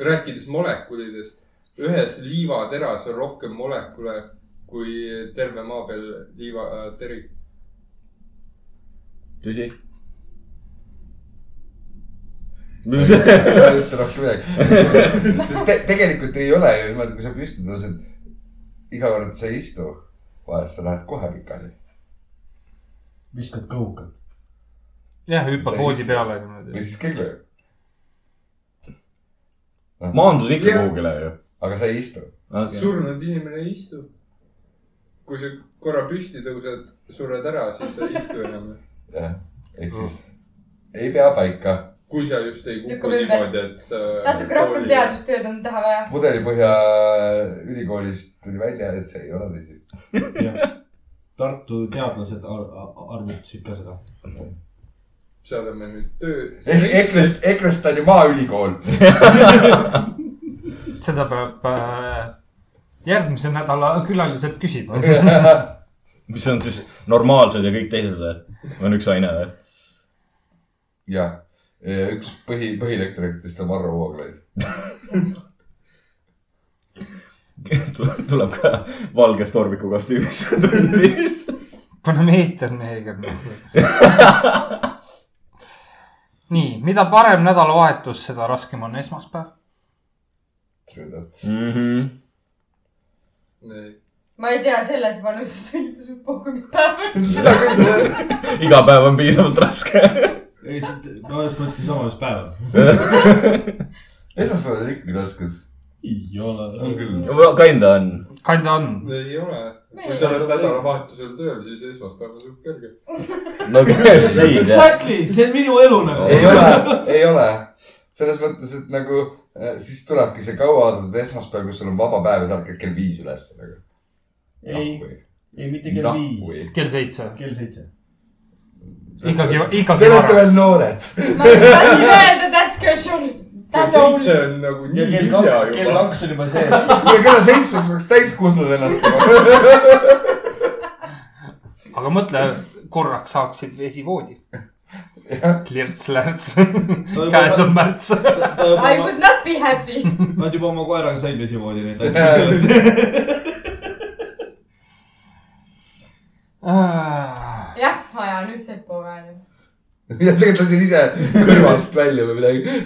H: rääkides molekulidest , ühes liivateras on rohkem molekule kui terve maa peal äh, liivateri .
D: tõsi .
G: ei ütle rohkem midagi . sest te, tegelikult ei ole ju niimoodi , kui sa püsti tõused , iga kord sa ei istu , vahest sa lähed kohe pikali .
C: viskad kõhukad .
B: jah , hüppa voodi peale niimoodi
G: või . siis kell lööb ,
D: maandud ikka
H: Jah.
D: kuhugile ju .
G: aga sa ei istu .
H: surnud inimene ei istu . kui sa korra püsti tõused , sured ära , siis sa ei istu enam .
G: jah , ehk siis ei pea paika .
H: kui sa just ei kuku
F: Lükkame ümber.
H: niimoodi , et sa .
F: natuke rohkem . teadustööd on taha vaja .
G: pudelipõhja ülikoolist tuli välja , et see ei ole tõsi .
C: Tartu teadlased ar ar arvutasid ka seda .
H: seal oleme nüüd töö .
C: Eh,
G: ehk EKRE-st , EKRE-st on ju Maaülikool .
B: seda peab äh, järgmise nädala külalised küsima .
D: mis on siis normaalsed ja kõik teised või ? on üks aine või ?
G: jah , üks põhi , põhilektoritest on Varro Vooglaid .
D: tuleb ka valges tormiku kostüümis tundis .
B: paneme eeternehega . nii , mida parem nädalavahetus , seda raskem on esmaspäev .
D: Mhm.
F: ma ei tea , selles vanuses on puhumispäev .
G: seda küll ,
D: iga päev on piisavalt raske .
C: ei , ma just mõtlesin samas päeval .
G: esmaspäevad on ikkagi rasked .
C: ei
G: on
C: ole .
G: küll .
D: Kinda on .
B: kanda on ,
H: ei ole . kui sa oled nädalavahetusel tööl , siis esmaspäeval on suht kerge .
D: no siin jah .
C: Exactly , see on minu elu nagu .
G: ei ole , ei ole . selles mõttes , et nagu äh, siis tulebki see kauaoodatud esmaspäev , kus sul on vaba päev ja sa ärkad kell viis üles nagu. .
C: Ei. ei , mitte kell viis ,
B: kell seitse .
C: kell seitse .
B: ikkagi ,
G: nagu- Te
B: ikkagi
G: olete
B: vara .
G: veel noored .
F: ma ei tahtnud öelda that's casual .
H: kell
F: That's old .
H: seitse on
C: ja
H: nagu nii
C: kell
H: hilja
C: kaks , kell
H: juba .
C: kaks on juba see .
G: ja kella seitsmeks peaks täis kusnud ennast juba .
B: aga mõtle , korraks saaksid vesivoodi . klirts-lärts , käes on märts .
F: I would not be happy .
C: Nad juba oma koeraga said vesivoodi neid asju .
F: jah , aja nüüd see poega on ju .
G: ja tegelikult lasin ise kõrvast välja või midagi .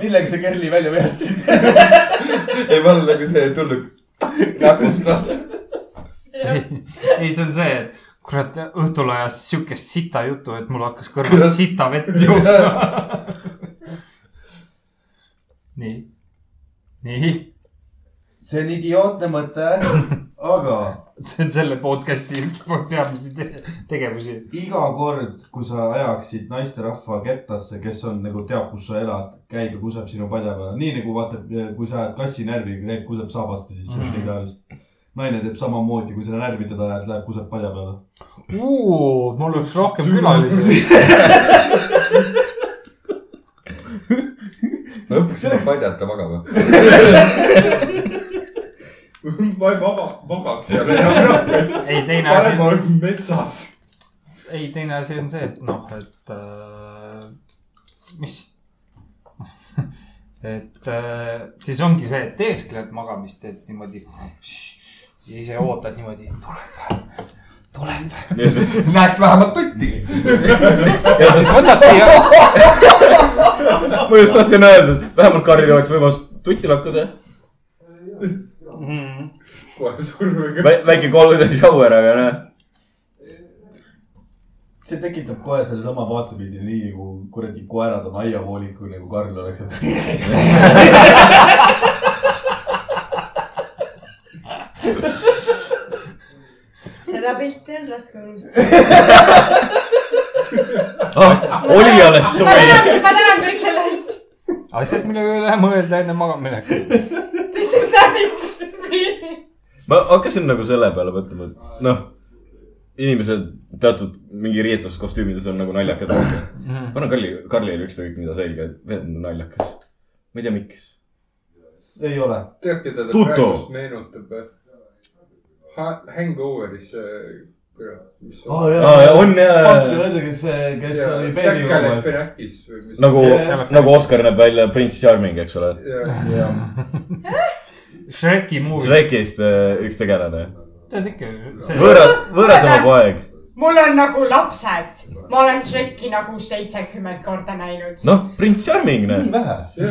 C: millega sa Kerli välja veastasid ?
G: ei , ma olen nagu see tulnud näpust lahti .
B: ei , see on see , et kurat , õhtul ajas siukest sita juttu , et mul hakkas kõrvast sita vett jooksma . nii , nii ,
C: see on idiootne mõte , aga
B: see on selle podcast'i peamisi te- tegevusi .
C: iga kord , kui sa ajaksid naisterahva kettasse , kes on nagu teab , kus sa elad , käib ja kuseb sinu padja peale , nii nagu vaata , kui sa ajad kassi närvi , käib , kuseb saabaste sisse mm
B: Mhm.
C: -hmm. igaüks . naine teeb samamoodi , kui sa närvi teda ajad , läheb , kuseb padja peale .
B: mul oleks rohkem külalisi .
G: ma õppisin ennast aidata magama .
H: ma ei vaba , vabaks ei ole enam .
B: ei , teine asi
H: parem on metsas .
B: ei , teine asi on see , et noh , et äh, mis et äh, siis ongi see , et eestled magamist , et niimoodi ja ise ootad niimoodi , tuleb , tuleb .
D: ja siis ,
G: näeks vähemalt tutti .
D: ja siis
B: võtadki ja
D: ma just tahtsin öelda , et vähemalt Karlil oleks võimalus tutti lakkuda
B: mm,
H: kohe surnuga .
D: Vä . väike golden shower , aga noh ,
C: see tekitab kohe sellesama vaatepildi , nii nagu kuradi koerad on aiavoolikul , nagu Karl oleks .
F: seda pilti on raske unustada .
D: Ah, oli alles
F: ma
D: soe .
F: tänan , ma tänan kõik selle eest .
B: asjad , mille üle mõelda enne magamaminekut .
F: This is nothing .
D: ma hakkasin nagu selle peale mõtlema , et noh , inimesed teatud mingi riietuskostüümides on nagu naljakad . ma annan Karli , Karlile ükskõik mida selga , et vend on naljakas . ma ei tea , miks .
C: ei ole .
H: tead , keda ta
D: Tuto.
H: praegust meenutab ? Hangoveris see , kurat , mis on .
D: Ah, on
C: Paks ju
D: ja
C: nende , kes , kes Ah, oli
H: Zack
C: beebi .
H: Galifianakis või mis .
D: nagu
C: Jah. ,
D: nagu Oscar näeb välja prints Charming , eks ole .
B: Shreki movie .
D: Shrekist äh, üks tegelane .
B: tead ikka , see ,
D: võõras , võõras oma poeg .
F: mul on nagu lapsed , ma olen Shrek'i nagu seitsekümmend korda näinud no. .
D: noh , prints Charming ,
K: nii
D: näe .
K: vähe .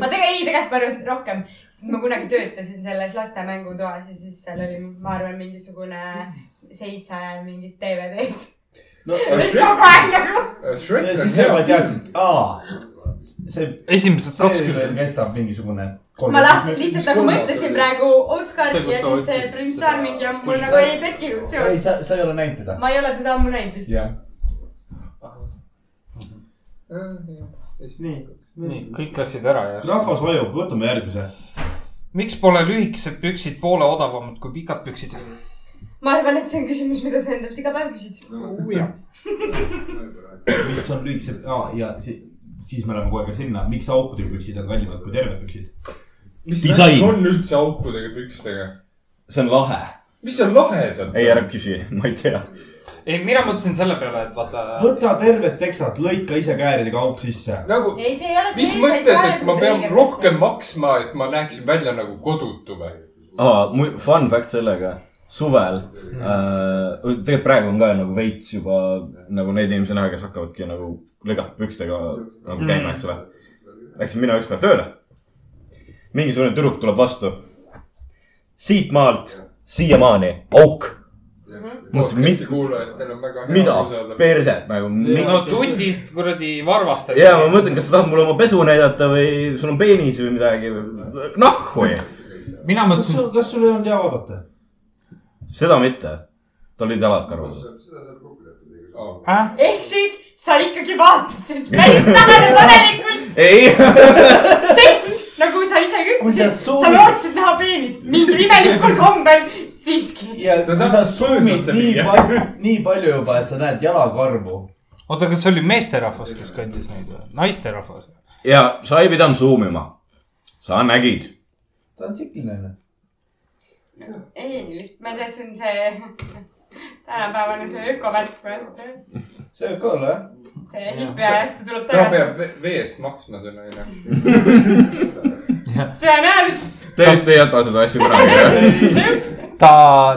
F: ma tegelikult , ei tegelikult ma arvan et rohkem , sest ma kunagi töötasin selles laste mängutoas ja siis seal oli , ma arvan , mingisugune seitse mingit DVD-d . mis kogu aeg nagu ,
H: Eh, Shrek
C: ja
H: on
C: siis
H: hea Ah,
C: sa
H: film .
C: teadsid , aa , see ,
B: esimesed
C: see veel
B: kakskümmend .
C: kestab mingisugune .
F: ma lahtsin lihtsalt nagu mõtlesin . praegu Oscar
B: See, kus
F: ja
B: ta
F: siis see
B: otsis
F: Prince
B: seda
F: Charming ja mul
B: kuldset-
F: nagu ei tekkinud
C: ei ,
F: seost .
C: sa , sa ei ole näinud teda .
F: ma ei ole teda ammu näinud vist .
C: jah .
H: nii .
B: nii , kõik läksid ära ja .
C: rahvas vajub , võtame järgmise .
B: miks pole lühikesed püksid poole odavamad kui pikad püksid ?
F: ma arvan , et see on küsimus , mida sa endalt iga päev küsid .
H: Ah,
C: mis on lühikesed , aa ja siis , siis me läheme kohe ka sinna , miks aukude püksid on kallimad kui terved püksid ?
H: mis
D: Disain.
H: värk on üldse aukudega pükstega ?
D: see on lahe .
H: mis seal lahedat ?
D: ei , ära küsi , ma ei tea .
B: ei , mina mõtlesin selle peale , et vaata .
C: võta terved teksad , lõika ise kääridega auk sisse .
H: nagu ,
F: ei , see ei ole .
H: mis mõttes , et ma pean rohkem maksma , et ma näeksin välja nagu kodutu või ?
D: aa , fun fact sellega , suvel äh, , tegelikult praegu on ka nagu veits juba nagu neid inimesi näha , kes hakkavadki nagu lõgatud pükstega
F: Mm.
D: nagu käima , eks ole . Läksin mina ükspäev tööle . mingisugune tüdruk tuleb vastu . siitmaalt siiamaani auk , Mõtlesin, mi-
H: podcast'i kuulajatel on väga hea
D: mida
H: aru saada .
D: perset nagu .
B: no tundist kuradi varvast .
D: ja ma mõtlen , kas sa tahad mulle oma pesu näidata või sul on peenis või midagi või , nahhu ei ,
B: mina
C: kas
B: mõtlesin
C: sul , kas sul ei olnud hea vaadata ?
D: seda mitte . tal olid jalad karvased .
B: äh? .
F: ehk siis sa ikkagi vaatasid päris tähelepanelikult ,
D: ei
F: sest nagu sa ise ka
C: Kui sa
F: ütlesid , sa
C: soovid-
F: lootsid näha peenist mingil imelikul kombel siiski .
C: ja
H: Ta
C: kui sa
H: tahab
C: summid
H: põõsasse
C: nii
H: viia.
C: palju , nii palju juba , et sa näed jalakarvu .
B: oota , kas see oli meesterahvas , kes kandis neid või ? naisterahvas ?
D: ja sa ei pidanud suumima . sa nägid .
C: ta on tsikliline .
F: ei , lihtsalt ma ei tea , see on see tänapäevane see ökovärk või ,
C: see võib ka olla jah .
F: see hüppeajastu tuleb
H: ta
F: tagasi .
H: peab ve- vee eest maksma , see naine .
F: tõenäoliselt
D: tõesti ei jäta seda asja kunagi .
B: ta ,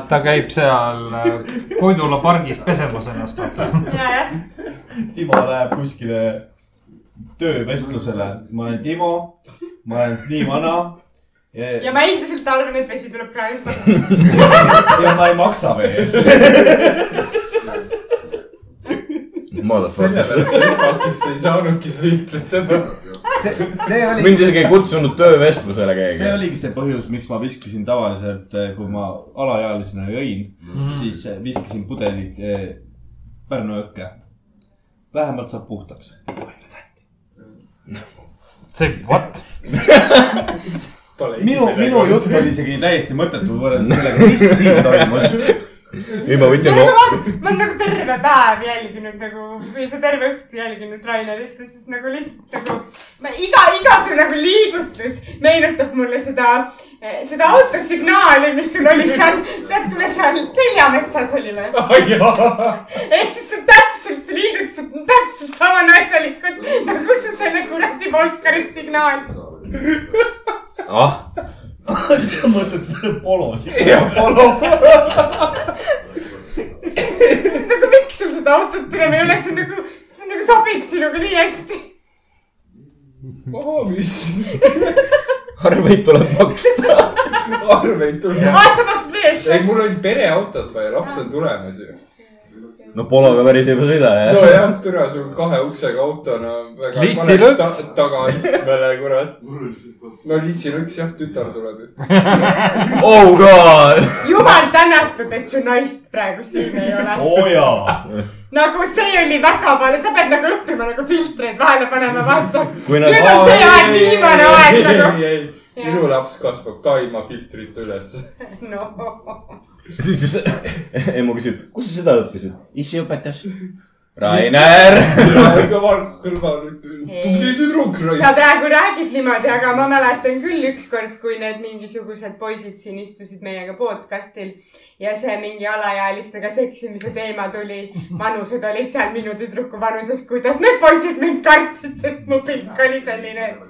B: ta käib seal äh, Koidula pargis pesemas ennast .
F: ja , jah .
C: Timo läheb kuskile töövestlusele . ma olen Timo , ma olen nii vana .
F: ja
C: ja
F: ma endiselt arvan , et vesi tuleb kraanist alla .
C: ma ei maksa vee eest .
H: selle
D: Motherfuckers .
H: peale sa esmakist ei saanudki , sa ütled seda .
C: see , see oli .
D: mind isegi ei kutsunud töövestlusele
C: see
D: keegi .
C: oligi see põhjus , miks ma viskasin tavaliselt , kui ma alaealisena jõin
J: Mhm.
C: mm. , siis viskasin pudelid eh, Pärnu jõkke . vähemalt saab puhtaks .
B: see , what ?
C: minu , minu jutt oli isegi täiesti mõttetu võrreldes sellega , mis siin toimus .
D: ei , ma võtsin
F: ma , ma olen nagu terve päev jälginud nagu või see terve õhtu jälginud Rainerit ja siis nagu lihtsalt nagu ma iga , iga su nagu liigutus meenutab mulle seda , seda autosignaali , mis sul oli seal , tead , kui me seal seljametsas olime . ehk siis see on täpselt , su liigutused on täpselt sama naiselikud nagu su selle kuradi Volkeri signaal .
D: ah ,
C: sa mõtled selle polo siin ?
F: nagu miks sul seda autot enam ei ole , see on nagu , see nagu sobib sinuga nii hästi .
H: oh , mis
D: arveid tuleb maksta .
H: arveid tuleb .
F: Ah, aa , sa maksad veel ?
H: ei , mul olid pereautot vaja , laps on tulemas ju .
D: no Pologa päris ei sõida jah no, .
H: nojah , türa , sul on kahe uksega auto , no väga .
B: Litsi lõks.
H: tagaistmele , kurat . no litsi lõks jah , tütar tuleb ju .
D: oh god .
F: jumal tänatud , et su naist praegu siin ei ole .
J: oo jaa .
F: nagu see oli väga palju , sa pead nagu õppima nagu filtreid vahele panema , vaata .
D: kui nad
F: nüüd on see aeg , viimane aeg nagu .
H: minu laps kasvab ka ilma filtrita üles .
F: noh ,
D: siis , siis emu küsib , kus sa seda õppisid ? issi õpetas . Rainer .
H: kõva , kõlva nüüd , tubli tüdruk
F: sa
H: raisk .
F: praegu räägid niimoodi , aga ma mäletan küll ükskord , kui need mingisugused poisid siin istusid meiega podcastil ja see mingi alaealistega seksimise teema tuli . vanused olid seal minu tüdruku vanuses , kuidas need poisid mind kartsid , sest mu pilk oli selline , et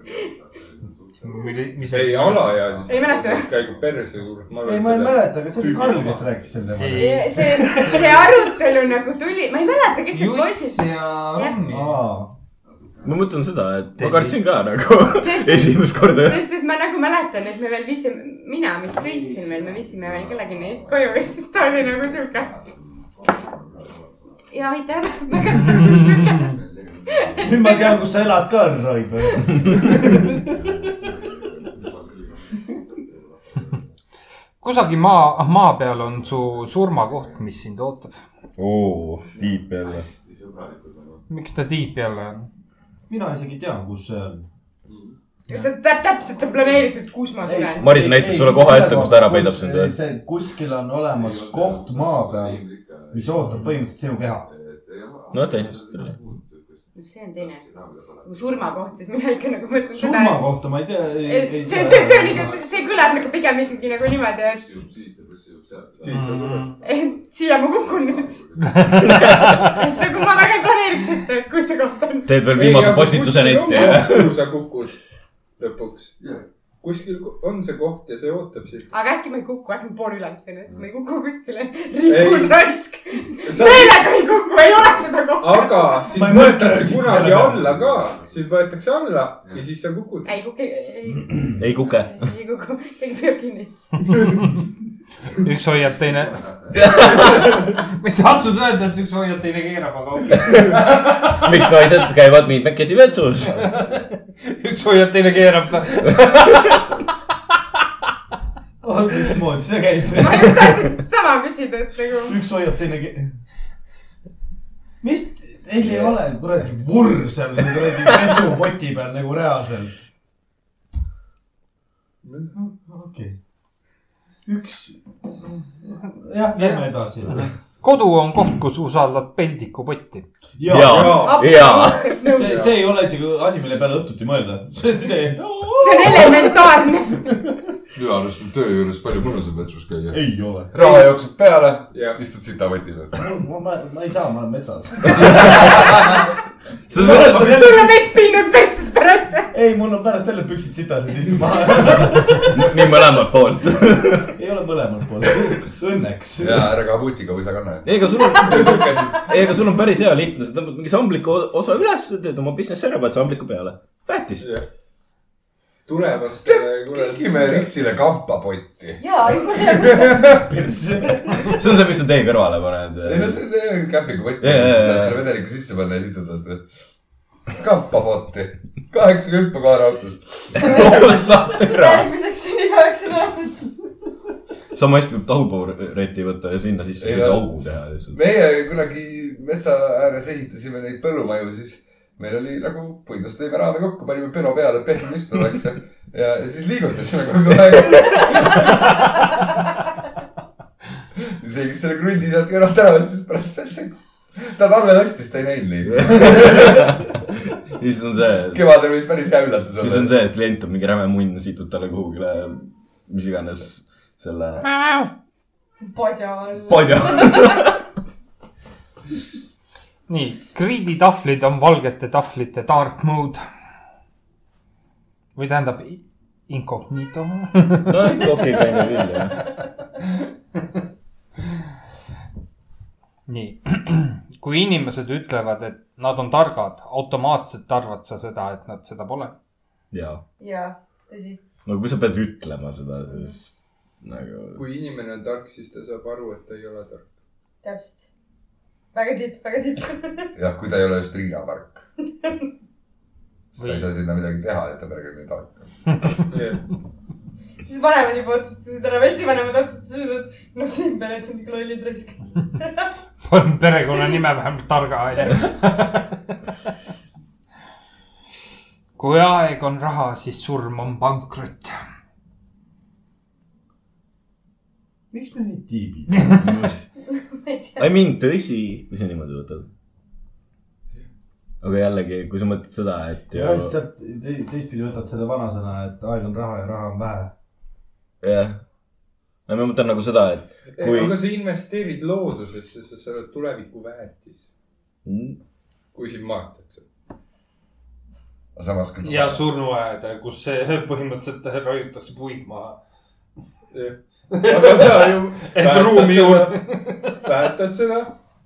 B: mis
H: ei , alaealine .
F: Ei mäleta või?
H: käigu perse , kurat .
J: ei , ma ei mäleta , aga see oli Karl , kes rääkis sel teemal .
B: Ei.
F: see , see arutelu nagu tuli , ma ei mäleta , kes need poisid
B: Juss ja Ronny .
J: aa ,
D: ma mõtlen seda , et ma kartsin ka nagu esimest korda .
F: sest et ma nagu mäletan , et me veel viisime , mina vist sõitsin veel , me viisime veel kellegi neist koju ja siis ta oli nagu sihuke . ja aitäh , väga sihuke .
J: nüüd ma tean , kus sa elad ka , Raivo .
B: kusagil maa , maa peal on su surmakoht , mis sind ootab .
D: oo , tiip jälle .
B: miks ta tiib jälle on ?
J: mina isegi tean , kus see on .
F: see tä- täpselt on planeeritud , kus ma suren .
D: Maris näitas sulle koha ette , kus ta ära peidab sind või ?
J: või ? kuskil on olemas koht maa peal , mis ootab põhimõtteliselt sinu keha .
D: no vaata , inimesed .
F: see on teine asi . kui surmakoht , siis mina ikka nagu mõtlen
J: surma
F: seda .
J: kohta ma ei tea .
F: see , see , see on ikka , see kõlab nagu pigem ikkagi nagu niimoodi , et ,
H: siis on kurat .
F: et siia ma kukun nüüd . et nagu ma väga ei planeeriks ette , et kus see koht on .
D: teed veel viimase postituse netti jah ?
H: kuhu sa kukus lõpuks ? kuskil on see koht ja see ootab sind .
F: aga äkki ma ei kuku , äkki ma pool üles ennast , ma ei kuku kuskile .
H: Ei.
F: ripun raisk .
H: Sa-
F: meelega ei kuku , ei ole seda kohta .
H: aga
J: Ma
H: siis
J: ei mõtle
H: võetakse
J: siin
H: kunagi
J: selle peale.
H: alla ka , siis võetakse alla ja siis sa kukud .
F: ei kuku , ei ,
D: ei kuke .
F: ei kuku , keegi peab kinni .
B: üks hoiab , teine . mitte tahtnud öelda , et üks hoiab , teine keerab , aga okei okay. .
D: miks naised käivad mitmekesi vetsus ?
B: üks hoiab , teine keerab .
J: Ah, mismoodi see käib ?
F: ma just tahtsin sama küsida , et nagu .
J: üks hoiab , teine ke- . mis , teil ei ole kuradi vurr seal selle kuradi bensupoti peal nagu reaalselt ? okei . üks , jah , lähme edasi .
B: kodu on koht , kus usaldad peldikupotti .
J: ja,
D: Jaa.
J: ja. ,
D: jaa ,
J: see , see ei ole isegi asi , mille peale õhtuti mõelda . see on see , et oo,
F: see on elementaarne .
G: minu arust on töö juures palju mõnusam vetsus käia .
J: ei ole .
G: raha jookseb peale
H: Jah. ,
G: istud sitavoti peal .
J: ma , ma , ma ei saa , ma olen metsas .
D: see on pärast ,
F: sul on veits piinud perses pärast .
J: ei , mul on pärast jälle püksid sitased , istun maha .
D: nii mõlemalt poolt .
J: ei ole mõlemalt poolt , õnneks .
G: ja ära kabutsiga või sa kanna .
D: ei , aga sul on , ei , aga sul on päris hea lihtne , sa tõmbad mingi sambliku osa üles , teed oma business'i ära , paned sambliku peale . tähtis .
H: tulevast .
G: kingime Riksile kampapotti .
I: jaa ,
D: see on see , mis sa tee kõrvale
G: ei no
D: paned . eh.
G: see on käpikupott ,
D: Jaa, jaa, jaa.
G: saad selle vedeliku sisse panna ja siduda . kampapotti , kaheksakümmend hüppa kaarautos .
D: osa türa .
I: järgmiseks sünnipäevaks on olemas .
D: sama hästi võib tahupooreti võtta ja sinna sisse
G: Ei,
D: mingi
G: no-
D: augu teha lihtsalt .
G: meie kunagi metsa ääres ehitasime neid põllumaju , siis meil oli nagu puidust tõime raame kokku , panime peno peale , et pehme istu oleks ja , ja siis liigutasime kogu aeg . see , kes selle krundi sealt kõrvalt ära ostis , pärast see , ta talvel ostis , ta ei näinud neid .
D: siis on see ,
G: kevadel võis päris hea üllatus
D: siis on
G: olla .
D: see , et klient on mingi räme munn , situd talle kuhugile , mis iganes selle
F: padja all .
D: padja .
B: nii , kriiditahvlid on valgete tahvlite dark mode . või tähendab incognito .
D: no okei , kind of küll jah .
B: nii , kui inimesed ütlevad , et nad on targad , automaatselt arvad sa seda , et nad seda pole .
D: jaa ,
F: jaa , tõsi .
D: no kui sa pead ütlema seda , siis nagu .
H: kui inimene on tark , siis ta saab aru , et ta ei ole tark .
F: täpselt . väga tipp , väga tipp .
G: jah , kui ta ei ole just rinnatark . siis ta ei saa sinna midagi teha , et ta peab nii tark .
F: siis vanemad juba otsustasid ära , esivanemad otsustasid , et noh , siin peres on ikka lollid raisk .
B: panen perekonnanime vähemalt targa onju . kui aeg on raha , siis surm on pankrot .
J: miks me nii tiibid ?
D: I mean tõsi , kui sa niimoodi võtad . aga jällegi , kui sa mõtled seda , et
J: ja
D: ju
J: siis sealt te- teistpidi võtad selle vanasõna , et aeg on raha ja raha on vähe .
D: jah . no ma mõtlen nagu seda , et
H: Kui...
D: kui
H: aga sa investeerid loodusesse , sest sa oled tuleviku väetis , kui sind maetakse .
G: aga samas kui
B: ja surnuaed , kus see põhimõtteliselt raiutakse puid maha .
H: aga sa ju
B: Et ruumi juurde. .
H: väetad seda .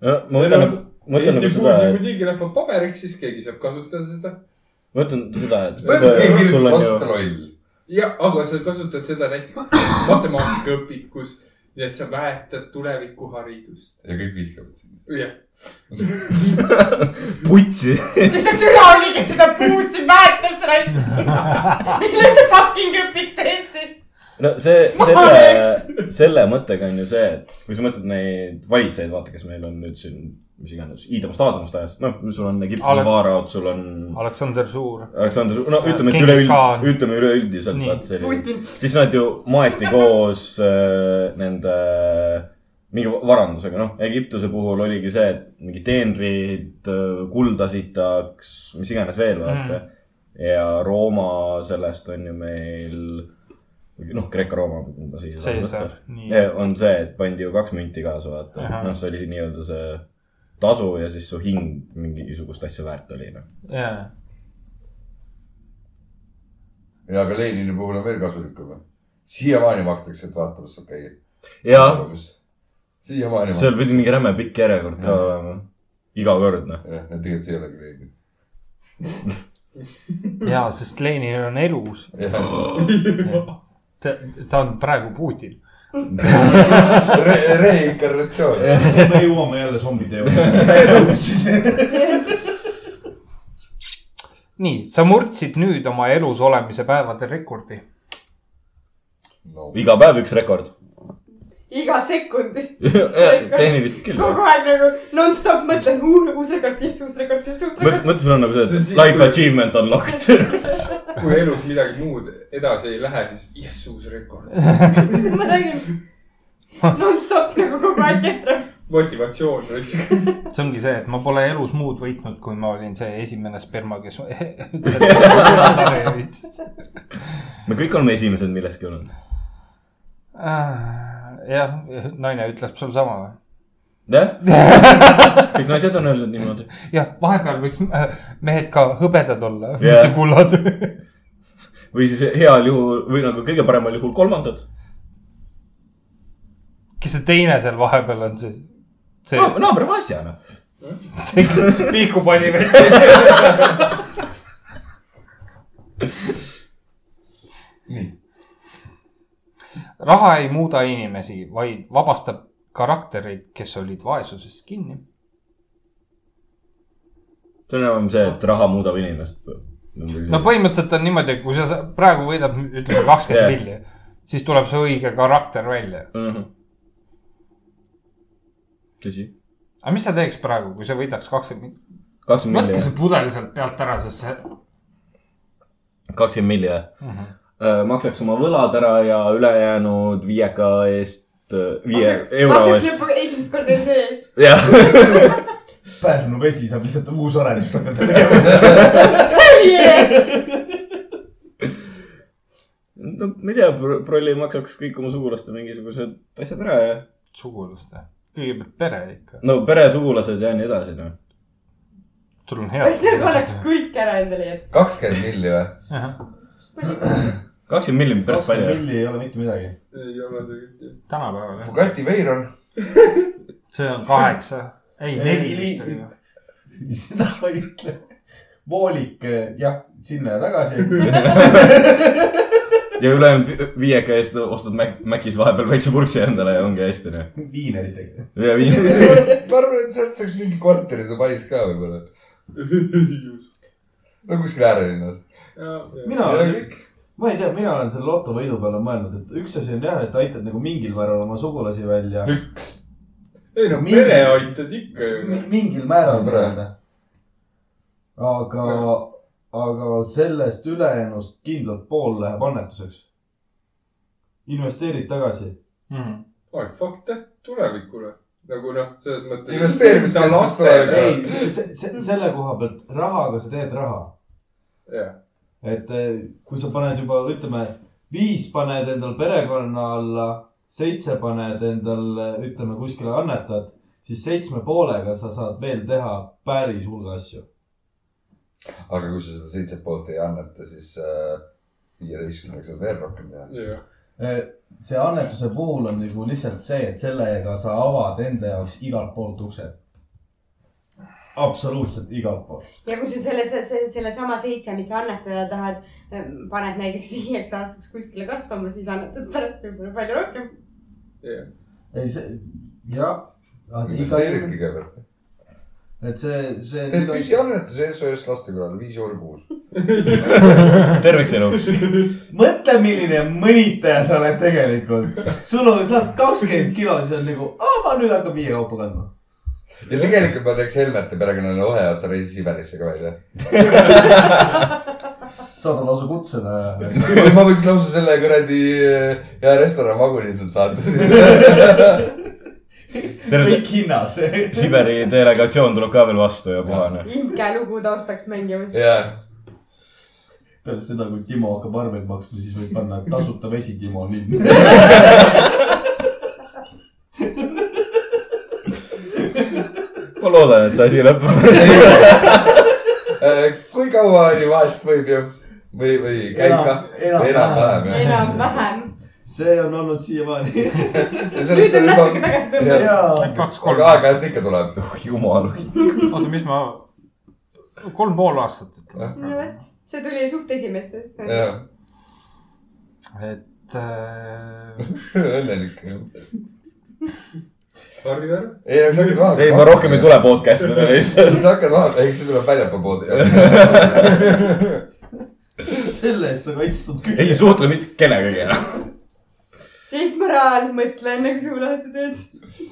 D: no, , ma mõtlen nagu , mõtlen nagu
H: Eesti
D: seda ,
H: kuulmine
D: et
H: muidugi läheb paberiks , siis keegi saab kasutada seda .
D: ma mõtlen seda , et
G: põhimõtteliselt keegi
D: sa- sul
G: kirjutab
D: on
G: otsa
D: ju ,
G: loll .
H: ja , aga sa kasutad seda näiteks matemaatikaõpikus , nii et sa väetad tulevikuharidust .
G: ja kõik vihkavad sind .
H: jah ,
D: putsi .
F: lihtsalt üle oli , kes seda puud siin väetas raisk . mille see fucking õpik tehti ?
D: no see ,
F: Ma
D: selle , selle mõttega on ju see , et kui sa mõtled neid valitsejaid , vaata , kes meil on nüüd siin , mis iganes , Iidamast , Aadamast ajast , noh , sul on Egiptuse
B: Ale-
D: vaaraod , sul on
B: Aleksander Suur .
D: Aleksander , no ütleme , et
B: Genghis
D: üleüld-
B: Khan. ,
D: ütleme üleüldiselt ,
B: Nii.
D: vaat selline .
F: Putin .
D: siis nad ju maeti koos äh, nende äh, mingi varandusega , noh , Egiptuse puhul oligi see , et mingi teenrid , kuldasitaks , mis iganes veel , vaata . ja Rooma sellest on ju meil , noh , Kreeka-Rooma , ma siis .
B: Caesar , nii .
D: on see , et pandi ju kaks münti kaasa , vaata
B: Ahah. .
D: noh , see oli nii-öelda see tasu ja siis su hind mingisugust asja väärt oli , noh .
B: jaa .
G: ja aga Lenini puhul on veel kasulikum . siiamaani makstakse , et vaatamas saab käia .
D: jah ,
G: siiamaani
D: seal pidi . mingi räme pikk järjekord ka
G: Jah.
D: olema . iga kord noh ,
G: jah , tegelikult see ei olegi Lenin .
B: jaa , sest Lenin on elus . ta , ta on praegu Putin .
G: reinkarnatsioon .
J: me jõuame jälle zombi teemale .
B: nii , sa murdsid nüüd oma elus olemise päevade rekordi .
G: no
D: iga päev üks rekord .
F: iga sekund .
D: tehniliselt küll .
F: kogu aeg nagu nonstop mõtlen , uus rekord , jess , uus rekord , jess , uus rekord .
D: mõtle , sul on nagu see , et
H: See on siis,
D: life
H: kui-
D: achievement unlocked .
H: kui elus midagi muud edasi ei lähe , siis jess , uus rekord .
F: ma räägin nonstop nagu kogu aeg ketrab .
H: motivatsioon raisk .
B: see ongi see , et ma pole elus muud võitnud , kui ma olin see esimene sperma , kes .
D: me kõik oleme esimesed milleski olnud .
B: Ah, jah , naine ütles sul sama või ?
D: jah , kõik naised on öelnud niimoodi .
B: jah , vahepeal võiks äh, mehed ka hõbedad olla ,
D: Jah.
B: mitte kullad .
D: või siis heal juhul või nagu kõige paremal juhul kolmandad .
B: kes see teine seal vahepeal on , see , see ,
D: naaber noh. Vasjana .
B: see , kes pihkupalli veits .
G: nii ,
B: raha ei muuda inimesi , vaid vabastab karaktereid , kes olid vaesuses kinni .
D: see on enam see , et raha muudab inimest .
B: no põhimõtteliselt on niimoodi , et kui sa sa- praegu võidad , ütleme
D: Jah.
B: kakskümmend milli , siis tuleb see õige karakter välja .
D: põhimõtteliselt . Mhm. tõsi ,
B: aga mis sa teeks praegu , kui sa võidaks kakskümmend milli ?
D: kakskümmend
B: võtke
D: miljonit
B: see , pudel sealt pealt ära , sest see
D: kakskümmend miljonit . Äh, maksaks oma võlad ära ja ülejäänud viieka eest , viie euro eest .
F: esimest korda üldse eest .
D: jah ,
J: Pärnu vesi saab lihtsalt uus arendus hakata tegema .
D: no ma ei tea , prolli maksaks kõik oma sugulaste mingisugused asjad ära ja .
B: sugulaste , kõigepealt pere ikka ,
D: no peresugulased ja nii edasi noh .
B: sul on hea .
F: ühesõnaga oleks kõik ära endale jätnud .
G: kakskümmend milli või ?
D: kakskümmend miljonit päris
J: kakskümmend
D: palju .
J: milli ei ole mitte midagi .
H: ei ole tegelikult
B: tänapäeval jah ,
G: Bugatti Veyron ,
B: see on kaheksa , ei
J: Ei,
B: neli
J: ei,
B: vist
J: ei.
B: oli või ?
J: seda ma ei eh, ütle . voolik , jah , sinna ja tagasi .
D: ja ülejäänud vi- viieka eest ostad Mac , Macis vahepeal väikse purksi endale ja ongi hästi , noh .
C: viineritega .
D: ja viin- ,
G: ma arvan , et sealt saaks mingi kontori Dubais ka võib-olla . no kuskil äärelinnas .
C: mina olen , ma ei tea , mina olen selle lotovõidu peale mõelnud , et üks asi on jah , et aitad nagu mingil määral oma sugulasi välja .
H: ei no
C: Mingi-
H: pere aitad ikka ju .
C: mingil määral
G: Praegu.
C: nii-öelda . aga , aga sellest ülejäänust kindlalt pool läheb annetuseks . investeerid tagasi .
H: oi , fuck that tulevikule . nagu noh , selles mõttes .
G: Investeerimiskeskus tuleb.
H: tuleb .
C: ei , selle koha pealt rahaga sa teed raha .
H: jah ,
C: et eh, kui sa paned juba , ütleme , viis paned endal perekonna alla , seitse paned endal , ütleme , kuskile annetad , siis seitsme poolega sa saad veel teha päris hulga asju .
G: aga kui sa seda seitse poolt ei anneta , siis äh, viieteistkümneks saad veel rohkem teha .
H: jah .
C: Eh, see annetuse puhul on nagu lihtsalt see , et sellega sa avad enda jaoks igalt poolt uksed . absoluutselt igalt poolt .
F: ja kui sa selle , sellesama seitse , mis sa annetada tahad , paned näiteks viieks aastaks kuskile kasvama , siis annetad pärast võib-olla palju rohkem .
C: ei , see , jah .
G: investeeridki kõigepealt .
C: et see , see .
G: teed püsiannetuse SOS lastekodale viis euri kuus .
D: terveks elu .
C: mõtle , milline mõnitaja sa oled tegelikult . sul on , sa oled kakskümmend kilo , siis on nagu , aa , ma nüüd hakkan viie kaupa kandma .
G: ja tegelikult ma teeks Helmete perekonnale vahe otsa reisi Siberisse ka välja .
C: saad lausa kutsena .
G: ma võiks lausa selle kuradi äh, hea restorani vagunis nad saata sinna .
D: terve
C: kõik hinnas .
D: Siberi delegatsioon tuleb ka veel vastu ja noh. puhane .
F: imke lugu taustaks mängimas .
G: jah ,
C: peale seda , kui Timo hakkab arveid maksma , siis võib panna tasuta vesi Timo nimi .
D: ma loodan , et see asi lõpeb .
G: Eh, kui kaua oli vahest võib ju või , või käib ka enam-vähem jah .
F: enam-vähem .
C: see on olnud siiamaani .
G: ja
F: nüüd
G: sellest
F: on
G: on
F: natuke
G: juba ,
F: tagasi tõmmatud .
B: kaks-kolm
G: aga aeg-ajalt ikka tuleb .
D: Oh, jumal ,
B: aastat , oota , mis ma , kolm pool aastat
F: no
B: ütleme .
F: vot , see tuli suht esimestest .
G: jah ,
B: et äh,
G: õnnelik .
H: harju ära .
G: ei , aga sa hakkad vahepeal .
D: ei ma rohkem ei . tule podcast'i peale lihtsalt .
G: sa hakkad vahepeal , ei see tuleb väljapool poodi .
C: selle eest sa kaitstud küll .
D: ei suhtle mitte kellegagi enam .
F: siit moraal , mõtle enne
I: nagu
F: kui suu lahti teed .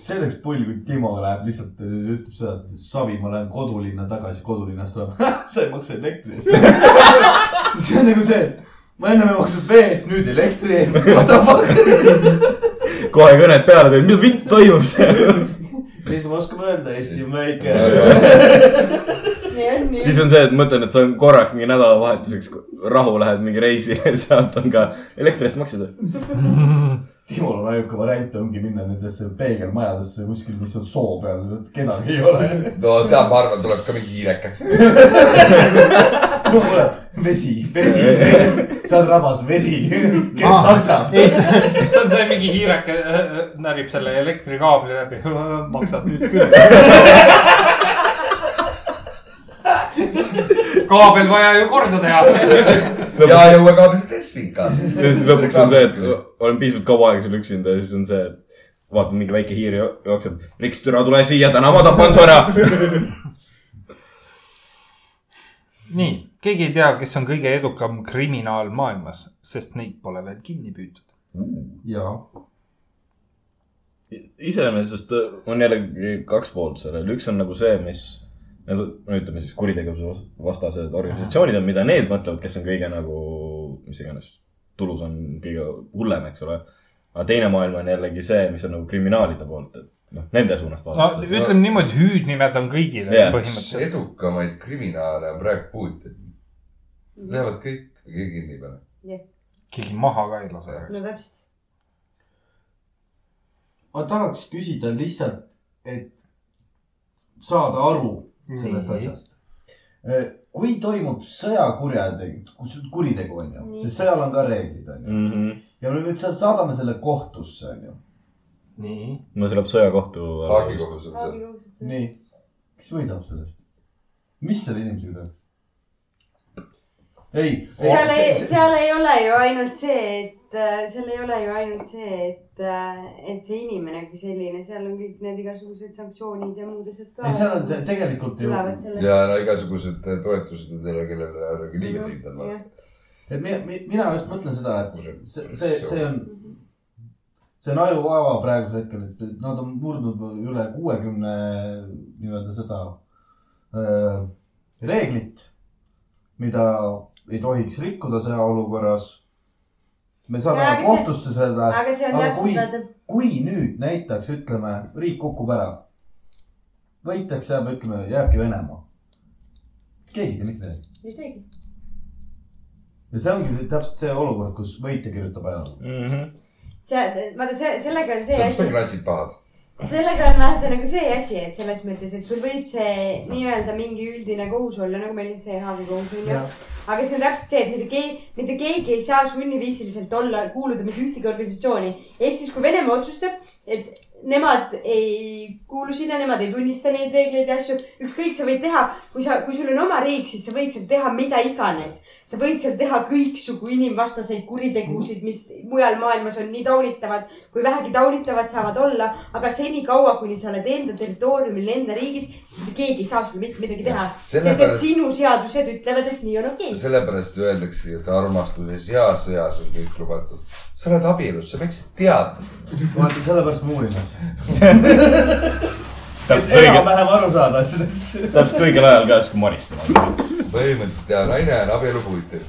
C: see oleks pull , kui Timo läheb lihtsalt , ütleb seda , et savi , ma lähen kodulinna tagasi , kodulinnast tuleb , sa ei maksa elektri eest . see on nagu see , ma ennem ei maksnud vee eest , nüüd elektri eest , what the fuck .
D: kohe kõned peale tulid , mida vint toimub seal .
C: mis ma oskan öelda , Eesti on väike .
F: nii on , nii
D: siis
F: on .
D: on see , et mõtlen , et sa korraks mingi nädalavahetuseks rahu lähed mingi reisile ja sealt on ka elektri eest maksud .
C: Timol on ainuke variant ongi minna nendesse peegelmajadesse kuskil , mis on soo peal , kedagi ei ole .
G: no seal , ma arvan , tuleb ka mingi hiireke .
C: no kuule , vesi , vesi , seal rabas vesi , kes
B: Ah.
C: maksab ?
B: Eesti , see on see mingi hiireke äh, närib selle elektrikaabli läbi , maksad nüüd küll . kaabel vaja ju korda teha .
G: ja , ja uue kaabli Tesfikast .
D: ja siis lõpuks on see , et olen piisavalt kaua aega seal üksinda ja siis on see , et vaatan mingi väike hiir jo- jookseb . Riks , türa tule siia , täna ma tapan su ära .
B: nii , keegi ei tea , kes on kõige edukam kriminaal maailmas , sest neid pole veel kinni püütud .
C: jaa .
D: iseenesest äh, on jällegi kaks poolt sellel , üks on nagu see , mis need , no ütleme siis kuritegevuse vas- vastased organisatsioonid on , mida need mõtlevad , kes on kõige nagu , mis iganes , tulus on kõige hullem , eks ole . aga teine maailm on jällegi see , mis on nagu kriminaalide poolt , et noh , nende suunast
B: no
D: vaadates no, .
B: ütleme niimoodi , hüüdnimed on kõigile yeah.
D: Jah.
B: põhimõtteliselt .
G: edukamaid kriminaale on praegu Putin . Lähevad kõik keegi kinni peale .
B: keegi maha ka ei lase .
F: no täpselt .
C: ma tahaks küsida lihtsalt , et saada aru sellest
B: Nii.
C: asjast . kui toimub sõjakurjategu , kuritegu on ju ,
F: Nii.
C: sest sõjal on ka reeglid on ju
D: Mm -hmm.
C: ja me nüüd sealt saadame selle kohtusse on ju .
B: nii ,
D: no see läheb sõjakohtu .
G: Haagi kogus on see .
F: aga
C: nii , kes võidab sellest ? mis selle inimesega teeb ? ei .
I: seal ei , seal ei ole ju ainult see , et äh, seal ei ole ju ainult see , et , et see inimene kui selline , seal on kõik need igasugused sanktsioonid ja muud asjad ka .
C: ei , seal on te- tegelikult ju ,
I: tulevad sellest .
G: ja no igasugused äh, toetused nendele , kellele nagu
I: Mhm.
G: liiga liiga on .
C: et mina , mina just mõtlen seda , et see , see , see on , see on ajuvaeva praegusel hetkel , et nad on murdnud üle kuuekümne nii-öelda seda öö, reeglit , mida ei tohiks rikkuda sõjaolukorras . me saame
I: Aga see-
C: kohtusse selle ,
I: aga see on
C: aga kui-
I: täpselt vaata ,
C: kui nüüd näiteks ütleme , riik kukub ära , võitjaks jääb , ütleme , jääbki Venemaa . keegi ei tee mitte midagi .
I: ei teagi .
C: ja see ongi see- täpselt see olukord , kus võitja kirjutab ajaloo .
I: see , vaata see , sellega on see
G: see on
I: asi
G: küll , natsid pahad .
I: sellega on vaata nagu see asi , et selles mõttes , et sul võib see nii-öelda mingi üldine kohus olla , nagu meil nüüd see Haavi kohus on ju . aga see on täpselt see , et mitte keegi , mitte keegi ei saa sunniviisiliselt olla , kuuluda mitte ühtegi organisatsiooni . ehk siis , kui Venemaa otsustab , et nemad ei kuulu sinna , nemad ei tunnista neid reegleid ja asju , ükskõik , sa võid teha , kui sa , kui sul on oma riik , siis sa võid seal teha mida iganes . sa võid seal teha kõiksugu inimvastaseid kuritegusid , mis mujal maailmas on nii taunitavad kui vähegi taunitavad saavad olla , aga senikaua , kuni sa oled enda territooriumil , enda riigis , siis mitte keegi ei saa sul mitte midagi teha . sest et
G: sellepärast ,
I: sinu seadused ütlevad , et nii on okei okay. .
G: sellepärast öeldakse , et armastuses ja sõjas on kõik lubatud . sa oled abielus , sa peaksid teadma .
C: vaata , sellepärast ma uurin asja .
D: täpselt õige ,
C: enam-vähem aru saada asjadest .
D: täpselt õigel ajal käes , kui maristama hakkas .
G: põhimõtteliselt ja naine on abielupuitel .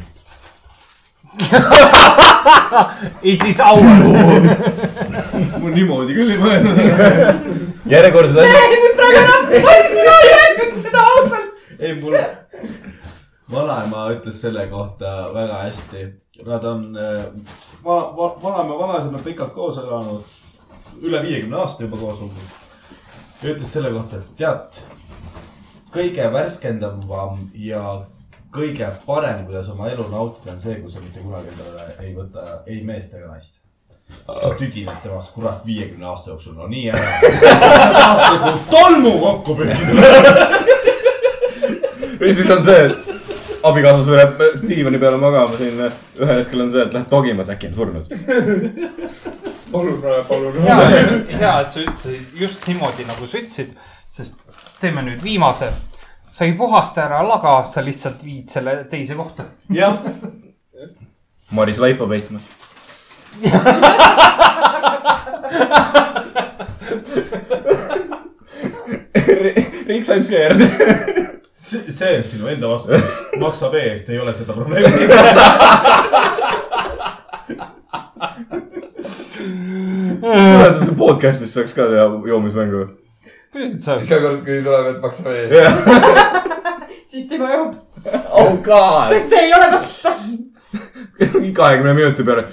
B: It is our .
C: ma niimoodi küll ei mõelnud .
D: järjekordsed asjad ,
I: mis praegu enam , miks mina ei rääkinud seda ausalt ?
C: ei , mul vanaema ütles selle kohta väga hästi . Nad on , ma , ma , vanaema vanaisad on pikalt koos elanud , üle viiekümne aasta juba koos olnud . ja ütles selle kohta , et tead , kõige värskendavam ja kõige parem , kuidas oma elu nautida , on see , kui sa mitte kunagi endale ei võta ei meest ega naist . sa tüdined temast kurat viiekümne aasta jooksul , no nii ära . saad nagu tolmu kokku pühkida .
D: või siis on see , et abikaasa sureb diivani peale magama sinna , ühel hetkel on see , et läheb togima , et äkki on surnud .
H: palun , palun .
B: hea , hea , et sa ütlesid just niimoodi , nagu sa ütlesid , sest teeme nüüd viimase . sa ei puhasta ära laga , sa lihtsalt viid selle teise kohta .
C: jah
D: Maris laipa peitmas . Rick saab scared .
C: see see on sinu enda vastutus , maksa vee eest , ei ole seda probleemi .
D: mäletan , podcast'is saaks ka teha joomismängu .
G: iga kord , kui tuleb , et maksa ees .
I: siis tema joob ,
D: oh god ,
I: sest see ei ole tasuta .
D: kahekümne minuti peale .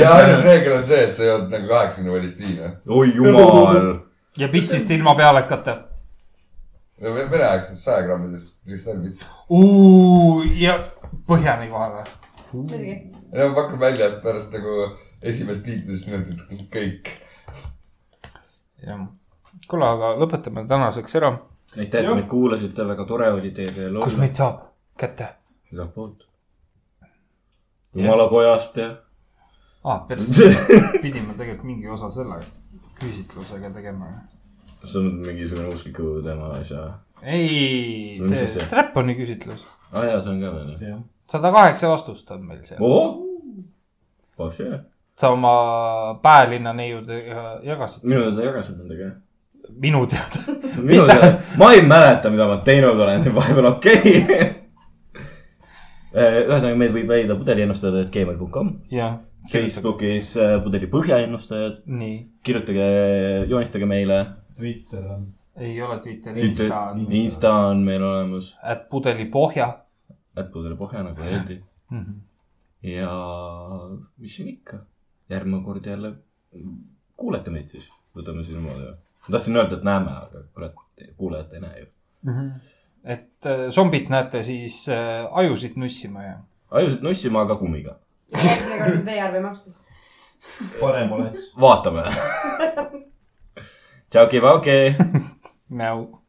G: ja ainus reegel on see , et sa jood nagu kaheksakümne välist viina .
D: oi jumal ,
B: ja pitsist ilma pealekata .
G: no ve- vene aegsest saja grammidest , mis ta on , mis .
B: ja põhjani kohe või ?
I: muidugi ,
G: no ma pakun välja , et pärast nagu esimest liitlust minutit kõik .
B: jah . kuule , aga lõpetame tänaseks ära .
D: aitäh , et meid kuulasite , väga tore oli teiega ja
B: kus meid saab kätte ?
D: igalt poolt . jumalakojast ja .
B: aa , Ah, päris . pidime tegelikult mingi osa selle küsitlusega tegema .
D: see on mingisugune uskliku teema asja .
B: ei ,
D: No mis
B: see
D: siis see?
B: Strapponi küsitlus .
D: aa Ah, jaa , see on ka veel .
B: sada kaheksa vastust on meil seal .
D: ohoh , vabs jää .
B: sa oma päälinna neiudega jagasid .
D: minu teada jagasid nendega jah .
B: minu teada .
D: minu teada , ma ei mäleta , mida ma teinud olen , vahepeal okei okay. . ühesõnaga , meid võib leida pudeliennustajad.gmail.com ,
B: jah .
D: Facebookis äh, pudeli põhjaennustajad ,
B: nii ,
D: kirjutage , joonistage meile .
C: Twitter on .
B: ei ole Twitteri , Insta on
D: Insta on meil olemas ,
B: at pudeli pohja
D: et pudeli põhja nagu öeldi
B: mm . -hmm.
D: ja mis siin ikka , järgmine kord jälle kuulete meid siis , võtame siis niimoodi . ma tahtsin öelda , et näeme , aga kurat , kuulajat ei näe ju .
B: Mm -hmm. et äh, zombit näete siis äh, ajusid nussima ja .
D: ajusid nussima , aga kummiga .
I: järgmine kord on veearve makstud .
C: parem oleks .
D: vaatame . tšauki-pauki .
B: näo